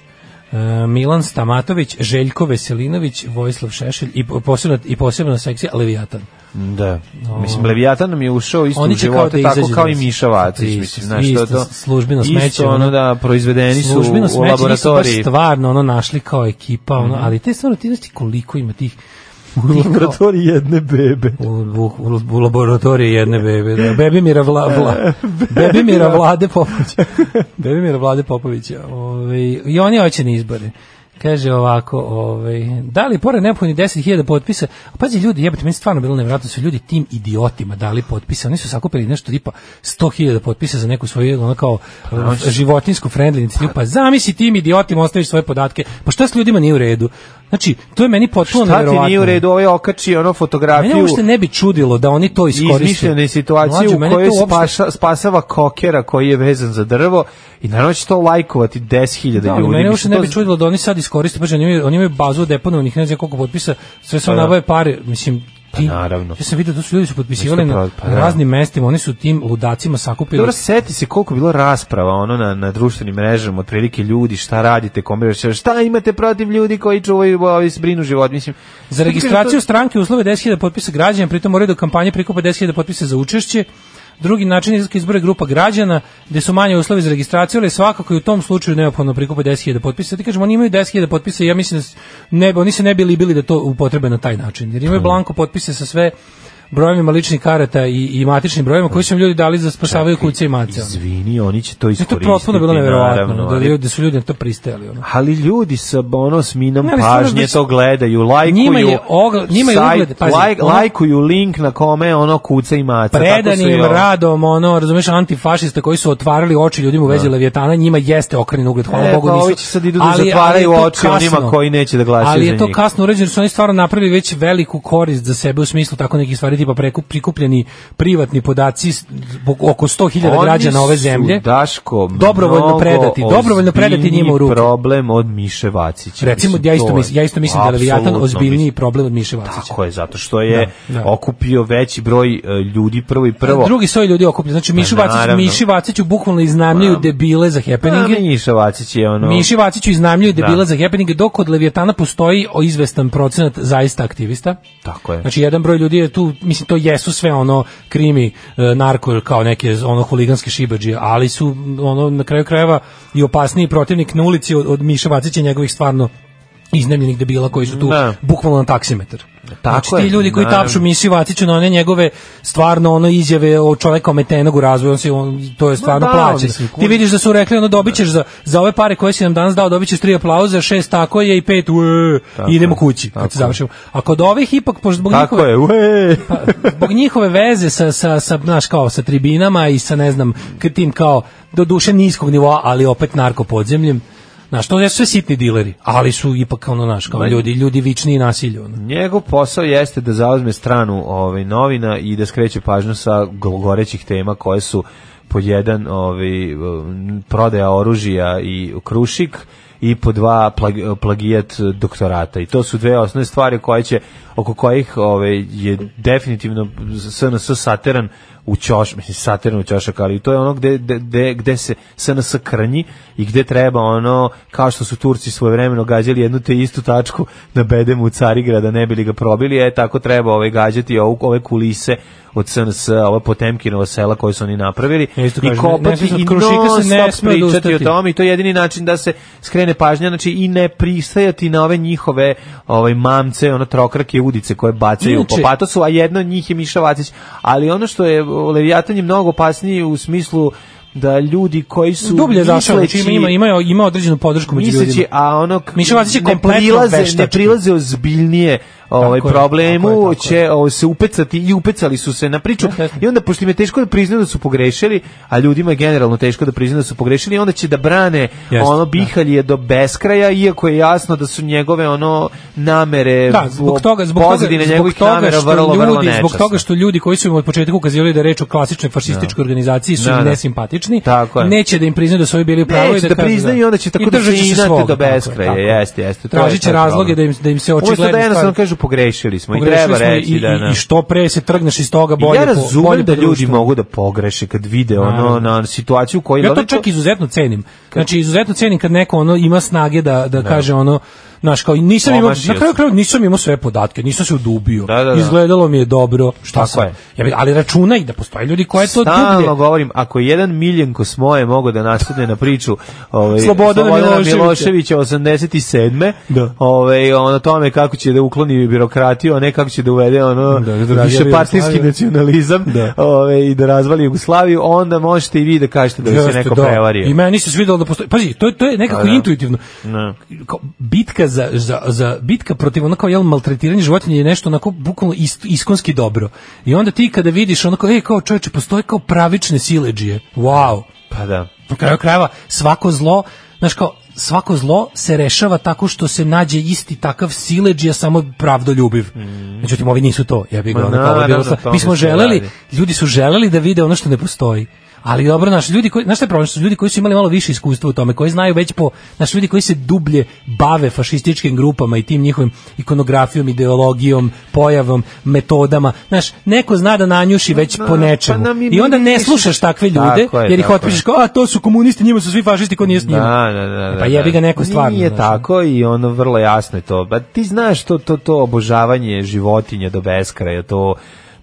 E: e, Milan Stamatović, Željko Veselinović, Vojislav Šešelj i po- posebno, i posebno sekcija Leviatan.
F: Da. Mislim, Leviatan nam je ušao isto
E: Oni
F: u
E: će kao
F: živote,
E: da
F: tako
E: izađu
F: kao i
E: iz-
F: Miša Vacić,
E: isto,
F: mislim, znaš, to,
E: isto,
F: to,
E: službeno smeće,
F: Isto ono
E: ono.
F: da proizvedeni su
E: Službeno
F: u
E: smeće nisu baš
F: laboratoriji. Mhm.
E: stvarno ono našli kao ekipa, ono, ali te stvarno ti znaš ti koliko ima tih
F: U laboratoriji jedne bebe.
E: u, u, u, u laboratoriji jedne bebe. Da. Bebimira, vla, vla, Bebimira Vlade Popovića. Bebimira Vlade Popovića. Ove, I oni hoće na izbore. Kaže ovako, ovaj, da li pored neophodnih 10.000 potpisa, a pazi ljudi, jebate, meni stvarno bilo nevjerojatno da su ljudi tim idiotima dali potpise, oni su sakupili nešto tipa 100.000 potpisa za neku svoju, ono kao
F: Pa,
E: životinsku friendly inicijativu, pa zamisli tim idiotima ostaviš svoje podatke, pa šta s ljudima nije u redu? Znači, to je meni potpuno
F: Šta ti
E: nevjerojatno.
F: nije u redu, ovaj okači ono
E: Mene
F: fotografiju
E: uopšte ne bi čudilo da oni to iskoriste.
F: izmišljene situacije
E: Mlađo,
F: u
E: mene
F: kojoj
E: to uopšte-
F: spaša, spasava kokera koji je vezan za drvo i naravno će to lajkovati 10.000
E: Da, ali
F: ljudi.
E: mene
F: Mislim,
E: uopšte ne
F: to-
E: bi čudilo da oni sad iskoriste, pa oni imaju, oni imaju bazu deponovanih ne znam koliko potpisa, sve se
F: da. Pa
E: nabave pare, mislim, ti,
F: naravno.
E: Ja sam vidio da su ljudi su potpisivali
F: Isto
E: na
F: pa- pa da.
E: raznim mestima, oni su tim ludacima sakupili.
F: Dobro, seti se koliko je bilo rasprava ono na, na društvenim mrežama, otprilike ljudi, šta radite, kombinaš, šta imate protiv ljudi koji čuvaju, ovi brinu život, mislim.
E: Za registraciju stranke uslove 10.000 potpisa građana, pritom moraju do kampanje prikupa 10.000 potpisa za učešće. Drugi način izlaska izbora je grupa građana, gde su manje uslovi za registraciju, ali svakako i u tom slučaju neophodno prikupa 10.000 potpisa. Ti kažemo, oni imaju 10.000 potpisa i ja mislim da s- ne, bi- oni se ne bi libili da to upotrebe na taj način, jer imaju blanko potpise sa sve brojevima ličnih karata i, i matičnim brojevima koji su im ljudi dali za spasavaju kuce i mace. ono.
F: Izvini, oni će to
E: To je
F: iskoristiti.
E: potpuno bilo neverovatno,
F: naravno,
E: da,
F: ali-
E: ljudi, da su ljudi na to pristajali. Ono.
F: Ali ljudi sa ono s minom
E: Ne, ali stvarno
F: pažnje
E: da se-
F: to gledaju, lajkuju.
E: Njima je ogl- njima je
F: sajt,
E: ugled, pazi,
F: laj-
E: ono-
F: lajkuju link na kome ono kuca i maca. tako su i
E: predanim
F: ovo.
E: radom, ono, razumeš, antifašista koji su otvarali oči ljudima u vezi Levijetana, njima jeste okrenjen ugled, hvala
F: E,
E: Bogu
F: pa
E: nisu.
F: ovi će sad idu da
E: Ali- ali
F: zatvaraju
E: je to
F: oči onima koji neće da glasaju
E: Ali
F: za
E: je to
F: njih.
E: kasno urađeno, jer su oni stvarno napravili već veliku korist za sebe u smislu tako nekih stvari, tipa prekup, prikupljeni privatni podaci s- oko 100.000
F: Oni
E: građana ove
F: su,
E: zemlje.
F: Daško,
E: Dobrovoljno
F: mnogo
E: predati, dobrovoljno predati
F: ozbiljniji
E: njima u ruke.
F: problem od Miše Vacića.
E: Recimo,
F: Mislim,
E: ja
F: to
E: isto,
F: je
E: mislim, ja isto mislim da je Leviatan
F: apsolutno,
E: ozbiljniji
F: mislim.
E: problem od Miše Vacića.
F: Tako je, zato što je
E: Da, da.
F: okupio veći broj e, ljudi prvo i prvo. Pa,
E: Drugi soj ljudi okuplja. Znači, Mišu Vacić,
F: naravno. Pa.
E: Miši Vaciću bukvalno iznamljuju debile za happeninge.
F: A, Miša Vacić je ono...
E: Miši Vaciću iznajmljuju debila za happening, dok kod Levijetana postoji o izvestan procenat zaista aktivista.
F: Tako je.
E: Znači, jedan broj ljudi je tu, mislim, to jesu sve ono krimi, e, narko, kao neke ono huliganske šibađije, ali su m, ono na kraju krajeva i opasniji protivnik na ulici od, od Miša Vacića i njegovih stvarno iznemljenih debila koji su tu
F: Da.
E: bukvalno na taksimetar.
F: Tako
E: znači,
F: je,
E: ti ljudi koji
F: naravno.
E: tapšu Miši Vaciću na one njegove stvarno ono izjave o čoveka ometenog u razvoju, on se, on, to je stvarno
F: da,
E: plaćen.
F: mislim,
E: Ti vidiš da su rekli ono dobićeš za za ove pare koje si nam danas dao dobićeš tri aplauza, šest tako je i pet ue, i idemo kući kad se završimo. A kod ovih ipak pošto zbog
F: Tako
E: njihove
F: je, ue!
E: pa, zbog njihove veze sa sa sa znaš kao sa tribinama i sa ne znam k- tim kao do duše niskog nivoa, ali opet narko podzemljem. Znaš, to su sve sitni dileri, ali su ipak ono naš kao ljudi, ljudi vični i nasilju. ono.
F: Njegov posao jeste da zauzme stranu ovaj, novina i da skreće pažnju sa go- gorećih tema koje su pod jedan ovaj, m, prodaja oružja i krušik i po dva plag- plagijat doktorata. I to su dve osnovne stvari koje će, oko kojih ovaj, je definitivno SNS sateran u ćoš, mislim satirno u ćošak, ali to je ono gde, gde- gde, gde se SNS krnji i gde treba ono, kao što su Turci svojevremeno gađali jednu te istu tačku na bedemu Carigrada, ne bili ga probili, e tako treba ovaj, gađati ovu, ove kulise od SNS, ova Potemkinova sela koje su oni napravili
E: Ja isto
F: i
E: kažem, ne- ne
F: kopati
E: sme se-
F: i
E: od Krušika se ne
F: non stop
E: sme
F: pričati o
E: odustati.
F: tome i to je jedini način da se skrene pažnja, znači i ne pristajati na ove njihove ovaj, mamce, ono trokrake udice koje bacaju
E: Inače-
F: po patosu, a jedno od njih je Miša Vacić. Ali ono što je o, Leviatan je mnogo opasnije u smislu da ljudi koji su
E: Dublje je zašao, znači
F: misleći-
E: ima, ima, ima određenu podršku među ljudima.
F: misleći, a ono k-
E: Miša Vacić je
F: ne
E: kompletno
F: prilaze, ne
E: veštački.
F: prilaze ozbiljnije ovaj
E: Tako je,
F: problemu,
E: tako je, tako
F: će o, se upecati i upecali su se na priču
E: Jeste, jeste.
F: i onda pošto im je teško da priznaju da su pogrešili, a ljudima je generalno teško da priznaju da su pogrešili, onda će da brane
E: Jeste,
F: ono
E: da.
F: bihalje do beskraja, iako je jasno da su njegove ono namere
E: da, zbog toga, zbog toga,
F: pozadine
E: zbog
F: njegovih
E: toga
F: namera
E: što
F: vrlo,
E: ljudi,
F: vrlo
E: zbog toga
F: nečasne.
E: što ljudi koji su im od početka ukazivali da je reč o klasičnoj fašističkoj organizaciji su
F: Da,
E: im
F: da.
E: nesimpatični,
F: Tako je.
E: neće da im priznaju da su ovi bili u pravu i
F: Neće
E: da,
F: da
E: kažu
F: priznaju i onda će tako
E: I
F: da
E: držat će se
F: finate
E: svoga,
F: do
E: tako je,
F: beskraja,
E: tako je.
F: jeste, jeste, to je
E: Tražit će
F: taj
E: razloge
F: problem.
E: da im, da im se
F: Umesto
E: očigledno
F: da jednostavno kažu pogrešili smo i treba reći
E: i,
F: da
E: i,
F: na-
E: i što pre se trgneš iz toga bolje
F: ja
E: po- bolje
F: razumem da
E: po
F: ljudi
E: društvu.
F: mogu da pogreše kad vide ono na situaciju koju
E: Ja to čak izuzetno cenim. Znači izuzetno cenim kad neko ono ima snage da da kaže ono naš kao nisam imao
F: Omašio
E: na kraju
F: sam.
E: krajeva nisam imao sve podatke, nisam se udubio.
F: Da, da, da.
E: Izgledalo mi je dobro, šta
F: Tako
E: sam.
F: je.
E: Ja, bi- ali računaj da postoje ljudi koje to dublje.
F: Stalno govorim, ako je jedan Miljenko Smoje mogu da nastavne na priču ovaj,
E: Slobodana Miloševića.
F: Miloševića 87.
E: Da.
F: Ovaj, o, na tome kako će da ukloni birokratiju, a ne kako će da uvede ono
E: Da, da
F: da,
E: razvali
F: višepartijski
E: Jugoslaviju.
F: nacionalizam
E: Da.
F: ovaj, i da razvali Jugoslaviju, onda možete i vi da kažete da vas je
E: Jeste,
F: neko
E: da.
F: prevario.
E: I meni se svidelo da postoji. Pazi, to je to je nekako
F: Da, da.
E: intuitivno.
F: Da.
E: Kao bitka za, za, za bitka protiv onako jel maltretiranje životinja je nešto onako bukvalno ist, iskonski dobro. I onda ti kada vidiš onako ej kao čoveče postoje kao pravične sileđije. Wow.
F: Pa da.
E: Na kraju krajeva svako zlo, znaš kao, svako zlo se rešava tako što se nađe isti takav sileđija samo pravdoljubiv. Međutim, ovi nisu to. Ja bih
F: Mhm. Ma
E: ga ono
F: naravno,
E: kao bilo sa-
F: o tome
E: Mi smo
F: se
E: želeli,
F: radi.
E: ljudi su želeli da vide ono što ne postoji. Ali dobro, naš ljudi koji, znaš šta je problem, što su ljudi koji su imali malo više iskustva u tome, koji znaju već po, naš ljudi koji se dublje bave fašističkim grupama i tim njihovim ikonografijom, ideologijom, pojavom, metodama. Znaš, neko zna da nanjuši već po nečemu.
F: pa nam i-
E: I onda ne
F: mi-
E: slušaš takve ljude,
F: Tako je,
E: jer ih
F: tako
E: otpišeš
F: je.
E: kao, a to su komunisti, njima su svi fašisti, ko nije s njima.
F: Da, da, da, da.
E: E, pa jebi ga neko stvarno.
F: Nije
E: znaš.
F: tako i ono vrlo jasno je to. Pa ti znaš to to to obožavanje životinja do beskraja, to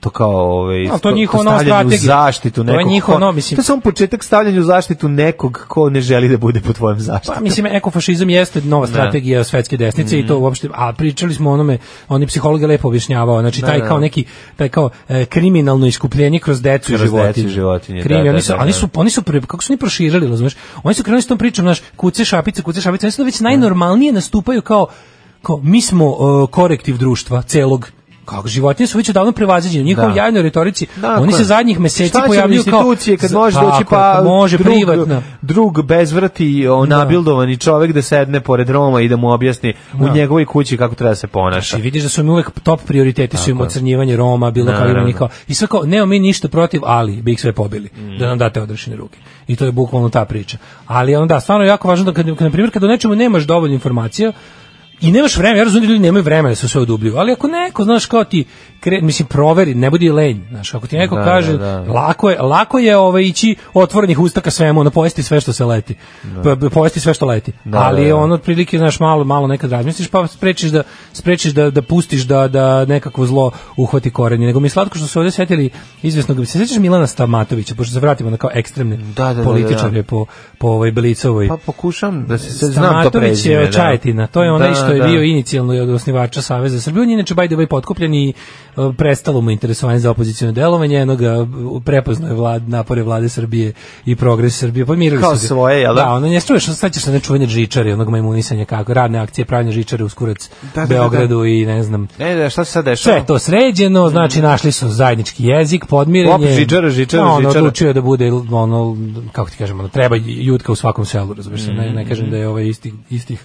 F: to kao ovaj
E: Ali to je njihova nova
F: stavljanje u
E: strategija.
F: zaštitu
E: To je
F: nekog.
E: njihova
F: ko-
E: nova, mislim-
F: To je samo početak stavljanja u zaštitu nekog ko ne želi da bude pod tvojom zaštitom.
E: Pa mislim ekofašizam jeste nova strategija svetske desnice
F: Mhm.
E: i to uopšte a pričali smo o onome, oni psihologe lepo objašnjavao, znači
F: Da,
E: taj
F: da.
E: kao neki taj kao e, kriminalno iskupljenje kroz decu i
F: Kroz
E: životinje.
F: decu i životinje,
E: Krimi,
F: da,
E: oni
F: da,
E: su,
F: da,
E: oni
F: da.
E: su oni su pre- kako su oni proširili, razumeš? Oni su krenuli s tom pričom, znaš, kuce šapice, kuce šapice, oni su već najnormalnije nastupaju kao kao mi smo e, korektiv društva celog kako životinje su već odavno prevaziđene u njihovoj
F: Da.
E: javnoj retorici
F: Dakle,
E: oni se zadnjih meseci
F: šta će
E: pojavljuju kao
F: institucije kad može
E: Tako
F: doći
E: je,
F: pa
E: kad može
F: drug,
E: privatna
F: drug bezvrti o, nabildovani čovek da sedne pored Roma i da mu objasni u
E: Da.
F: njegovoj kući kako treba da se ponaša.
E: Znači, vidiš da su im uvek top prioriteti su im
F: Tako je.
E: ocrnjivanje Roma, bilo kao
F: Naravno.
E: ima kao i sve kao nemamo mi ništa protiv, ali bi ih sve pobili da nam date odrešene ruke. I to je bukvalno ta priča. Ali onda stvarno je jako važno da kad, kad, na primjer kad o nečemu nemaš dovoljno informacija i nemaš vremena, ja razumijem da ljudi nemaju vremena da se sve odubljuju, ali ako neko, znaš, kao ti kre, mislim, proveri, ne budi lenj, znaš, ako ti neko
F: Da,
E: kaže,
F: da, da.
E: lako je, lako je ovaj, ići otvorenih usta ka svemu, ono, pojesti sve što se leti, da. pojesti sve što leti,
F: Da,
E: ali
F: da, da.
E: ono ono otprilike znaš malo malo nekad razmisliš pa sprečiš da sprečiš da da pustiš da da nekakvo zlo uhvati korenje nego mi je slatko što su ovde setili izvesnog se sećaš Milana Stamatovića pošto se vratimo na kao ekstremne
F: Da, da, da,
E: političare
F: da.
E: po po ovoj Belicovoj
F: Pa pokušam da se, se znam to
E: Stamatović
F: prezime.
E: je Čajetina, to je onaj
F: Da,
E: što je
F: da.
E: bio inicijalno od osnivača Saveza za Srbiju, on je inače by the way potkupljen i e, prestalo mu interesovanje za opoziciono delovanje, eno ga e, prepoznao je vlad, napore vlade Srbije i progres Srbije, pomirili
F: Kao
E: su ga.
F: svoje, jel da?
E: da? ono nje struješ, sećaš se na čuvene žičare, onog majmunisanja kako, radne akcije, pravnje žičare u Skurac,
F: Da, da, da,
E: Beogradu i ne znam,
F: Ne, da, šta se sad dešava?
E: sve je to sređeno, znači našli su zajednički jezik, podmirenje.
F: Op, žičara, žičara,
E: ono,
F: žičara.
E: Odlučio je da bude, ono, kako ti kažem, ono, treba jutka u svakom selu, razumiješ se,
F: Mm-hmm.
E: ne, ne kažem da je ovaj istih, istih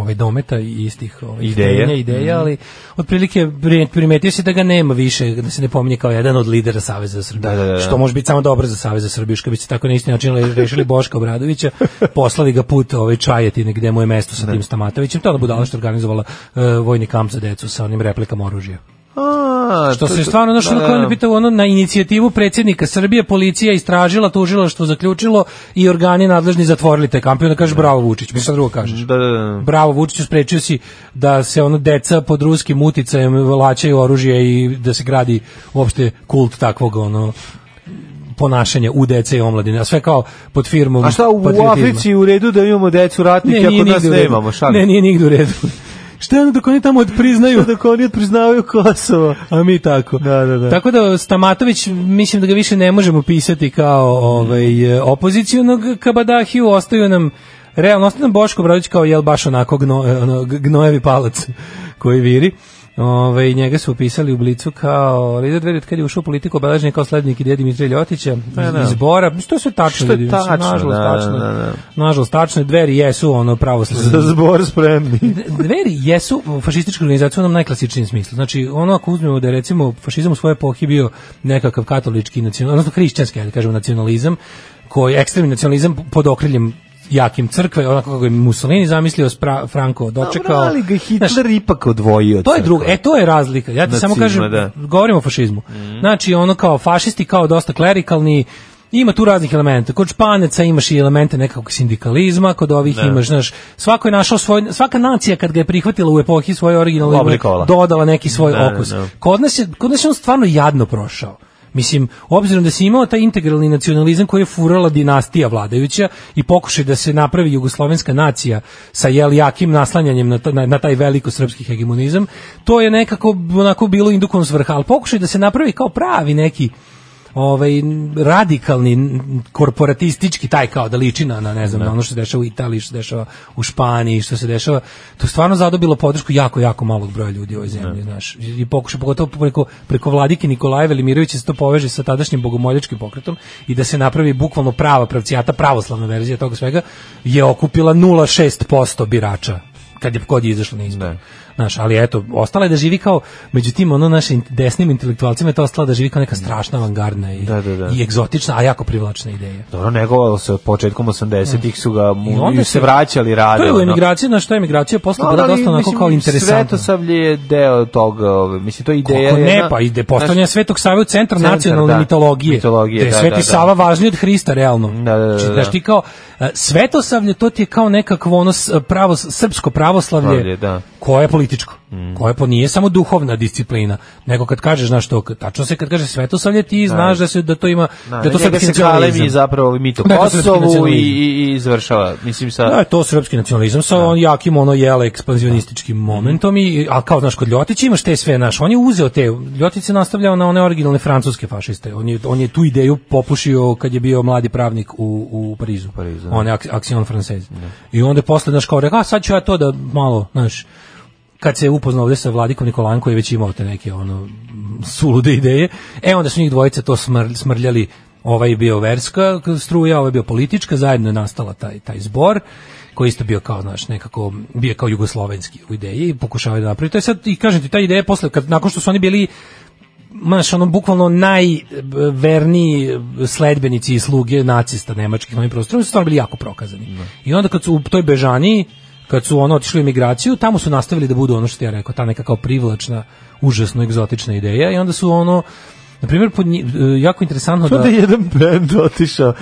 E: ovaj dometa i istih ovaj
F: Ideje. Mm-hmm.
E: ideja, ideja ali otprilike pri- primetio se da ga nema više, da se ne pominje kao jedan od lidera Saveza za Srbiju.
F: Da, da, da, da.
E: Što može biti samo dobro za Savez za Srbiju, što bi se tako na isti način le- rešili Boška Obradovića, poslali ga put ovaj Čajetine gde mu je mesto sa tim Stamatovićem, to je ona budala što je organizovala e, vojni kamp za decu sa onim replikama oružja.
F: A,
E: Što
F: to-
E: se stvarno našlo
F: da,
E: na kojem
F: da.
E: pitao ono na inicijativu predsjednika Srbije policija istražila, tužilaštvo zaključilo i organi nadležni zatvorili te kamp. I onda kažeš bravo Vučić, mislim šta drugo kažeš.
F: Da, da, da.
E: Bravo Vučiću, sprečio si da se ono deca pod ruskim uticajem vlačaju oružje i da se gradi uopšte kult takvog ono ponašanja u dece i omladine. A sve kao pod firmom
F: A šta u
E: patriotizma.
F: Africi u redu da imamo decu ratnike, ako nas
E: nigde u redu.
F: nemamo, šalim.
E: Ne, nije nigde u redu. Šta je ono dok oni tamo odpriznaju
F: Dok oni priznavaju Kosovo.
E: A mi tako.
F: Da, da, da.
E: Tako da Stamatović, mislim da ga više ne možemo pisati kao ovaj, e, opozicijonog kabadahiju, ostaju nam realno, ostaju nam Boško Bradić kao jel baš onako gno, e, ono, g- gnojevi palac koji viri. Ove, njega su upisali u Blicu kao lider dveri kad je ušao u politiku obeležen je kao slednik i djed Dimitrija Ljotića iz,
F: Pa da.
E: iz Bora. Mislim, to je sve tačno.
F: Što je
E: ljudi, mislim,
F: tačno,
E: nažalost,
F: da, da,
E: tačno,
F: da, da.
E: Nažalost, tačno, dveri jesu ono pravoslavni
F: Za zbor spremni.
E: Dveri jesu fašistička organizacija u onom najklasičnijem smislu. Znači, ono ako uzmemo da je recimo fašizam u svojoj epohi bio nekakav katolički nacionalizam, odnosno hrišćanski, ajde da kažemo, nacionalizam, koji je ekstremni nacionalizam pod okriljem jakim crkve, onako kako je Mussolini zamislio, spra, Franco
F: Dobro,
E: dočekao.
F: ali ga je Hitler
E: Znaš,
F: ipak odvojio. od
E: to je
F: crkve.
E: drugo, e to je razlika. Ja ti samo
F: Nacizma,
E: kažem,
F: da. Mhm.
E: govorimo o fašizmu. Znači ono kao fašisti kao dosta klerikalni Ima tu raznih elementa. Kod Španeca imaš i elemente nekakvog sindikalizma, kod ovih imaš, znaš, svako je našao svoj, svaka nacija kad ga je prihvatila u epohi svoje originalne,
F: Oblikovala.
E: dodala neki svoj
F: Da, da,
E: okus.
F: da.
E: Kod nas, je, kod nas je on stvarno jadno prošao. Mislim, obzirom da si imao taj integralni nacionalizam koji je furala dinastija vladajuća i pokušaj da se napravi jugoslovenska nacija sa jel jakim naslanjanjem na, ta- na, na taj veliko srpski hegemonizam, to je nekako onako bilo indukom svrha, ali pokušaj da se napravi kao pravi neki ovaj n- radikalni n- korporatistički taj kao da liči na, na ne znam na ono što se dešava u Italiji, što se dešava u Španiji, što se dešava, to je stvarno zadobilo podršku jako jako malog broja ljudi u ovoj zemlji, znaš. I pokušaj pogotovo preko preko vladike Nikolaja Velimirovića se to poveže sa tadašnjim bogomoljačkim pokretom i da se napravi bukvalno prava pravcijata, pravoslavna verzija toga svega je okupila 0,6% birača kad je kod je izašlo na izbor. Znaš, ali eto, ostala je da živi kao, među tim ono našim desnim intelektualcima je to ostala da živi kao neka strašna avangardna i,
F: Da, da, da.
E: i egzotična, a jako privlačna ideja.
F: Dobro, negovalo se početkom 80-ih su ga mu,
E: I
F: I
E: onda
F: se
E: se-
F: vraćali rade.
E: To je u
F: ono.
E: emigraciji, znaš, to je emigracija posle bila
F: ali,
E: dosta onako
F: mislim,
E: kao interesantna.
F: Svetosavlje je deo toga, ove, mislim, to je ideja.
E: Kako ne,
F: jedna-
E: pa ide postavljanje Svetog Save u centar
F: Centar,
E: nacionalne
F: da.
E: mitologije.
F: Mitologije,
E: Gde je
F: da,
E: Sveti
F: da, da.
E: Sava važniji od Hrista, realno.
F: Da, da, da,
E: Znači,
F: da.
E: znaš ti kao, e, svetosavlje, to ti je kao nekakvo ono s- pravo, srpsko pravoslavlje,
F: Pravlje, da.
E: koje je političko, koje po nije samo duhovna disciplina, nego kad kažeš, znaš to, kad- tačno se kad kaže svetosavlje, ti znaš da, se, da to ima,
F: Na,
E: da je
F: njega
E: to srpski
F: se kalemi
E: nacionalizam.
F: zapravo mit o
E: Da, to je srpski
F: Kosovu i,
E: nacionalizam.
F: i, i izvršava. Mislim, sa...
E: Da, je to srpski nacionalizam sa on jakim ono jele ekspanzionističkim
F: Mhm.
E: momentom i a kao znaš kod Ljotića imaš te sve naš. On je uzeo te Ljotić se nastavljao na one originalne francuske fašiste. On je on je tu ideju popušio kad je bio mladi pravnik u u Parizu.
F: Parizu, da.
E: On je Action Française. I onda je posle znaš kao rekao, a sad ću ja to da malo, znaš, kad se upoznao ovde sa Vladikom Nikolanko je već imao te neke ono m, sulude ideje. E onda su njih dvojica to smr, smrljali ovaj je bio verska struja, ovaj je bio politička, zajedno je nastala taj, taj zbor koji je isto bio kao, znaš, nekako bio je kao jugoslovenski u ideji i pokušavaju da napravi. To je sad, i kažem ti, ta ideja je posle, kad, nakon što su oni bili maš ono bukvalno najverniji sledbenici i sluge nacista nemačkih na ovim prostorima su stvarno bili jako prokazani. I onda kad su u toj Bežaniji, kad su ono otišli u emigraciju, tamo su nastavili da budu ono što ti ja rekao, ta neka kao privlačna, užasno egzotična ideja i onda su ono Na primjer, pod nji- e, jako interesantno
F: To
E: da...
F: da je jedan bend otišao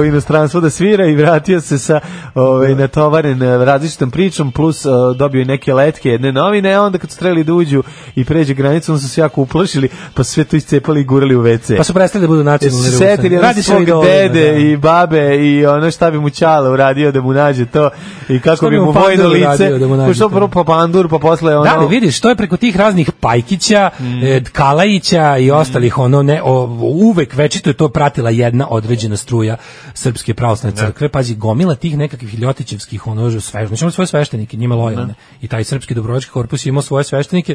F: u inostranstvo da svira i vratio se sa ovaj natovaren e, različitom pričom plus e, dobio i neke letke jedne novine a onda kad su trebali da uđu i pređe granicu onda su se jako uplašili pa su sve to iscepali i gurali u WC.
E: Pa su prestali da budu
F: Jer su
E: nacionalni
F: se setili
E: revolucionari.
F: ono
E: Radi se o
F: svog
E: idolima,
F: dede
E: da.
F: i babe i ono šta bi mu Ćala uradio da mu nađe to i kako
E: Šta
F: bi
E: bi
F: mu
E: mu
F: vojno
E: Pandur
F: lice
E: uradio da mu nađe
F: što
E: to?
F: prvo pa pandur pa posle ono
E: Da, ali vidiš, to je preko tih raznih Pajkića, e, Kalajića i ostalih, ono ne, o, uvek večito je to pratila jedna određena struja Srpske pravoslavne crkve, pazi, gomila tih nekakvih ljotićevskih, ono, sve, znači imali svoje sveštenike, njima lojalne, i taj Srpski dobrovoljački korpus je imao svoje sveštenike,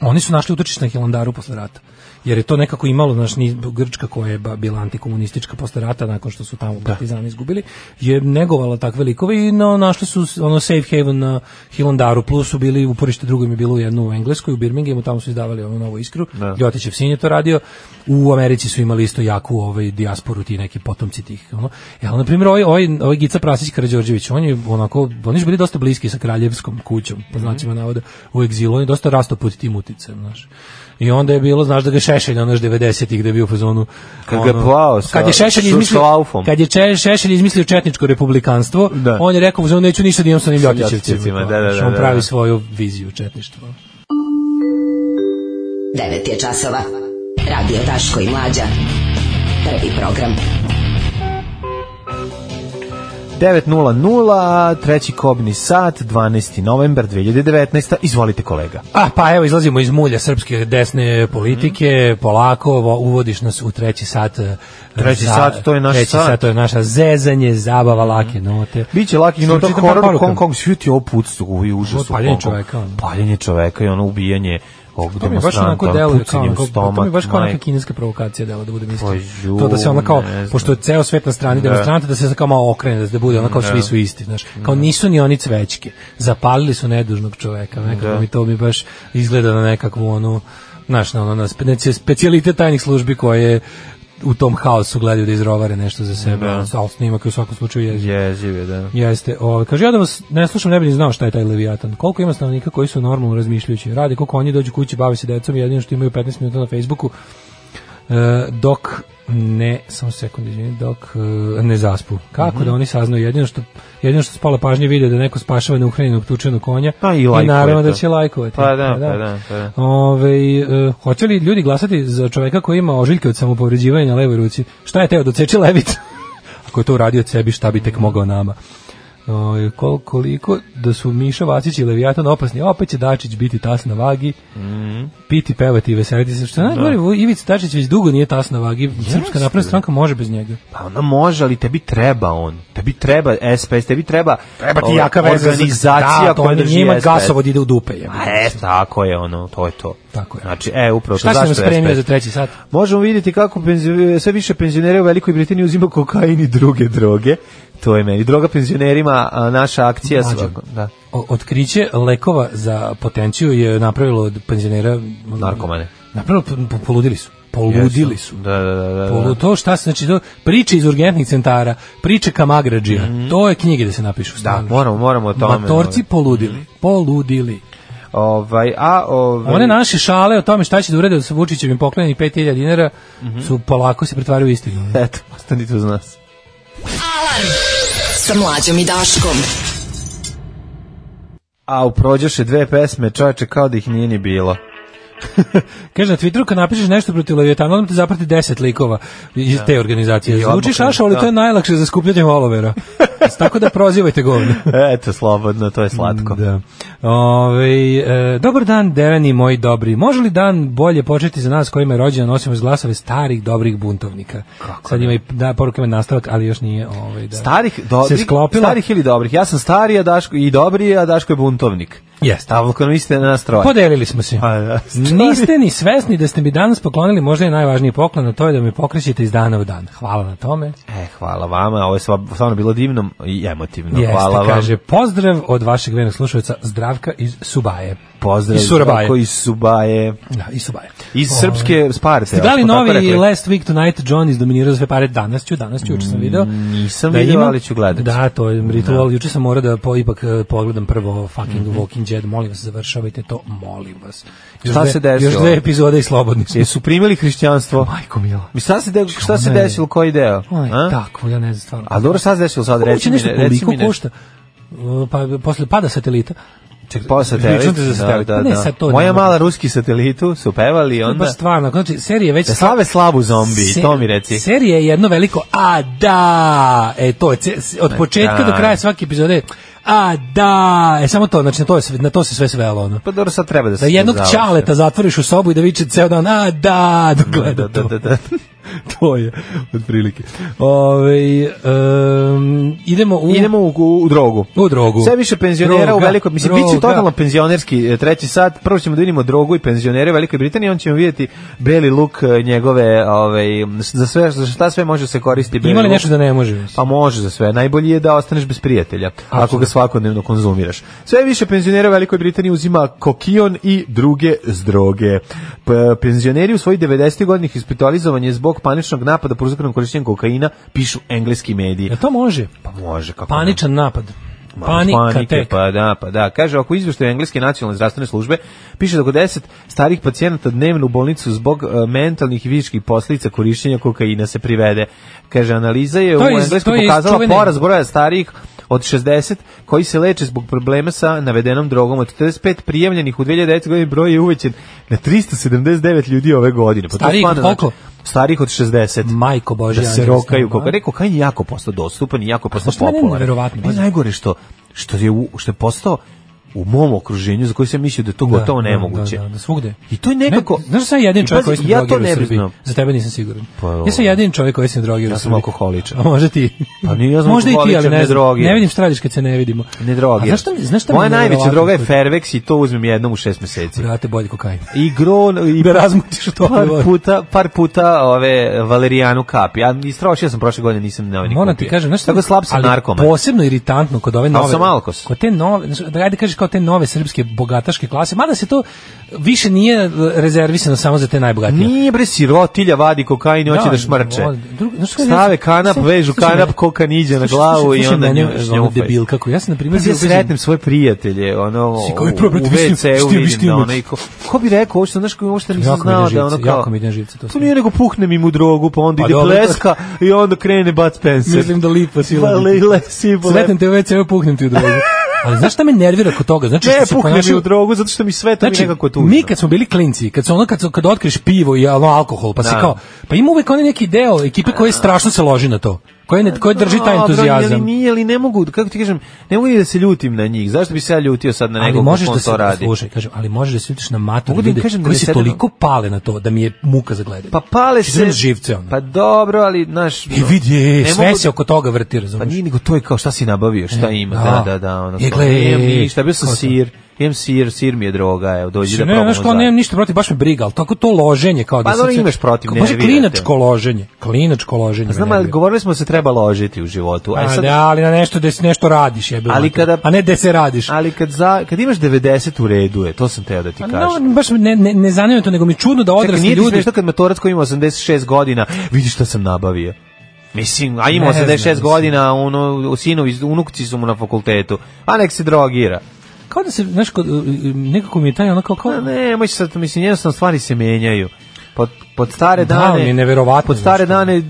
E: oni su našli utočište na Hilandaru posle rata jer je to nekako imalo naš ni Grčka koja je ba- bila antikomunistička posle rata nakon što su tamo partizani izgubili je negovala takve likove i no, našli su s- ono safe haven na Hilandaru plus su bili uporište drugom je bilo jedno u Engleskoj u Birminghamu tamo su izdavali onu novu iskru da. Ljotićev sin je to radio u Americi su imali isto jaku ovaj dijasporu ti neki potomci tih ono e al na primjer ovaj ovaj, ovaj Gica Prasić Karađorđević on je onako oni su bili dosta bliski sa kraljevskom kućom
F: Mhm.
E: po znacima navoda u egzilu on je dosta rastao pod tim uticajem znaš I onda je bilo, znaš da ga je Šešelj, ono još 90-ih, da je bio u fazonu...
F: Kad ga je
E: ono,
F: plao sa-
E: kad je Šešelj
F: sa
E: izmislio,
F: šlaufom.
E: Kad je Če- Šešelj izmislio četničko republikanstvo,
F: Da.
E: on je rekao, u fazonu, neću ništa da imam sa onim
F: Sa
E: Ljotićevcima.
F: Ljotićevcima, da, da,
E: znaš,
F: da,
E: On
F: da,
E: pravi
F: da.
E: svoju viziju četništva.
B: 9 je časova. Radio Daško i Mlađa. Prvi program.
F: 9.00, treći kobni sat, 12. novembar 2019. Izvolite kolega.
E: A, pa evo, izlazimo iz mulja srpske desne politike, polako vo- uvodiš nas u treći sat. e,
F: Treći sat, to je naš
E: treći
F: sat.
E: to je naša zezanje, zabava, lake note.
F: Biće lakih nota
E: Pročitam par
F: horor
E: poruka.
F: Hong Kong sjuti opucu, ovo je užas.
E: Ovo je paljenje
F: u Hong Kongu.
E: čoveka, ono.
F: Paljenje čoveka i ono ubijanje ovog
E: To mi baš onako
F: demonstranta, ono
E: deluje kao,
F: pucanje u
E: onako- to mi
F: stomak.
E: baš kao neka
F: majko.
E: kineska provokacija dela da budem
F: Pa
E: iskren.
F: ju,
E: To da se ona kao
F: ne znam.
E: pošto je ceo svet na strani
F: Da.
E: demonstranata da se sad kao malo okrene da se bude ona kao svi su isti, znaš. Kao nisu ni oni cvećke. Zapalili su nedužnog čoveka, nekako
F: Da.
E: mi to mi baš izgleda na nekakvu onu znaš, na ono, na spe- neci- specijalitet tajnih službi koje u tom haosu gledaju da izrovare nešto za sebe,
F: Da.
E: da. ali snimak je u svakom slučaju jeziv.
F: Jeziv je, da.
E: Jeste. Ovaj kaže ja da vas ne slušam, ne bih ni znao šta je taj Leviatan. Koliko ima stanovnika koji su normalno razmišljajući, rade koliko oni dođu kući, bave se decom, jedino što imaju 15 minuta na Facebooku. E, dok ne, samo sekund, izvini, dok e, ne zaspu. Kako
F: Mhm.
E: da oni saznaju jedino što jedino što spala pažnje vide da neko spašava neuhranjenog tučenog konja
F: Pa i lajkuje
E: naravno
F: to.
E: da će lajkovati.
F: Pa da, pa da, pa da.
E: Ovaj, e, hoće li ljudi glasati za čoveka koji ima ožiljke od samopovređivanja na levoj ruci? Šta je teo doceči levicu? Ako je to uradio od sebi, šta bi tek mogao nama? Ovaj, kol, koliko da su Miša Vacić i Leviatan opasni, opet će Dačić biti tas na vagi,
F: Mhm.
E: piti, pevati i veseliti se. Što je najgore, Ivica Dačić već dugo nije tas na vagi, Srpska napredna stranka može bez njega.
F: Pa ona može, ali tebi treba on. Tebi tebi treba SPS, tebi treba,
E: Treba ti
F: ova,
E: jaka veza za-
F: organizacija
E: da, to
F: koja
E: je da
F: drži
E: njima
F: SPS.
E: gasovod ide u dupe, jebote.
F: A, e, tako je ono, to je to.
E: Tako je.
F: Znači, e, upravo
E: Šta
F: to,
E: si nam
F: zašto
E: spremio
F: SPS?
E: za treći sat?
F: Možemo vidjeti kako penzi- sve više penzionera u Velikoj Britaniji uzima kokain i druge droge. To je meni. Droga penzionerima, a naša akcija...
E: Mlađo,
F: svako- da.
E: O- Otkriće lekova za potenciju je napravilo od penzionera
F: Narkomane.
E: Napravilo, po- po- poludili su. Poludili su.
F: Da, da, da, da. da.
E: Polu, to šta se, znači, to, priče iz urgentnih centara, priče kamagrađija, to je knjige da se napišu.
F: Mhm. Da,
E: stvarno.
F: moramo, moramo o tome. Mhm.
E: Matorci poludili, poludili.
F: Ovaj, a, ovaj,
E: One naše šale o tome šta će da urede sa Vučićevim poklenjenih 5000 dinara
F: Mhm.
E: su polako se pretvaraju u istinu.
F: Eto, ostanite uz nas.
B: Sa mlađom i Daškom.
F: A, prođoše dve pesme, čoveče, kao da ih nije ni bilo.
E: Kaže na Twitteru kad napišeš nešto protiv Leviatana, onda te zaprati 10 likova iz te organizacije.
F: odmah
E: Zvuči
F: krenu,
E: šaša, ali
F: da.
E: to je najlakše za skupljanje olovera. Tako da prozivajte govno.
F: Eto, slobodno, to je slatko.
E: Da. Ovaj, e, dobar dan, Deveni, moji dobri. Može li dan bolje početi za nas kojima je rođena nosimo iz glasove starih dobrih buntovnika? Sad ima i da, poruka ima nastavak, ali još nije ovaj, da,
F: Starih, dobrih,
E: se sklopila.
F: starih ili dobrih. Ja sam starija Daško, i dobri, a Daško je buntovnik.
E: Jeste.
F: Stavljamo niste na nas troje.
E: Podelili smo se.
F: Pa da, stari.
E: Niste ni svesni da ste mi danas poklonili možda i najvažniji poklon, a to je da me pokrećete iz dana u dan. Hvala na tome.
F: E, hvala vama, ovo je sva- stvarno bilo divno i emotivno.
E: Jeste,
F: hvala vam.
E: kaže, pozdrav od vašeg vernog slušalca Zdravka iz Subaje.
F: Pozdrav
E: iz Surabaje.
F: Koji iz Subaje.
E: Da, iz Subaje.
F: Iz
E: Ovaj,
F: srpske Sparte.
E: Ste
F: ako
E: dali
F: smo tako
E: novi
F: rekli.
E: Last Week Tonight John izdominirao sve pare danas ću, danas ću, juče sam video.
F: Mm, nisam video,
E: ima-
F: ali ću gledati.
E: Da, to je ritual. Juče sam morao da po, ipak eh, pogledam prvo fucking
F: Mhm.
E: Walking Dead. Molim vas, završavajte to, molim vas. Još
F: Šta
E: dve-
F: se desilo?
E: Još dve epizode i slobodni smo.
F: Jesu primili hrišćanstvo?
E: Majko mila.
F: Mi šta se, de, šta se
E: Ono je-
F: desilo, koji deo?
E: Aj,
F: A?
E: tako, ja ne znam stvarno.
F: A dobro, šta se desilo sad?
E: Kako
F: Reci
E: će
F: mi,
E: nešto
F: ne- reci mi
E: koliko
F: nešto.
E: košta? Uh, Pa posle pada satelita. Čekaj,
F: Pa satelit.
E: računate za satelit.
F: Da, da,
E: Ne,
F: da.
E: sad to
F: Moja
E: ne mogu.
F: mala ruski satelitu su pevali i
E: To je
F: onda...
E: baš stvarno, znači serije već
F: Da slave slavu zombi,
E: Se-
F: to mi reci.
E: Serija je jedno veliko a da. E to je ce- s- od početka
F: da.
E: do kraja svake epizode a da. E samo to, znači na to je sve- na to se sve svelo ono.
F: Pa dobro, sad treba da se...
E: Da jednog
F: završi.
E: čaleta zatvoriš u sobu i da viče ceo dan a da, dok
F: Da,
E: gleda
F: da,
E: to.
F: da, da.
E: to je otprilike. Ovaj em, idemo u
F: Idemo u, u, u drogu.
E: U drogu.
F: Sve više penzionera
E: Droga,
F: u Velikoj... Mislim, bit će
E: droga.
F: totalno penzionerski e, treći sat. Prvo ćemo da vidimo drogu i penzionere u Velikoj Britaniji, onda ćemo vidjeti beli luk e, njegove... Ovaj, za, sve, za šta sve može se koristiti beli
E: Ima li
F: luk.
E: nešto da ne može?
F: Pa može za sve. Najbolji je da ostaneš bez prijatelja, ako ga svakodnevno konzumiraš. Sve više penzionera u Velikoj Britaniji uzima kokion i druge zdroge. P- penzioneri u svojih 90. godini hospitalizovan je zbog paničnog napada prouzrokanog korišćenjem kokaina, pišu engleski mediji.
E: Jel to može?
F: Pa može, kako ne.
E: E Paničan napad.
F: Ma,
E: Panika
F: panike,
E: tek.
F: Pa da, pa da. Kaže, ako izveštaju engleske nacionalne zdravstvene službe, piše da oko 10 starih pacijenata dnevno u bolnicu zbog e, mentalnih i fizičkih posljedica korišćenja kokaina se privede. Kaže, analiza je
E: To je
F: u
E: iz-
F: Engleskoj
E: to je iz
F: pokazala
E: čuvene-
F: porast broja starijih od 60 koji se leče zbog problema sa navedenom drogom. Od 45 prijavljenih u 2009. godini broj je uvećen na 379 ljudi ove godine. Pa to
E: Starijih od
F: stvarno, znači,
E: koliko?
F: Starih od 60.
E: Majko Božja.
F: Da se rokaju kokain. Rekao, kokain je jako postao dostupan i jako postao
E: što mene
F: popularan.
E: neverovatno,
F: Meni
E: pazi.
F: najgore što, što, je, u- što je postao u mom okruženju za koji sam mislio da je to gotovo nemoguće.
E: Da, da, da, svugde.
F: I to je nekako...
E: Ne, znaš da sam ja jedin
F: I
E: čovjek
F: pazi,
E: koji sam
F: ja to
E: drogirao
F: ne
E: u
F: bih
E: Srbiji?
F: znao.
E: Za tebe nisam siguran.
F: Pa,
E: ja sam jedin čovjek koji sam drogirao
F: Ja
E: u
F: sam
E: Srbiji.
F: alkoholičar.
E: A može ti.
F: Pa nije, ja sam
E: Možda i ti, ali
F: alkoholičar, ne
E: ne znam.
F: drogiram.
E: Ne vidim šta radiš kad se ne vidimo.
F: Ne droge.
E: A znaš šta mi, znaš šta mi
F: Moja
E: je
F: najveća
E: neverovatno
F: droga je
E: kod-
F: Fervex i to uzmem jednom u šest meseci.
E: Brate, bolje kokain.
F: I gro... I
E: Da razmutiš u toploj
F: par Pa,
E: vodi.
F: puta, par puta ove Valerijanu kapi. Ja istrošio sam prošle godine, nisam na ovaj ni
E: Moram
F: kupio.
E: ti kažem, znaš šta
F: Tako
E: mi-
F: slab sam
E: ali
F: narkoman.
E: Posebno iritantno kod ove
F: Ali
E: nove.
F: sam alkos.
E: Kod te nove, znaš, da ajde kažeš kao te nove srpske bogataške klase, mada se to više nije rezervisano samo za te najbogatije.
F: Nije bre sirotilja vadi kokain i hoće
E: Da,
F: da šmrče.
E: vodi. Drugo- znaš šta je-
F: Stave kanap,
E: slušaj,
F: vežu
E: slušaj
F: kanap,
E: mene.
F: kokan iđe na
E: Slušaj,
F: glavu
E: slušaj,
F: i
E: slušaj
F: onda
E: mene,
F: nju Pa
E: ono
F: šnjufaj.
E: debil kako ja sam na primjer
F: Pazi, ja
E: bio
F: sretnem svoje prijatelje, ono,
E: Si
F: u,
E: kao, "Pro, brate, vidim,
F: WC-u
E: vidim,
F: vidim
E: vidim,
F: da
E: brate."
F: ono, i ko, ko bi rekao, ovo što, znaš, ko što nisam
E: Jako mi
F: znao
E: ide
F: da ono
E: živce,
F: kao,
E: jako mi ide živce, to
F: to
E: sam-
F: nije nego puknem im u drogu, pa onda
E: Pa
F: ide
E: dobro, to-
F: pleska i onda krene Bud Spencer.
E: Mislim da lipa sila.
F: Pa, le- le- sibo-
E: Sretnem te u WC, evo puhnem ti u drogu. Ali znaš šta me nervira kod toga? Znači,
F: Ne,
E: što se
F: puknem mi
E: ponašaju-
F: u drogu, zato što mi sve to mi
E: Znači,
F: nekako tužno.
E: mi kad smo bili klinci, kad se ono kad, kad otkriš pivo i ono alkohol, pa se
F: Da.
E: kao, pa ima uvek onaj neki deo ekipe koji strašno se loži na to. Ko, je, ne- ko drži taj
F: Dobro,
E: entuzijazam?
F: ali nije, ali ne mogu, kako ti kažem, ne mogu ni da se ljutim na njih. Zašto bi se ja ljutio sad na nekog
E: ali možeš da
F: on
E: se
F: to radi?
E: slušaj, kažem, ali možeš da se ljutiš na matori
F: Mogu da im
E: ljude
F: kažem da
E: koji
F: ne
E: se
F: sedem-
E: toliko pale na to da mi je muka za gledanje.
F: Pa pale
E: Što sam
F: se...
E: živce, ono.
F: Pa dobro, ali, znaš...
E: I vidi, e,
F: ne
E: sve
F: mogu
E: se oko toga vrti,
F: Pa
E: razumiješ?
F: nije nego to je kao šta si nabavio, šta ima, da,
E: E,
F: da,
E: da.
F: da. Ono,
E: Je,
F: to.
E: gle,
F: Nemam
E: e,
F: ništa, bio sam
E: ko to?
F: sir, imam sir, sir mi je droga, evo, dođi da
E: Znači, ne,
F: probamo
E: znaš kao,
F: zajedno.
E: nemam ništa protiv, baš me briga, ali tako to loženje kao da
F: Pa
E: sam
F: dobro,
E: sve-
F: imaš protiv,
E: kao, može
F: nervira te.
E: klinačko loženje, klinačko loženje.
F: Pa Znam,
E: me
F: ali
E: nervira.
F: govorili smo da se treba ložiti u životu.
E: A,
F: A sad,
E: da, ali na nešto da se nešto radiš, jebe.
F: Ali
E: mater.
F: kada-
E: a ne da se radiš.
F: ali kad, za, kad imaš 90 u redu je, to sam teo da ti
E: A
F: kažem.
E: No, baš me ne, ne, ne zanima me to, nego mi je čudno da
F: Čekaj,
E: odrasli
F: nije ti
E: ljudi...
F: smiješno kad matorac koji ima 86 godina, vidi šta sam nabavio. Mislim, a ima
E: Ne znam,
F: 86
E: mislim.
F: godina, ono, sinovi, unukci su mu na fakultetu, a nek se drogira.
E: Kao da se, znaš, kod, uh, uh, nekako mi je taj ono kao... kao
F: Pa ne, moj sad, mislim, jednostavno stvari se menjaju. Pod, pod stare
E: Da,
F: dane...
E: mi je neverovatno,
F: Pod stare
E: znaš šta.
F: dane g-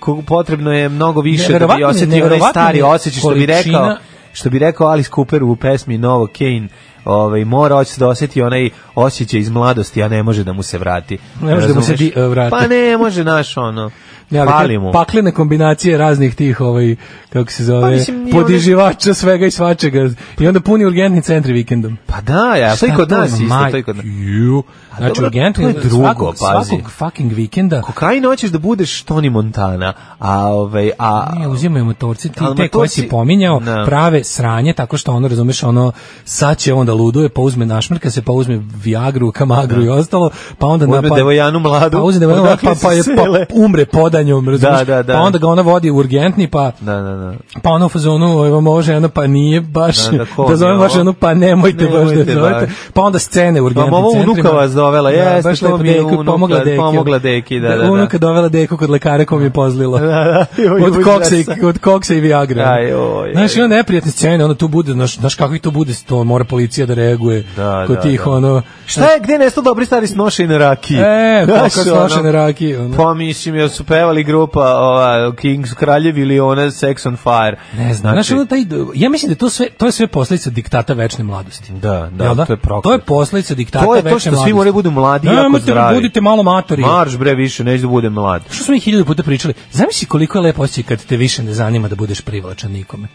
F: ko- potrebno je mnogo više da bi
E: Neverovatno je,
F: osetio onaj
E: neverovatno
F: stari
E: je
F: osjećaj što bi
E: količina-
F: rekao što bi rekao Alice Cooper u pesmi Novo Kane ovaj, mora hoće da osjeti onaj osjećaj iz mladosti, a ne može da mu se vrati.
E: Ne može da mu se
F: Razumeš?
E: di- e, vrati.
F: Pa ne može, naš ono,
E: Ne, ali
F: pali
E: te
F: mu.
E: paklene kombinacije raznih tih, ovaj, kako se zove,
F: Pa, mislim, nije
E: podiživača svega i svačega. I onda puni urgentni centri vikendom.
F: Pa da, ja, to i
E: Šta ono,
F: kod nas
E: ima,
F: isto,
E: maj-
F: to i kod nas.
E: Ju. Znači,
F: dobro,
E: urgentni,
F: to je drugo,
E: svakog,
F: pazi.
E: svakog fucking vikenda
F: Kokain hoćeš da budeš Tony Montana, a, ovaj, a,
E: Ne, uzimaju motorci, ti
F: Ali
E: te koje
F: motorci-
E: si pominjao,
F: Da.
E: prave sranje, tako što ono, razumeš, ono, sad će onda luduje, pa uzme našmrka se, pa uzme Viagru, Kamagru i ostalo, pa onda...
F: Uzme
E: napa-
F: devojanu mladu,
E: Pa uzme devojanu mladu,
F: odakle
E: pa, pa, je,
F: se sele.
E: pa umre podanjom, razumeš,
F: Da, da, da.
E: pa onda ga ona vodi u urgentni, pa...
F: da, da, da.
E: Pa ono u fazonu, evo može, ono pa nije baš,
F: Da, da,
E: da,
F: ko mi je
E: zovem
F: ovo?
E: baš ono, pa nemojte, baš
F: Nemojte
E: da zovete.
F: baš.
E: Pa onda scene u urgentnim
F: Pa ovo
E: centrima.
F: unuka vas dovela, jeste,
E: baš
F: to
E: lepo
F: mi je
E: deku,
F: unuka, pa
E: pomogla deki.
F: pomogla deki, da, da, da.
E: Unuka dovela deku kod lekara kom je pozlilo.
F: joj,
E: od, koksa i,
F: užasa.
E: od koksa i Viagra.
F: Aj, oj,
E: znaš,
F: aj.
E: ima neprijatne scene, ono tu bude, znaš, znaš kako i to bude, to mora policija da reaguje.
F: Da,
E: kod
F: da,
E: tih,
F: da.
E: ono...
F: Šta je, E, gde nesto dobri stari snoše i na rakiji?
E: E, kako
F: Znaš, ono,
E: slošene rakije. Ono.
F: Pa mislim, jer su pevali grupa ova, Kings, Kraljevi ili ona Sex on Fire.
E: Ne znam, znači, ono taj, ja mislim da je to sve, to je sve posledica diktata večne mladosti.
F: Da, da,
E: Jel
F: to je proklet.
E: To je posledica diktata
F: To je
E: večne
F: to
E: mladosti.
F: što svi moraju budu mladi i jako
E: Nemojte,
F: zdravi.
E: Budite malo matori.
F: Marš bre više, neću da budem mlad.
E: Što smo mi hiljadu puta pričali, zamisli koliko je lepo osjećaj kad te više ne zanima da budeš privlačan nikome.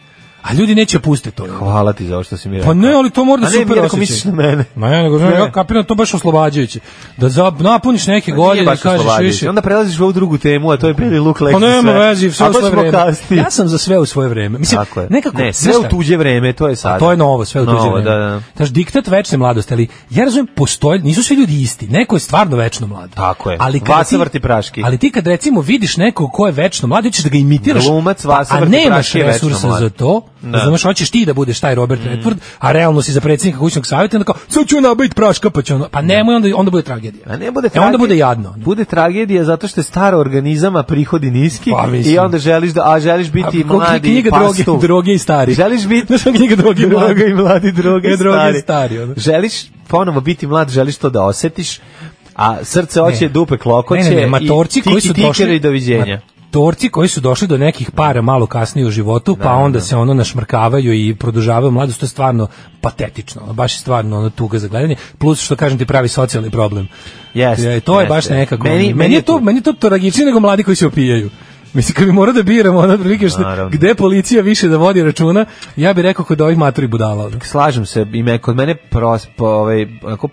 E: A ljudi neće pustiti to.
F: Hvala ti za ovo što si mi rekao.
E: Pa ne, ali to mora da
F: A ne, mi
E: super
F: je rekao,
E: osjećaj.
F: misliš na mene.
E: Ma ja nego,
F: Ne. Pa
E: ja kapiram, to baš oslobađajuće. Da za, napuniš neke godine i
F: baš
E: kažeš
F: oslobađajuće.
E: više.
F: Onda prelaziš u ovu drugu temu, a to je Beli Luk Lek.
E: Pa nema veze, sve u svoje vreme.
F: Ja
E: Ja sam za sve u svoje vreme. Mislim,
F: Tako je.
E: nekako,
F: ne, sve
E: znaš
F: u
E: šta?
F: tuđe vreme, to je sad.
E: A to je novo, sve u tuđe
F: Novo,
E: vreme.
F: Da, da.
E: Znaš, diktat večne mladosti, ali ja razumem, postoje, nisu svi ljudi isti, neko je stvarno večno mlad.
F: Tako je.
E: Ali kada
F: Vasa
E: ti-
F: vrti praški.
E: Ali ti kad recimo vidiš nekog ko je večno mlad, hoćeš da ga imitiraš, pa,
F: Glumac Vasa
E: a
F: vrti
E: nemaš
F: praški je večno
E: resursa
F: mlad.
E: za to,
F: Da.
E: razumeš, hoćeš ti da budeš taj Robert Redford, a realno si za predsjednika kućnog savjeta, onda kao, sad ću ja nabaviti praška, pa će ono, pa nemoj, onda, onda bude tragedija.
F: A Pa ne bude
E: E, onda
F: tragedija-
E: bude jadno.
F: Bude tragedija zato što je staro organizama prihodi niski
E: Pa, mislim.
F: i onda želiš da a želiš biti
E: A, ko-
F: mladi
E: knjiga droge,
F: pastuv.
E: droge i stari.
F: Želiš biti
E: Znaš, knjiga droge i mladi.
F: droge i mladi, droge i
E: E, droge i
F: stari.
E: stari, ono.
F: Želiš ponovo biti mlad, želiš to da osetiš. A srce hoće
E: Ne.
F: dupe klokoće
E: Ne, ne, ne, matorci
F: i
E: koji su
F: tiki-tikeri
E: došli
F: i doviđenja.
E: Matorci koji su došli do nekih para malo kasnije u životu, pa onda se ono našmrkavaju i produžavaju mladost, to je stvarno patetično, ono, baš je stvarno ono tuga za gledanje, plus što kažem ti pravi socijalni problem.
F: Jeste,
E: Je, to je baš
F: jeste.
E: nekako. ono,
F: Meni-
E: Meni,
F: meni je
E: je to,
F: tu-
E: meni je to tragičnije nego mladi koji se opijaju. Mislim, kad bi morao da biramo ono prilike što,
F: Naravno.
E: gde policija više da vodi računa, ja bih rekao kod ovih maturi budala. ono.
F: slažem se i me kod mene pros, po, ovaj, ako,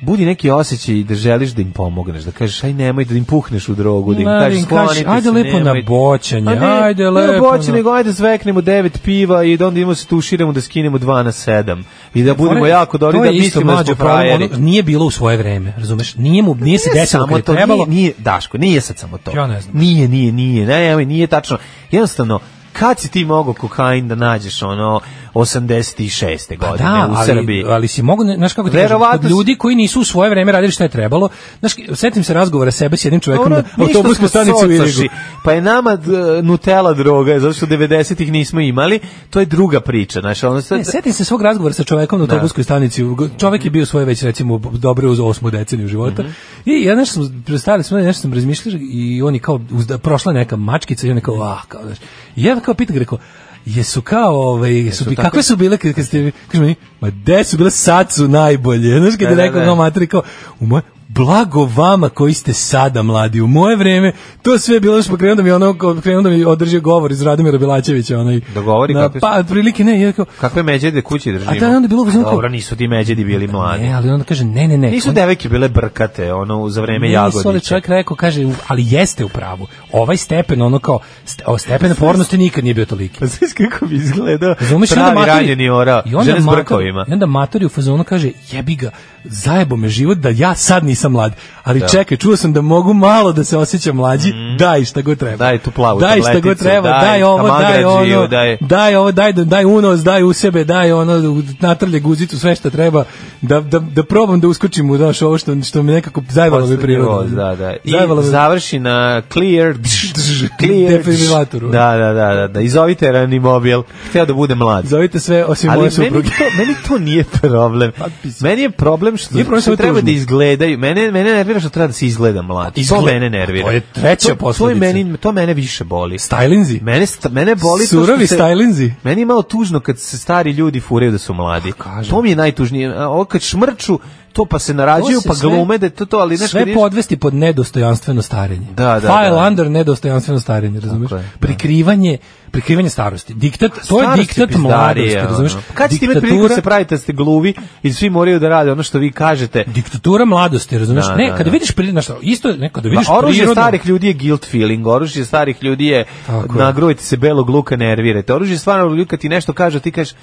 F: budi neki osjećaj da želiš da im pomogneš, da kažeš aj nemoj da im puhneš u drogu, da im
E: Da, da
F: kažeš
E: im kažeš,
F: sklonite
E: ajde
F: se,
E: lepo na
F: nemojte."
E: boćanje,
F: A
E: ajde
F: Pa
E: lepo ono.
F: Ne na boćanje,
E: na-
F: nego ajde zveknemo devet piva i da onda idemo se tuširamo da skinemo dva na sedam i da budemo
E: Fore,
F: jako dobri,
E: to
F: da
E: je isto
F: mislimo da
E: mlađo
F: smo
E: problem,
F: frajeri.
E: ono, nije bilo u svoje vreme, razumeš? Nije mu nije se
F: Nije
E: desilo
F: samo
E: kad
F: to,
E: je trebalo.
F: Nije, nije, Daško, nije sad samo to.
E: Ja ne znam.
F: Nije, nije, nije, ne, nemoj, nije tačno. Jednostavno, kad si ti mogao kokain da nađeš ono 86.
E: Pa
F: godine u
E: ali,
F: Srbiji?
E: ali si mogu, ne- znaš kako ti kažem,
F: Verovatno
E: kod
F: si-
E: ljudi koji nisu u svoje vreme radili šta je trebalo, znaš, setim se razgovora sebe s jednim čovekom
F: Ono,
E: na
F: mi što smo
E: autobuskoj stanici u
F: socoši,
E: Irigu.
F: Pa je nama d- Nutella droga, zato što 90-ih nismo imali, to je druga priča. Znači, ono sad,
E: Ne, setim se svog razgovora sa čovekom na autobuskoj stanici. u- Čovek je bio svoje već recimo dobro uz osmu deceniju života.
F: Mhm.
E: I ja nešto sam prestali smo nešto sam razmišljao i oni kao uzda, prošla neka mačkica i oni kao ah kao znaš. I ja kao pitam ga rekao Jesu kao, ovaj, jesu, bi, kakve su bile kad, kad ste, kaže meni, ma gde su bile sad su najbolje, znaš kad
F: Ne,
E: je
F: ne,
E: rekao
F: ne.
E: kao materi, kao, u moj, blago vama koji ste sada mladi. U moje vreme to sve je bilo još pokrenuo da mi ono krenuo da mi održi govor iz Radomira Bilačevića onaj.
F: Da govori
E: na,
F: kakve su-
E: pa otprilike ne, je kao
F: Kakve međede kući držimo?
E: A da, onda je bilo uzmano kao-
F: Dobro, nisu ti međedi bili mladi.
E: ne, ali onda kaže ne, ne, ne.
F: Nisu
E: on-
F: devojke bile brkate, ono, za vreme
E: Nisu, ali
F: jagodića.
E: čovjek rekao, kaže, u- ali jeste u pravu. Ovaj stepen, ono kao, ste, o, stepen pornosti nikad nije bio toliki.
F: Pa znaš kako bi izgledao
E: Razumeš, i onda
F: pravi
E: matori-
F: ranjeni ora,
E: i onda
F: žena s
E: matori-
F: brkovima.
E: I onda matori u fazonu kaže, jebi ga, zajebo me život da ja sad nisam mlad. Ali čekaj, čuo sam da mogu malo da se osjećam mlađi, daj šta god treba.
F: Mhm. Daj tu plavu
E: Daj šta god
F: tableticu,
E: treba, daj,
F: daj
E: ovo, daj
F: kamagrađiju,
E: ono, daj.
F: daj.
E: ovo, daj, daj unos, daj u sebe, daj ono, u- natrlje guzicu, sve šta treba, da, da, da probam da uskočim u daš ovo što, što mi nekako zajebalo mi
F: Poslednji
E: priroda.
F: voz, Da, da. I
E: Zajebalo me-
F: završi na clear, dž, dž, clear, dž.
E: Defibrilatoru.
F: Da, da, da, da, da. I zovite Ranimobil. Hteo da bude mlad.
E: Zovite sve osim
F: Ali
E: moje
F: meni
E: supruge. Pa,
F: to, meni to nije problem.
E: mislim.
F: Meni je problem što,
E: Nije problem,
F: što
E: samo
F: treba
E: tužno.
F: da izgledaju. Mene, mene nervira što treba da se izgleda mlad.
E: Izgled-
F: To mene nervira.
E: To je treća
F: To- to, je
E: posledica.
F: meni, to mene više boli.
E: Stylinzi.
F: Mene, st- mene boli to što
E: Surovi
F: se-
E: stylinzi.
F: Meni je malo tužno kad se stari ljudi furaju da su mladi.
E: Pa, kažem.
F: To mi je najtužnije. A Ovo kad šmrču, to pa se narađuju,
E: To se
F: pa
E: sve-
F: glume da je to to, ali znaš kad
E: sve
F: ideš-
E: podvesti pod nedostojanstveno starenje.
F: Da, da,
E: File
F: da.
E: under nedostojanstveno starenje, razumiješ?
F: Tako je, da.
E: prikrivanje, prikrivanje starosti. Diktat, to je
F: Starost
E: diktat
F: pizdarija,
E: mladosti,
F: ono.
E: razumiješ?
F: Kad ćete imati priliku da se pravite da ste gluvi i svi moraju da rade ono što vi kažete?
E: diktatura mladosti, razumiješ?
F: Da,
E: ne,
F: da,
E: kada
F: da.
E: vidiš prirodno, šta, isto ne, kada vidiš
F: Ma, oružje
E: prirodno-
F: starih ljudi je guilt feeling, oružje starih ljudi je
E: Tako je.
F: nagrujte se belog luka, nervirajte. Oružje stvarnog luka ti nešto kaže, ti kažeš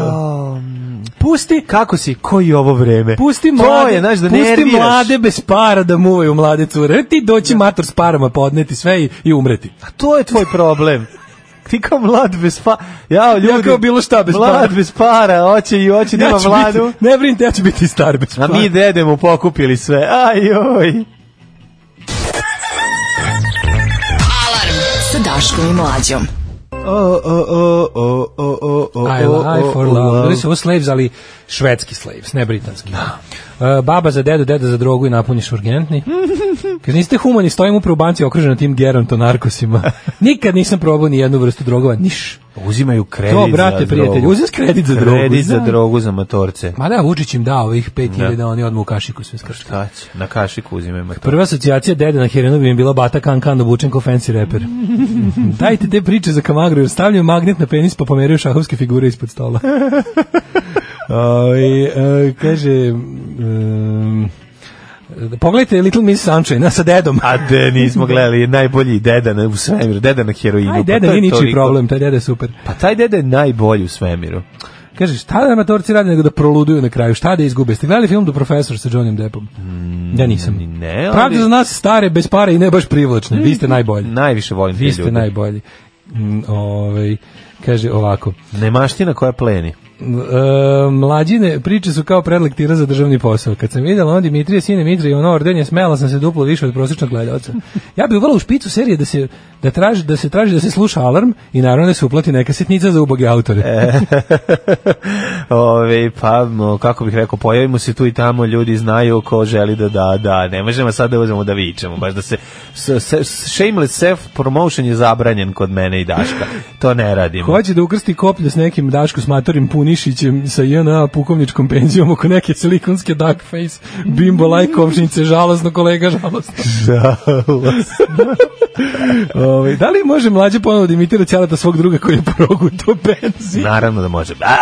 F: "Au, Pusti, kako si, koji je ovo vreme?
E: Pusti
F: to
E: mlade,
F: je, znaš, da
E: pusti
F: nerviraš.
E: mlade bez para da muvaju mlade cure. Ti doći mator s parama podneti sve i, i umreti.
F: A to je tvoj problem. Ti kao mlad bez para. Ja, ljudi,
E: Ja kao bilo šta bez
F: mlad
E: para.
F: bez para, oće i oće, nema
E: ću
F: mladu.
E: biti, ne brinite, ja ću biti i star bez
F: A
E: para.
F: mi dedemo pokupili sve. Ajoj.
D: Alarm sa Daškom i Mlađom.
F: O, o, o, o, o, o, o,
E: I
F: o,
E: lie
F: o,
E: for
F: o,
E: love. Bili su ovo slaves, ali švedski slaves, ne britanski. E, baba za dedu, deda za drogu i napuniš urgentni. Kaže, niste humani, stojim upravo u banci okružena tim geronto narkosima. Nikad nisam probao ni jednu vrstu drogova, niš.
F: Pa Uzimaju kredit
E: To, brate,
F: za
E: prijatelj,
F: drogu.
E: uzeš kredit za drogu,
F: Kredit za
E: znam.
F: drogu za motorce.
E: Ma da, Vučić im dao ovih 5000, oni odmah u kašiku sve skrštaju.
F: Pa Šta će? Na kašiku uzimaju motorce.
E: Prva asocijacija dede na Herenu bi mi bila Bata Kan Kan obučen kao fancy reper. Dajte te priče za kamagru, jer stavljaju magnet na penis pa pomeraju šahovske figure ispod stola. Oj, e, kaže... em, pogledajte Little Miss Sunshine, a sa dedom.
F: A de, nismo gledali, najbolji deda na, u svemiru, deda na heroinu.
E: Aj,
F: pa to
E: deda
F: je
E: nije ničiji
F: toliko-
E: problem, taj deda je super.
F: Pa taj deda je najbolji u svemiru.
E: Kaže, šta da amatorci rade nego da proluduju na kraju, šta da izgube? Ste gledali film Do Profesor sa Johnnym Deppom? ja nisam.
F: Mm, ne, ali-
E: Pravda za nas stare, bez pare i ne baš privlačne. Vi ste najbolji.
F: Najviše volim te
E: Vi ste
F: ljude.
E: najbolji. Mm, Ovaj kaže ovako.
F: Nemaština koja pleni.
E: E, mlađine, priče su kao predlektira za državni posao. Kad sam vidjela on Dimitrije, sine Mitrije, ono ordenje, smela sam se duplo više od prosječnog gledalca. Ja bih uvela u špicu serije da se, da, traži, da se traži da se sluša alarm i naravno da se uplati neka sitnica za uboge autore.
F: E. Ove, pa, mo, kako bih rekao, pojavimo se tu i tamo, ljudi znaju ko želi da da, da, ne možemo sad da uzmemo da vičemo, baš da se, s, s- shameless self-promotion je zabranjen kod mene i Daška, to ne radimo.
E: Hoće da ukrsti koplje s nekim Daško s matorim Punišićem sa JNA pukovničkom penzijom oko neke silikonske duckface, bimbo lajkovšnice, žalosno kolega, žalosno. Ovaj, da li može mlađe ponovo da imitira ćaleta svog druga koji je progu to benzi?
F: Naravno da može. Ba,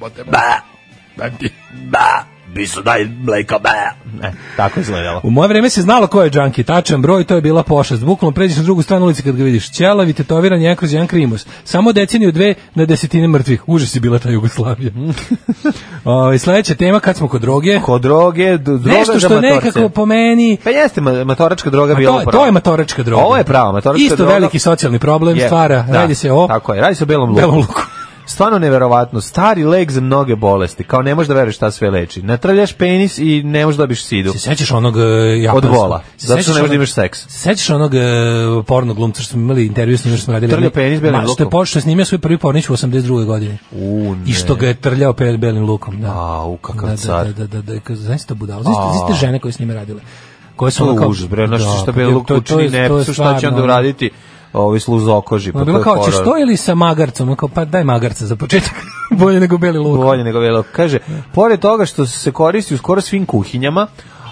F: ba, ba, ba, bisu daj mleko, ba. E, tako je izgledalo.
E: U moje vreme se znalo ko je džanki, tačan broj, to je bila pošast. Bukvalno pređeš na drugu stranu ulici kad ga vidiš. Ćelavi, tetoviran, jedan kroz jedan krimos. Samo deceniju dve na desetine mrtvih. Užas je bila ta Jugoslavija. Ovaj sledeća tema, kad smo kod droge.
F: Kod droge, d- droga
E: Nešto
F: za
E: što je
F: matorce.
E: nekako po meni
F: Pa jeste, ma- matoračka droga
E: Ma
F: bila
E: to, to je matoračka droga.
F: Ovo je prava matoračka
E: Isto
F: droga.
E: veliki socijalni problem
F: Je,
E: stvara.
F: da,
E: radi se o
F: Tako je, radi se o belom luku.
E: belom luku.
F: Stvarno neverovatno, stari lek za mnoge bolesti, kao ne možeš da veruješ šta sve leči. Natrljaš penis i ne možeš da dobiš sidu.
E: Se sećaš onog e, japanskog?
F: Od vola.
E: Se
F: Zato što
E: sećaš
F: ne možeš da
E: onog-
F: imaš seks.
E: Se sećaš onog e, porno glumca što smo imali intervju s njim što smo radili?
F: Trlja penis belim
E: Ma, Što je,
F: lukom.
E: po, što je snimio svoj prvi pornić u 82. godini.
F: U, ne.
E: I što ga je trljao pe, belim lukom. Da.
F: Au, kakav
E: da,
F: car.
E: Da, da, da, da, da, znaš to budalo. Znaš, znaš te žene koje su s njime radile. Koje su
F: To
E: ono
F: je
E: kao-
F: užas, bre, znaš
E: Da,
F: šta
E: pa,
F: Beli Luk
E: to- to je-
F: učini
E: to je
F: nepsu, šta će
E: stvarno,
F: onda
E: ono,
F: uraditi? ovi sluzokoži.
E: Ono je bilo kao, ćeš to ili sa magarcom? Ono kao, pa daj magarca za početak. Bolje nego beli luk.
F: Bolje nego beli luk. Kaže, pored toga što se koristi u skoro svim kuhinjama,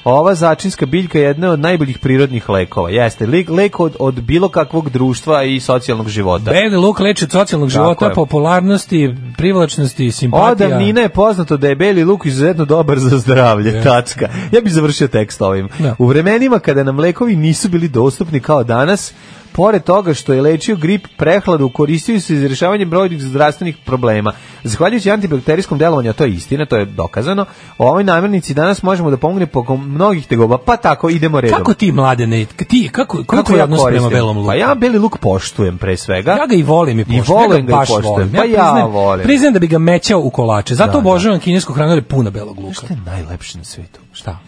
F: ova začinska biljka je jedna od najboljih prirodnih lekova. Jeste, lek, lek od, od bilo kakvog društva i socijalnog života.
E: Beli luk leči od socijalnog
F: Tako
E: života,
F: je.
E: popularnosti, privlačnosti, simpatija.
F: Od davnina je poznato da je beli luk izuzetno dobar za zdravlje,
E: Je.
F: tačka. Ja bih završio tekst ovim.
E: Da.
F: U vremenima kada nam lekovi nisu bili dostupni kao danas, Pored toga što je lečio grip prehladu, koristio se za rješavanje brojnih zdravstvenih problema. Zahvaljujući antibakterijskom delovanju, a to je istina, to je dokazano, o ovoj namirnici danas možemo da pomogne po mnogih tegoba, pa tako idemo redom.
E: Kako ti, mladene, k- ti, kako, kako je odnos prema
F: koristim?
E: belom luku?
F: Pa ja beli luk poštujem pre svega.
E: Ja ga i volim i poštujem.
F: volim
E: ja
F: ga i
E: baš
F: poštujem.
E: volim.
F: Pa ja
E: priznajem-
F: volim.
E: Priznajem da bi ga mećao u kolače. Zato
F: Da,
E: obožavam kinesku hranu jer je puna belog luka.
F: Šta je najlepše na svetu?
E: Šta?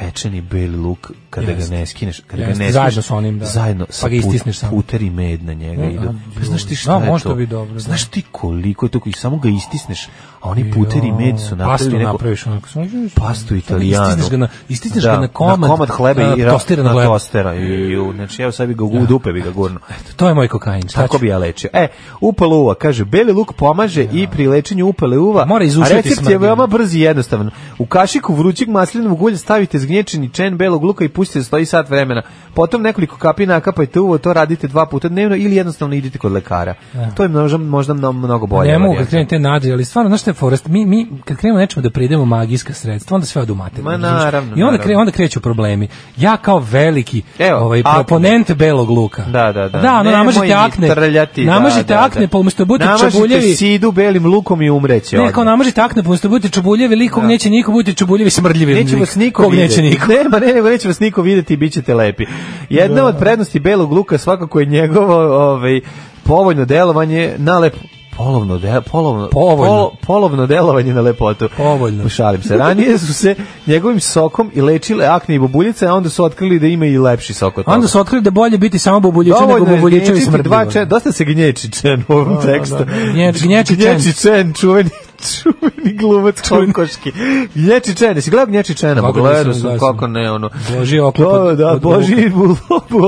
F: pečeni beli luk kada
E: Jeste.
F: ga ne skineš, kada ga
E: Jeste,
F: ne
E: zajedno
F: skineš,
E: sa onim, da.
F: zajedno
E: Pa
F: sa
E: ga istisneš
F: put,
E: samo.
F: puter i med na njega
E: Da,
F: idu.
E: da,
F: Pa znaš ti
E: da,
F: šta je
E: može
F: to?
E: to biti dobro, da.
F: Znaš ti koliko je to i samo ga istisneš, a oni puter i med su
E: Pastu
F: napravili neko
E: napraviš ono, onako.
F: pastu italijanu.
E: Istisneš ga na, istisneš
F: Da,
E: ga na komad,
F: hleba i ra-
E: tostiran
F: na
E: hleb.
F: tostera. I, i, u- znači, evo sad bi ga u dupe bi ga gurno.
E: To je moj kokain. Šta
F: Tako
E: ću?
F: bi ja lečio. E, upala uva, kaže, beli luk pomaže i pri lečenju upale uva,
E: Mora
F: a
E: izušiti
F: recept je
E: smrdnju.
F: veoma brz i jednostavan. U kašiku vrućeg maslinovog ulja stavite zgnječeni čen belog luka i pustite da stoji sat vremena. Potom nekoliko kapi nakapajte uvo, to radite dva puta dnevno ili jednostavno idite kod lekara. To je možda, možda mno- mnogo bolje.
E: Ne mogu
F: varijanta.
E: kad krenu te nađe, ali stvarno, znaš šta je Forest, mi, mi kad krenemo nečemu da pridemo magijska sredstva, onda sve odu mater.
F: Ma, naravno,
E: I onda,
F: naravno.
E: kre, onda kreću problemi. Ja kao veliki
F: Evo,
E: ovaj,
F: akne.
E: proponent belog luka.
F: Da, da, da.
E: Da, ono,
F: Nemoj
E: namažete
F: mi
E: akne.
F: trljati, da,
E: namažete
F: da,
E: akne,
F: da.
E: pa umesto da budete
F: Namažite
E: čabuljevi...
F: sidu belim lukom i umreće.
E: Ne,
F: odmah.
E: kao namažite akne, pa umesto da budete čabuljevi, likog neće niko, budete čabuljevi smrdljivi.
F: Neće vas niko
E: Kog
F: vidjeti.
E: neće niko.
F: Ne, ma ne, nego neće vas niko vidjeti i bit ćete lepi. Jedna od prednosti belog luka svakako je njegovo ovaj, povoljno delovanje na lep polovno de, polovno
E: Povoljno.
F: pol- polovno delovanje na lepotu.
E: Povoljno.
F: Šalim se. Ranije su se njegovim sokom i lečile akne i bubuljice, a onda su otkrili da ima i lepši sok od toga.
E: Onda su otkrili da bolje biti samo bobuljiče nego
F: Dovoljno je
E: bobuljičevi
F: gnječiti dva
E: smrdljivi.
F: čen, dosta se gnječi čen u ovom tekstu.
E: Gnječ- gnječi
F: Gnječi čen, čuveni, čuveni glumac kokoški. Gnječi čen, jesi gledao gnječi čena?
E: Kako
F: Gledao
E: nisam,
F: sam,
E: gledao
F: kako
E: sam.
F: ne, ono.
E: Božji oklop
F: Do-
E: od-
F: Da,
E: od
F: Boži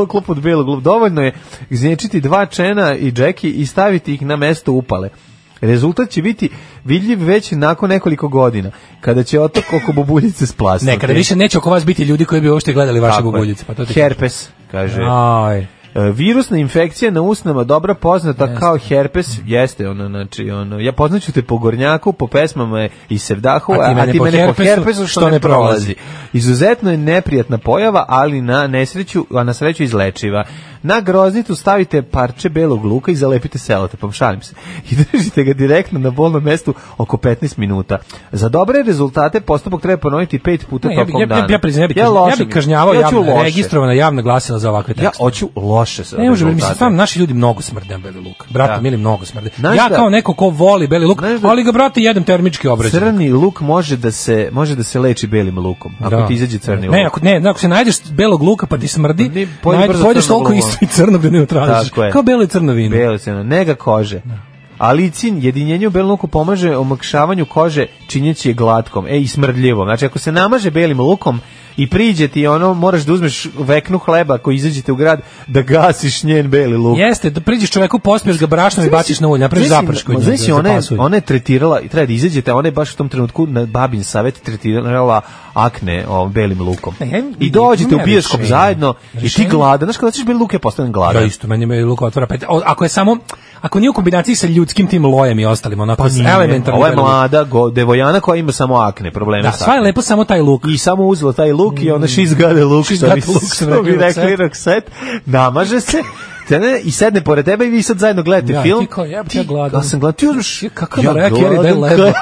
F: oklop od belog glup. Dovoljno je gnječiti dva čena i džeki i staviti ih na mesto upale. Rezultat će biti vidljiv već nakon nekoliko godina, kada će otok oko bubuljice splasnuti.
E: Ne, kada više neće oko vas biti ljudi koji bi uopšte gledali vaše
F: Tako je.
E: bobuljice. Pa to ti
F: Herpes, kaže.
E: Aj.
F: E, Virusna infekcija na usnama dobro poznata kao herpes, jeste ono, znači ono, ja poznaću te po Gornjaku, po pesmama i Sevdahu, a ti mene, po, herpesu, što, ne prolazi. Izuzetno je neprijatna pojava, ali na nesreću, a na sreću izlečiva. Na groznicu stavite parče belog luka i zalepite selotepom, šalim se. I držite ga direktno na bolnom mestu oko 15 minuta. Za dobre rezultate postupak treba ponoviti 5 puta
E: Ne, ja, bi-
F: tokom
E: ja, bi- ja,
F: dana.
E: bi- ja priznam, ja bi, kažnj- ja
F: loše
E: bi
F: mi-
E: kažnjavao
F: ja ću
E: javno,
F: loše.
E: registrovana javna glasila za ovakve
F: Ja
E: tekste.
F: hoću loše sa
E: ne može, mislim,
F: rezultate.
E: stvarno naši ljudi mnogo smrde na beli luk. Brate,
F: Da.
E: mili, mnogo smrde.
F: Znaš
E: ja
F: da-
E: kao neko ko voli beli luk,
F: Znaš da-
E: ali ga, brate, jedem termički obraz.
F: Crni luk može da se može da se leči belim lukom. Ako ti izađe crni
E: Ne,
F: luk.
E: ako, ne, ako se najdeš belog luka pa ti smrdi,
F: Ne,
E: ne,
F: pojedi brzo
E: pojedeš
F: crnog
E: toliko
F: luka.
E: isto i crnog da ne otražiš.
F: Tako je.
E: Kao belo i crno vino.
F: Belo crno, nega kože. Alicin, jedinjenje u belom luku pomaže omakšavanju kože činjeći je glatkom, e, i smrdljivom. Znači, ako se namaže belim lukom i priđe ti ono, moraš da uzmeš veknu hleba ako izađete u grad, da gasiš njen beli luk.
E: Jeste, da priđeš čoveku, posmiješ ga brašnom i baciš na ulje, napraviš
F: Znaš si-
E: zaprašku. od
F: ma,
E: njega,
F: Znaš, si,
E: da
F: ona je,
E: zapasuje.
F: ona je tretirala, i treba da izađete, ona je baš u tom trenutku na babin savet tretirala akne ovom belim lukom.
E: Ne, ja im-
F: I dođete u
E: imam ja
F: bioskop
E: rešenje.
F: zajedno i ti
E: Rešenje?
F: gladan. Znaš kada ćeš beli luke, postanem
E: Ja
F: gladan.
E: isto, meni me luk otvara pet. O, Ako je samo, ako nije u kombinaciji sa ljudskim tim lojem i ostalim, onako pa
F: Nije.
E: elementarno.
F: Ovo je mlada go, devojana koja ima samo akne, probleme
E: Da,
F: sa
E: sva je
F: akne.
E: lepo samo taj luk.
F: I samo uzela taj luk i onda she's got a look,
E: She's
F: što
E: got
F: bi,
E: a look, sam
F: što bi
E: rekao,
F: rekli
E: Roxette.
F: Roxette, namaže se, tene, i sedne pored tebe i vi sad zajedno gledate
E: Ja,
F: film.
E: ti kao, jebote, ja gladan.
F: Ja sam gladan, ti uzmeš,
E: Ti kakav Mariah Carey, daj
F: gladan,
E: lebo.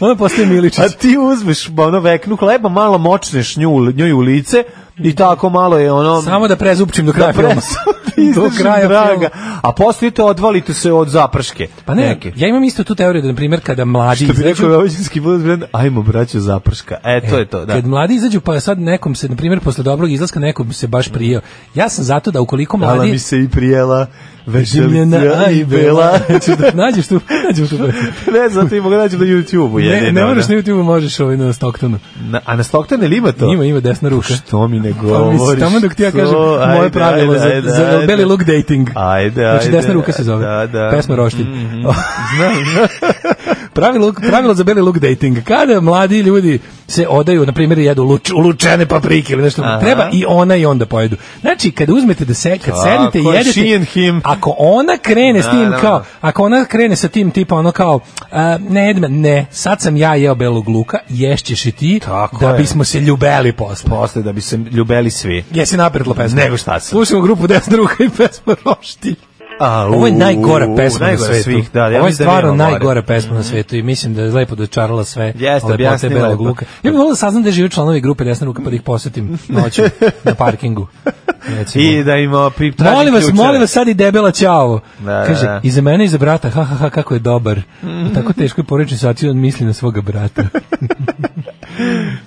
E: Ona postaje Ono Miličić.
F: A Pa ti uzmeš ono veknu hleba, malo močneš nju, u- njoj u lice i tako malo je ono...
E: Samo da prezupčim do kraja filma.
F: do kraja draga.
E: filma.
F: A poslije to odvalite se od zaprške.
E: Pa ne,
F: Neke.
E: ja imam isto tu teoriju da, na primjer, kada mlađi
F: Što bi
E: izađu-
F: rekao Vojvođanski Budbrand, ajmo braćo zaprška. E, to je to, da.
E: Kad mladi izađu, pa sad nekom se, na primjer, posle dobrog izlaska nekom se baš prijeo. Ja sam zato da ukoliko
F: Dala
E: mladi...
F: mi se i prijela,
E: Zemljena,
F: vešalica
E: a
F: i bela.
E: Ću Znači da nađeš tu, nađeš tu.
F: ne znam, ti mogu naći na YouTube-u.
E: Ne,
F: jedino, ono.
E: ne moraš
F: da.
E: na YouTube, možeš ovaj na Stocktonu.
F: Na- A na Stocktonu ili ima to?
E: Ima, ima desna ruka.
F: Što mi ne
E: Pa mislim,
F: govoriš.
E: tamo dok ti ja
F: to,
E: kažem moje
F: ajde,
E: pravilo
F: ajde,
E: za-
F: ajde,
E: za
F: ajde.
E: beli luk dating.
F: Ajde, ajde.
E: Znači, desna ruka se zove.
F: Da, da.
E: Pesma Roštilj.
F: Mhm.
E: pravilo, pravilo za beli luk dating. Kada mladi ljudi se odaju, na primjer, jedu luč, lučene paprike ili nešto,
F: Aha.
E: treba i ona i onda pojedu. Znači, kada uzmete da se, kad
F: Tako
E: sedite i
F: je,
E: jedete,
F: she and him.
E: ako ona krene s tim
F: Naravno.
E: kao, ako ona krene sa tim tipa ono kao, a, ne jedem, ne, sad sam ja jeo belog luka, ješćeš i ti, da
F: je.
E: bismo se ljubeli posle.
F: Posle da bi se ljubeli svi.
E: Jesi napredila pesma?
F: Nego šta sam.
E: Slušamo grupu Desna ruka i pesma Roštilj.
F: A,
E: Ovo je
F: u,
E: najgora
F: u,
E: pesma na
F: najgora
E: svetu.
F: svih, da, ja
E: Ovo je
F: mislim da nema
E: stvarno
F: gore. Mhm.
E: najgora pesma na svetu i mislim da je lepo dočarala sve
F: Jeste,
E: lepote
F: objasnila
E: Belog
F: lepo.
E: Luka. Ja bih volio da saznam da žive članovi grupe Desna ruka pa da ih posetim noću na parkingu. Recimo.
F: I da im opi, traži
E: Molim vas,
F: ključeve.
E: molim vas, sad i debela ćao.
F: Da,
E: Kaže,
F: da. Mm.
E: i za mene i za brata, ha, ha, ha, kako je dobar. U tako teškoj porečni situaciji on misli na svoga brata.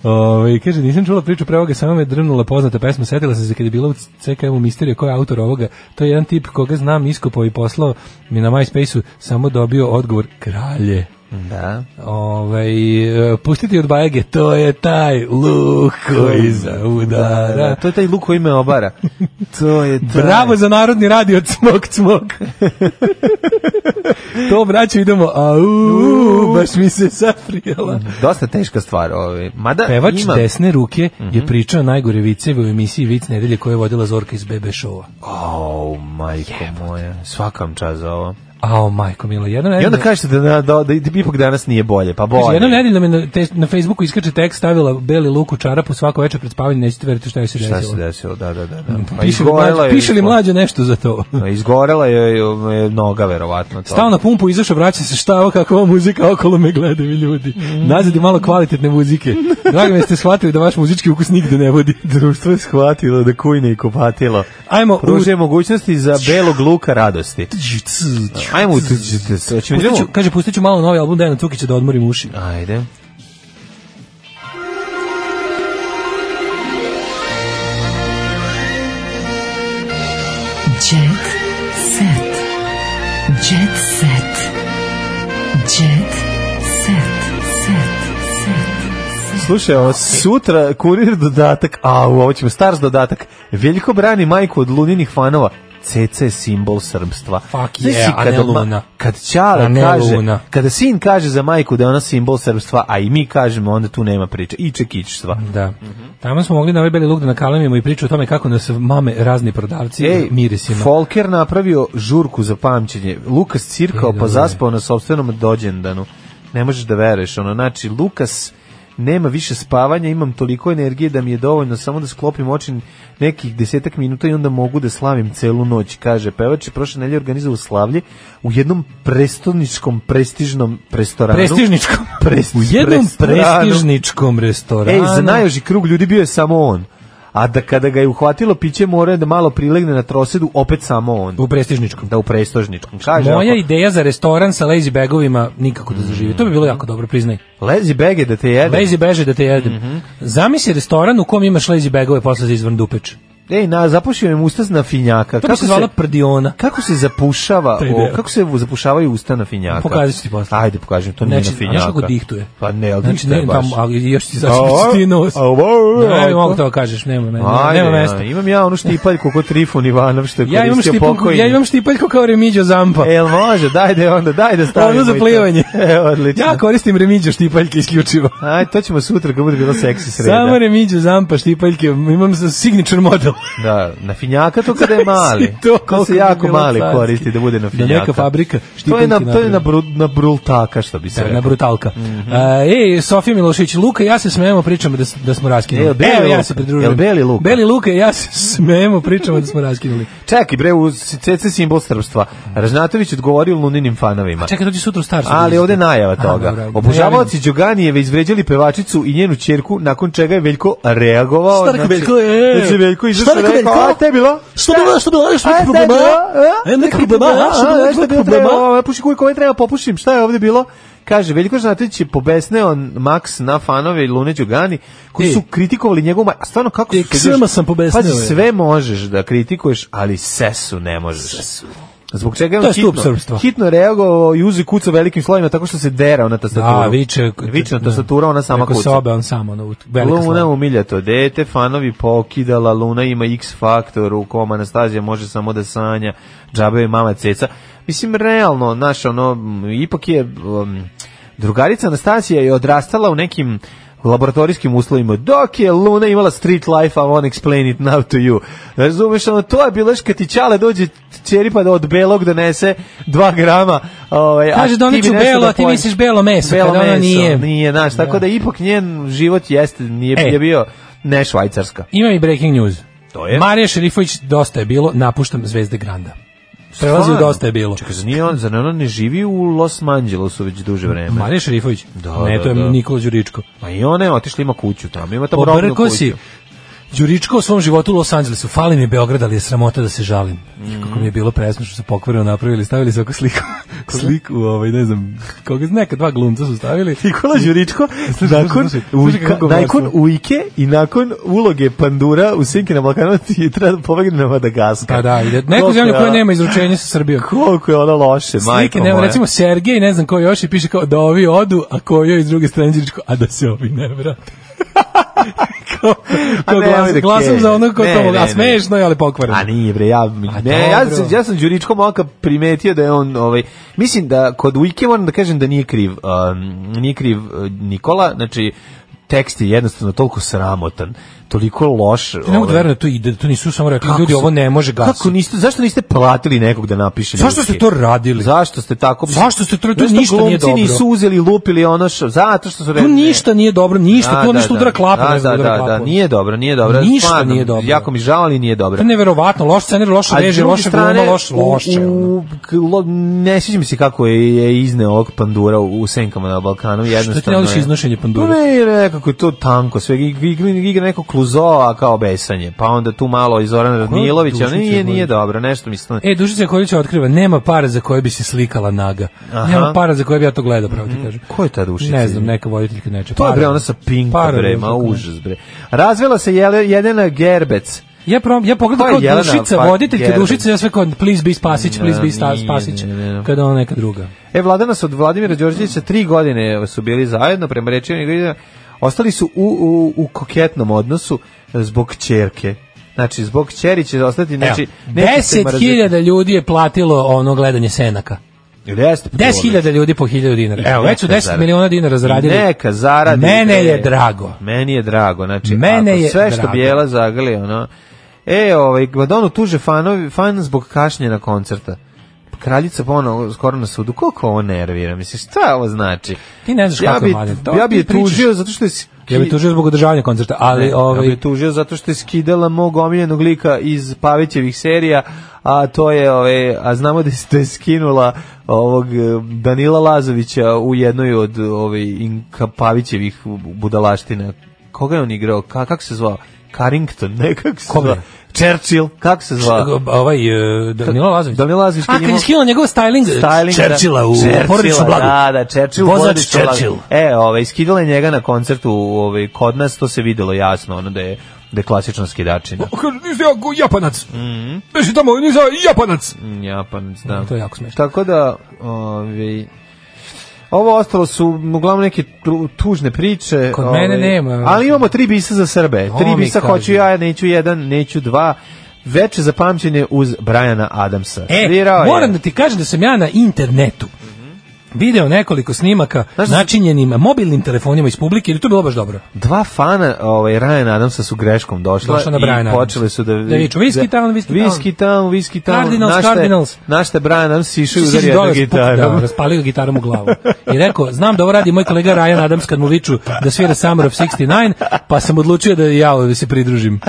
E: Ove, kaže, nisam čula priču pre ovoga, samo me drnula poznata pesma, setila sam se kad je bila u CKM-u misterija, ko je autor ovoga, to je jedan tip koga znam, iskopao i poslao mi na MySpace-u, samo dobio odgovor, kralje.
F: Da.
E: Ovaj, e, pustiti od bajage, to je taj luk koji
F: Da,
E: zaudara.
F: da, to je taj luk koji me obara. To je taj.
E: Bravo za narodni radio cmok cmok. to braćo idemo. Au, baš mi se zaprijela.
F: Dosta teška stvar. Ovaj. Mada
E: Pevač
F: ima...
E: desne ruke je pričao najgore viceve u emisiji Vic nedelje koju je vodila Zorka iz BB showa.
F: Oh, majko moja. Svakam čas za ovo.
E: Ao, majko milo, jednom
F: I
E: nedeljom...
F: onda kažete da, da, da, da ipak danas nije bolje, pa bolje.
E: Kaže, jednom nedeljom je na, te, na Facebooku iskače tekst, stavila beli luk u čarapu svako večer pred spavanje, nećete veriti šta je se
F: Šta se
E: desilo. Mm,
F: desilo? Da, da, da. da. Pa
E: Piše li,
F: izgorela
E: mlađe,
F: je-
E: piše li mlađe nešto za to?
F: Pa Izgorela je, je noga, verovatno. To.
E: Stao na pumpu, izašao, vraća se, šta ovo, kakva ova muzika, okolo me gledaju ljudi. Nazad je malo kvalitetne muzike. Drago mi je da ste shvatili da vaš muzički ukus nigde ne vodi.
F: Društvo je shvatilo da kujne i kopatilo.
E: Ajmo u-
F: Pružuje mogućnosti za belog luka radosti. Ajmo u tuđite se. Hoćemo
E: Pustit ću,
F: idemo?
E: kaže, pustit ću malo novi album Dejana Cukića da odmorim uši.
F: Ajde.
D: Jet set. Jet set. Jet set. Set.
F: Slušaj, ovo, sutra kurir dodatak, a u ovo ćemo stars dodatak. Veljko brani majku od luninih fanova. CC je simbol srpstva.
E: Fuck
F: Znaš
E: yeah,
F: si
E: a
F: kad
E: ne
F: ma-
E: Luna.
F: Kad Ćale
E: A ne
F: kaže,
E: Luna.
F: kada sin kaže za majku da je ona simbol srpstva, a i mi kažemo, onda tu nema priče. I čekićstva.
E: Da. Tamo smo mogli na ovaj beli luk da nakalemimo i priču o tome kako nas mame razni prodavci
F: Ej,
E: mirisima.
F: Folker napravio žurku za pamćenje. Lukas cirkao pa
E: Ej, dobro
F: zaspao na sopstvenom dođendanu. Ne možeš da veruješ, ono, znači, Lukas nema više spavanja, imam toliko energije da mi je dovoljno samo da sklopim oči nekih desetak minuta i onda mogu da slavim celu noć, kaže pevač je prošle nedelje organizovao slavlje u jednom prestoničkom prestižnom restoranu.
E: Prestižničkom.
F: Pres-
E: u jednom
F: restoranu.
E: prestižničkom restoranu.
F: Ej, za najoži krug ljudi bio je samo on. A da kada ga je uhvatilo piće mora da malo prilegne na trosedu, opet samo on.
E: U prestižničkom.
F: Da u prestožničkom. Kaže,
E: Moja
F: ovako,
E: ideja za restoran sa lazy bagovima nikako da zaživi. To bi bilo jako dobro, priznaj.
F: lezi bege da te jede.
E: Lazy beže da te jedem.
F: Mhm.
E: Zamisli restoran u kom imaš lazy bagove posle za izvrn dupeč.
F: Ej, na, zapušio im usta na finjaka.
E: To bi se zvala prdiona.
F: Kako se zapušava,
E: To je
F: o,
E: ideja.
F: kako se zapušavaju usta na finjaka?
E: Pokazat ću ti posle.
F: Ajde, pokažem, to nije na
E: Znači,
F: finjaka.
E: znaš kako dihtuje?
F: Pa ne, ali
E: Znači,
F: dihtuje
E: ne,
F: baš.
E: tamo, ali još ti
F: A,
E: sačeš ti nos.
F: a, ovo, ovo,
E: Ne, ne
F: ovo.
E: mogu to da kažeš, nema, nema,
F: Ajde,
E: nema mesta.
F: ja, imam ja onu štipaljku kod Trifun Ivanov što je
E: Ja imam,
F: koristio
E: štipaljku,
F: pokojni. E,
E: ja imam štipaljku kao Remiđo Zampa.
F: Jel može, daj da onda, daj da stavimo.
E: Ono za
F: i to.
E: plivanje.
F: E, odlično.
E: Ja koristim Remiđo štipaljke isključivo.
F: Aj, to ćemo sutra kad bude bilo seksi sreda.
E: Samo Remiđo Zampa štipaljke, imam sa signature model.
F: Da, na finjaka to kada je mali.
E: to,
F: to,
E: kako
F: se
E: bi
F: jako
E: bilo
F: mali
E: carski.
F: koristi da bude na
E: Da neka
F: finjaka.
E: fabrika
F: To je
E: štipaljki
F: na, to je
E: napravi.
F: na, bru, na brultaka, što bi se
E: Da,
F: rekao.
E: na brutalka.
F: Mhm.
E: A, ej, Sofija Milošević, Luka, i ja se smejemo, pričamo da, s- da smo raskinuli.
F: Jel Beli
E: Evo, ja
F: Luka?
E: se pridružujem.
F: Jel Beli Luka?
E: Beli Luka, i ja se smejemo, pričamo da smo raskinuli.
F: Čekaj, bre, u CC simbol srpstva. Ražnatović odgovorio luninim fanovima.
E: Čekaj, to će sutra u starcu.
F: Pa. Ali ovde je najava
E: A, dobro,
F: toga.
E: ajde.
F: Obožavaoci Đoganijeve izvređali pevačicu i njenu čerku, nakon čega je Veljko reagovao.
E: Šta rekao Veljko, e?
F: Znači, Veljko izašao
E: Šta
F: i
E: rekao
F: rekao,
E: Veljko?
F: a te bilo?
E: Što bilo, što bilo, što neki problema? E, neki problema, a? Što bilo, neki problema?
F: Puši kuj, kome treba popušim, šta je ovde bilo? Kaže, Veljko Žnatović je pobesneo Max na fanove i Lune Đugani koji
E: Ej.
F: su kritikovali njegovu maj... A stvarno kako
E: Ej,
F: su... kad ideš-
E: ksema sam pobesneo,
F: Pazi,
E: je.
F: sve možeš da kritikuješ, ali sesu ne možeš. Zbog čega je
E: To
F: on
E: je stup
F: hitno,
E: srpstva.
F: hitno reagovao i uzi kuca velikim slovima tako što se derao na tastaturu.
E: Da, viče,
F: viče na tastaturu, ona sama
E: Preko
F: kuca.
E: sobe, on sam, ono, u- velika
F: Luna
E: slava.
F: umilja to dete, fanovi pokidala, Luna ima X faktor, u kom Anastazija može samo da sanja, džabe je mama ceca. Mislim, realno, naš, ono, m, ipak je, um, drugarica Anastasija je odrastala u nekim laboratorijskim uslovima, dok je Luna imala street life, I won't explain it now to you. Razumeš, ono, to je bilo još kad ti Ćale dođe čeri pa da od belog donese dva grama. Ovaj, a
E: Kaže,
F: ti bi
E: doneću
F: nešto
E: belo,
F: da
E: a ti
F: poješ.
E: misliš belo meso,
F: Belo
E: kada ona
F: meso,
E: nije.
F: nije, znaš, tako da ipak njen život jeste, nije
E: E.
F: je bio ne švajcarska.
E: Ima i breaking news.
F: To je?
E: Marija Šerifović, dosta je bilo, napuštam Zvezde Granda. Prelazi u
F: Stvarno?
E: dosta je bilo.
F: Čekaj, zar nije on, zar ona ne živi u Los Angelesu već duže vreme?
E: Marija Šerifović?
F: Da,
E: ne,
F: da,
E: to je
F: da.
E: Nikola Đuričko.
F: Ma i ona je otišla, ima kuću tamo, ima tamo robnu
E: Obrko
F: kuću.
E: si. Đuričko u svom životu u Los Angelesu. Fali mi je Beograd, ali je sramota da se žalim. Znači, Kako mi je bilo presno što su pokvareno napravili, stavili su oko sliku, sliku, ovaj, ne znam, koga, neka dva glumca su stavili.
F: Nikola Đuričko,
E: slušaj,
F: nakon,
E: slušaj,
F: u-
E: slušaj kako
F: nakon
E: glasno.
F: Ujke i nakon uloge Pandura u Sinke na Balkanu ti je treba da pobegne na Madagaskar.
E: Pa da, ide. Neku
F: Koliko
E: zemlju
F: je
E: koja
F: ona-
E: nema izručenja sa Srbijom.
F: Koliko je ona loše, majko
E: Slike, nema,
F: moja.
E: recimo Sergej, ne znam ko još, i piše kao da ovi odu, a ko joj iz druge strane Đuričko, a da se ovi ne vrate. kao,
F: A
E: kao
F: nemoj
E: glas,
F: da
E: glasom za ono ko
F: Ne,
E: to mogu,
F: ne,
E: a
F: ne.
E: smešno je, ali pokvareno.
F: A nije bre, ja, ne, ja,
E: dobro.
F: sam, ja sam Đuričko momka primetio da je on, ovaj, mislim da kod Ujke moram da kažem da nije kriv, um, nije kriv uh, Nikola, znači tekst je jednostavno toliko sramotan, toliko loš. ovaj,
E: Ne mogu da verujem da to ide, da to nisu samo rekli, ljudi,
F: su-
E: ovo ne može gasiti.
F: Kako niste, zašto niste platili nekog da napiše?
E: Zašto
F: ljudski?
E: ste to radili?
F: Zašto ste tako?
E: Zašto ste to- to
F: Zašto
E: ništa nije
F: glumci
E: dobro.
F: nisu uzeli, lupili ono što, zato što su
E: Tu
F: rekli-
E: ništa nije dobro, ništa,
F: Da,
E: tu
F: da,
E: ništa
F: da.
E: udara klapa,
F: Da,
E: ne znam
F: da, da,
E: udara
F: da,
E: klapom.
F: nije dobro, nije dobro.
E: Ništa
F: stvarno,
E: nije dobro. Pa
F: Jako mi žao, ali nije
E: To
F: dobro.
E: je neverovatno, loš scenarij, loša
F: A s
E: režija,
F: druge
E: loša
F: strane,
E: gluma, loš,
F: u-
E: loše. ono.
F: u- k- lo- ne sjećam se kako je, je izneo ovog pandura u, u senkama na Balkanu. Jednostavno
E: ti ne voliš
F: je-
E: iznošenje pandura?
F: Pa Ne, nekako je to tanko. Sve ig- ig- igra neko kluzova kao besanje. Pa onda tu malo i Zoran Radmilović.
E: Dušić
F: Ali nije,
E: je
F: nije
E: bolji?
F: dobro, nešto mi stane.
E: E, Dušica Koljića otkriva, nema para za koje bi se slikala naga.
F: Aha. Mhm.
E: Nema para za koje bi ja to gledao, pravo ti kažem.
F: Ko je ta Dušica?
E: Ne znam, neka voditeljka neče.
F: To je bre ona sa Pinka bre, ma užas bre. Razvela se Jele- Jelena Gerbec.
E: Ja, prom, ja pogledam
F: Ko je
E: kao
F: Pa Jelena
E: Dušica,
F: Fak-
E: voditeljka
F: Gerbec?
E: Dušica, ja sve kao please be Spasić, please be
F: Da,
E: sta,
F: nije,
E: Spasić,
F: nije, nije, nije.
E: kada ona neka druga.
F: E, vladana su od Vladimira Đorđevića tri godine su bili zajedno, prema rečima Igorina, ostali su u, u, u koketnom odnosu zbog čerke. Znači, zbog čeri će ostati, znači... neće se
E: Deset
F: mrziti.
E: hiljada ljudi je platilo ono gledanje senaka.
F: Ili jeste, pa to
E: 10.000 ljudi po 1000 dinara. Evo, već su
F: Neka
E: 10
F: zaradi.
E: miliona dinara zaradili.
F: Neka zaradi. E,
E: Mene
F: bre.
E: je drago.
F: Meni je drago, znači
E: Mene
F: ako
E: je
F: sve što
E: drago.
F: bijela zagrli, ono. E, ovaj Madonu tuže fanovi, fan zbog kašnjenja koncerta. Kraljica ponovo skoro na sudu. Koliko ovo nervira? Misliš, šta ovo znači?
E: Ti ne znaš kako je, Mladen, to
F: ja bi
E: ti
F: je
E: pričaš.
F: tužio zato što je... ski-
E: Ja bih tužio zbog održavanja koncerta, ali
F: E, Ja bi
E: ovaj
F: je tužio zato što je skidala mog omiljenog lika iz Pavićevih serija, a to je, ove, a znamo da ste skinula ovog eh, Danila Lazovića u jednoj od ove, Inka Pavićevih budalaština. Koga je on igrao? Ka, kako se zvao? Carrington, ne? Kako se
E: Koga?
F: zvao? Churchill, kako se zvao?
E: ovaj e, Danilo Lazović.
F: Danilo Lazović
E: A
F: koji
E: kad
F: imao-
E: je skinula njegov styling,
F: Styling, da.
E: e, Churchilla u
F: Churchilla,
E: porodičnom blagu.
F: Da, da, Churchill u
E: Vozač
F: porodičnom blagu.
E: Churchill.
F: E, ovaj, skidala je njega na koncertu ovaj, kod nas, to se videlo jasno, ono da je, da je klasična skidačina.
E: Kaže, nisi ja japanac. Mhm. Nisi tamo, nisi ja japanac.
F: Japanac, da.
E: To je jako smešno.
F: Tako da, ovaj, ovo ostalo su uglavnom neke tu- tužne priče. ovaj,
E: Kod mene nema.
F: Ali imamo tri bisa za Srbe.
E: To
F: tri
E: mi
F: bisa
E: kaži.
F: hoću ja, neću jedan, neću dva. Veče za pamćenje uz Brajana Adamsa.
E: E,
F: Svirao je. Mhm.
E: moram da ti kažem da sam ja na internetu video nekoliko snimaka
F: Znaš da-
E: načinjenim mobilnim telefonima iz publike, ili to je bilo baš dobro.
F: Dva fana ovaj, Ryan Adamsa su greškom došla
E: Došla na Bryan
F: i
E: Adamsa.
F: počeli su da...
E: Da viču, "Whiskey Town, Whiskey Town."
F: Whiskey Town, Whiskey Town.
E: Cardinals,
F: Našta je-
E: Cardinals.
F: Našta je Bryan Adams išao i
E: Sisi
F: udario jednu
E: dole spuh- Da,
F: gitaru.
E: raspalio gitarom u glavu. I rekao, znam da ovo radi moj kolega Ryan Adams kad mu viču da svira Summer of 69, pa sam odlučio da i ja ovaj se pridružim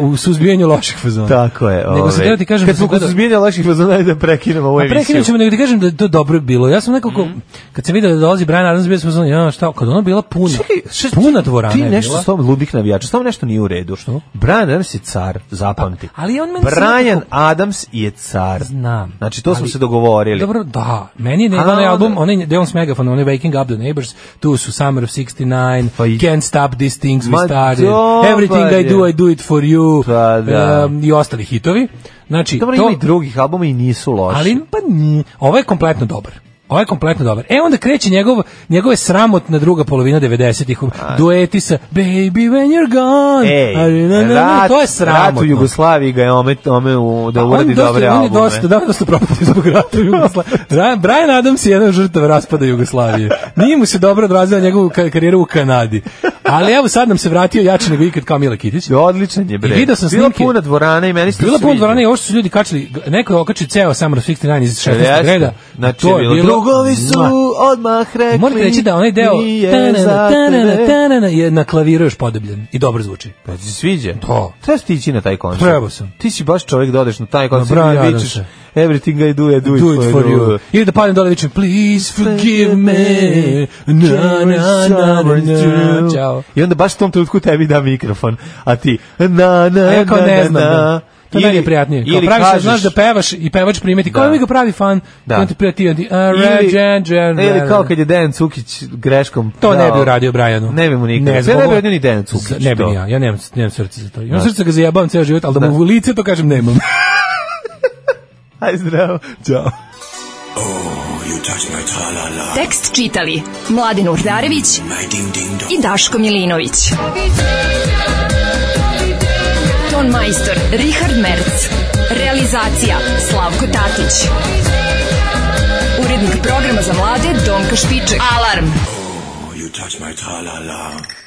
E: u, u suzbijanju loših fazona.
F: Tako je.
E: Nego sam
F: ovaj.
E: htio ti kažem...
F: Kad
E: da
F: smo
E: sam
F: kod
E: gledao-
F: suzbijenja loših fazona, ajde da prekinemo ovu
E: Pa prekinut
F: emisiju. Mhm.
E: ćemo, nego ti kažem da je to dobro bilo. Ja sam nekako nekako, kad sam video da dolazi Brian Adams, bio sam znači, ja, šta, kad ona bila puna, puna dvorana
F: Ti
E: je
F: nešto
E: bila.
F: s tom ludih navijača, s tom nešto nije u redu. Što? Brian Adams je car, zapamti.
E: ali on meni se
F: Brian
E: nekako-
F: Adams je car.
E: Znam.
F: Znači, to smo
E: Ali-
F: se dogovorili.
E: Dobro, da. Meni je ne,
F: A,
E: onaj
F: da.
E: album, onaj gde je on s megafonom, onaj Waking Up the Neighbors, tu su Summer of 69, Can't Stop These Things
F: Pa Ma,
E: We Started,
F: dobar
E: Everything I Do,
F: je.
E: I Do It For You,
F: Pa, da.
E: um, i ostali hitovi. Znači,
F: Dobro,
E: to,
F: ima i drugih albuma i nisu loši.
E: ali pa ni, ovo je kompletno dobar. Ovo je kompletno dobar. E onda kreće njegov, njegove sramotna druga polovina 90-ih. Dueti sa Baby when you're gone.
F: Ej,
E: Ali, na, na, na,
F: rat,
E: to je
F: rat u
E: sramotno.
F: Jugoslaviji ga je ome, ome u, da
E: Pa
F: uradi
E: on dosta-
F: dobre
E: on
F: albume.
E: je dosta, da, dosta propatio zbog rata u Jugoslaviji. Ra- Brian Adams je jedan od žrtava raspada Jugoslavije. Nije mu se dobro odrazila njegovu ka- karijeru u Kanadi. Ali evo sad nam se vratio jači nego ikad kao Mila Kitić.
F: Odličan je, bre.
E: I video sam
F: Bila
E: snimke.
F: puna dvorana i meni se
E: Bila pun
F: sviđa.
E: dvorana i ovo što su ljudi kačili, neko je okačio ceo Summer of 69 iz 16.
F: Jeste.
E: reda.
F: Znači, je bilo, drugovi su odmah rekli.
E: Moram reći da onaj deo
F: "Nije
E: tanana,
F: za
E: tanana,
F: tebe."
E: tanana, je na klaviru još podobljen i dobro zvuči.
F: Pa ti se sviđa?
E: To.
F: Trebaš ti ići na taj koncert.
E: Trebao sam.
F: Ti si baš čovjek da odeš na taj koncert
E: Brian
F: i vičeš
E: Adamsa.
F: Everything I do, I do,
E: Do it for you. Ili da padem dole i vičem please forgive me. Na, na, na, na, na. Ćao.
F: I onda baš u tom trenutku tebi da mikrofon, a ti na, na,
E: A ja E, kao
F: na,
E: ne
F: na,
E: znam. da.
F: na.
E: To je najprijatnije. Kao
F: ili
E: praviš,
F: kažeš-
E: znaš da pevaš i pevač primeti. Kao
F: Da.
E: mi ga pravi fan.
F: Da.
E: Da. Ti prijati, on ti, a,
F: Ili-
E: red, džen, džen,
F: Ili
E: red,
F: kao
E: red.
F: kad je Dejan Cukić greškom...
E: To ne
F: dao-
E: bi uradio Brajanu.
F: Ne bi mu nikad. Ja
E: zbog
F: ne bi
E: ovo-
F: uradio ni Dejan Cukić
E: Ne bi
F: to.
E: ni ja, ja nemam, nemam srce za to. Imam
F: Da.
E: srce da ga zajebavam ceo život, ali da mu u lice to kažem nemam.
F: Aj zdravo. Ćao.
D: Tekst čitali Mladin Urdarević i Daško Milinović. Ton majstor Richard Merc. Realizacija Slavko Tatić. Urednik programa za mlade Donka Špiček. Alarm!
J: You touch my tra-la-la.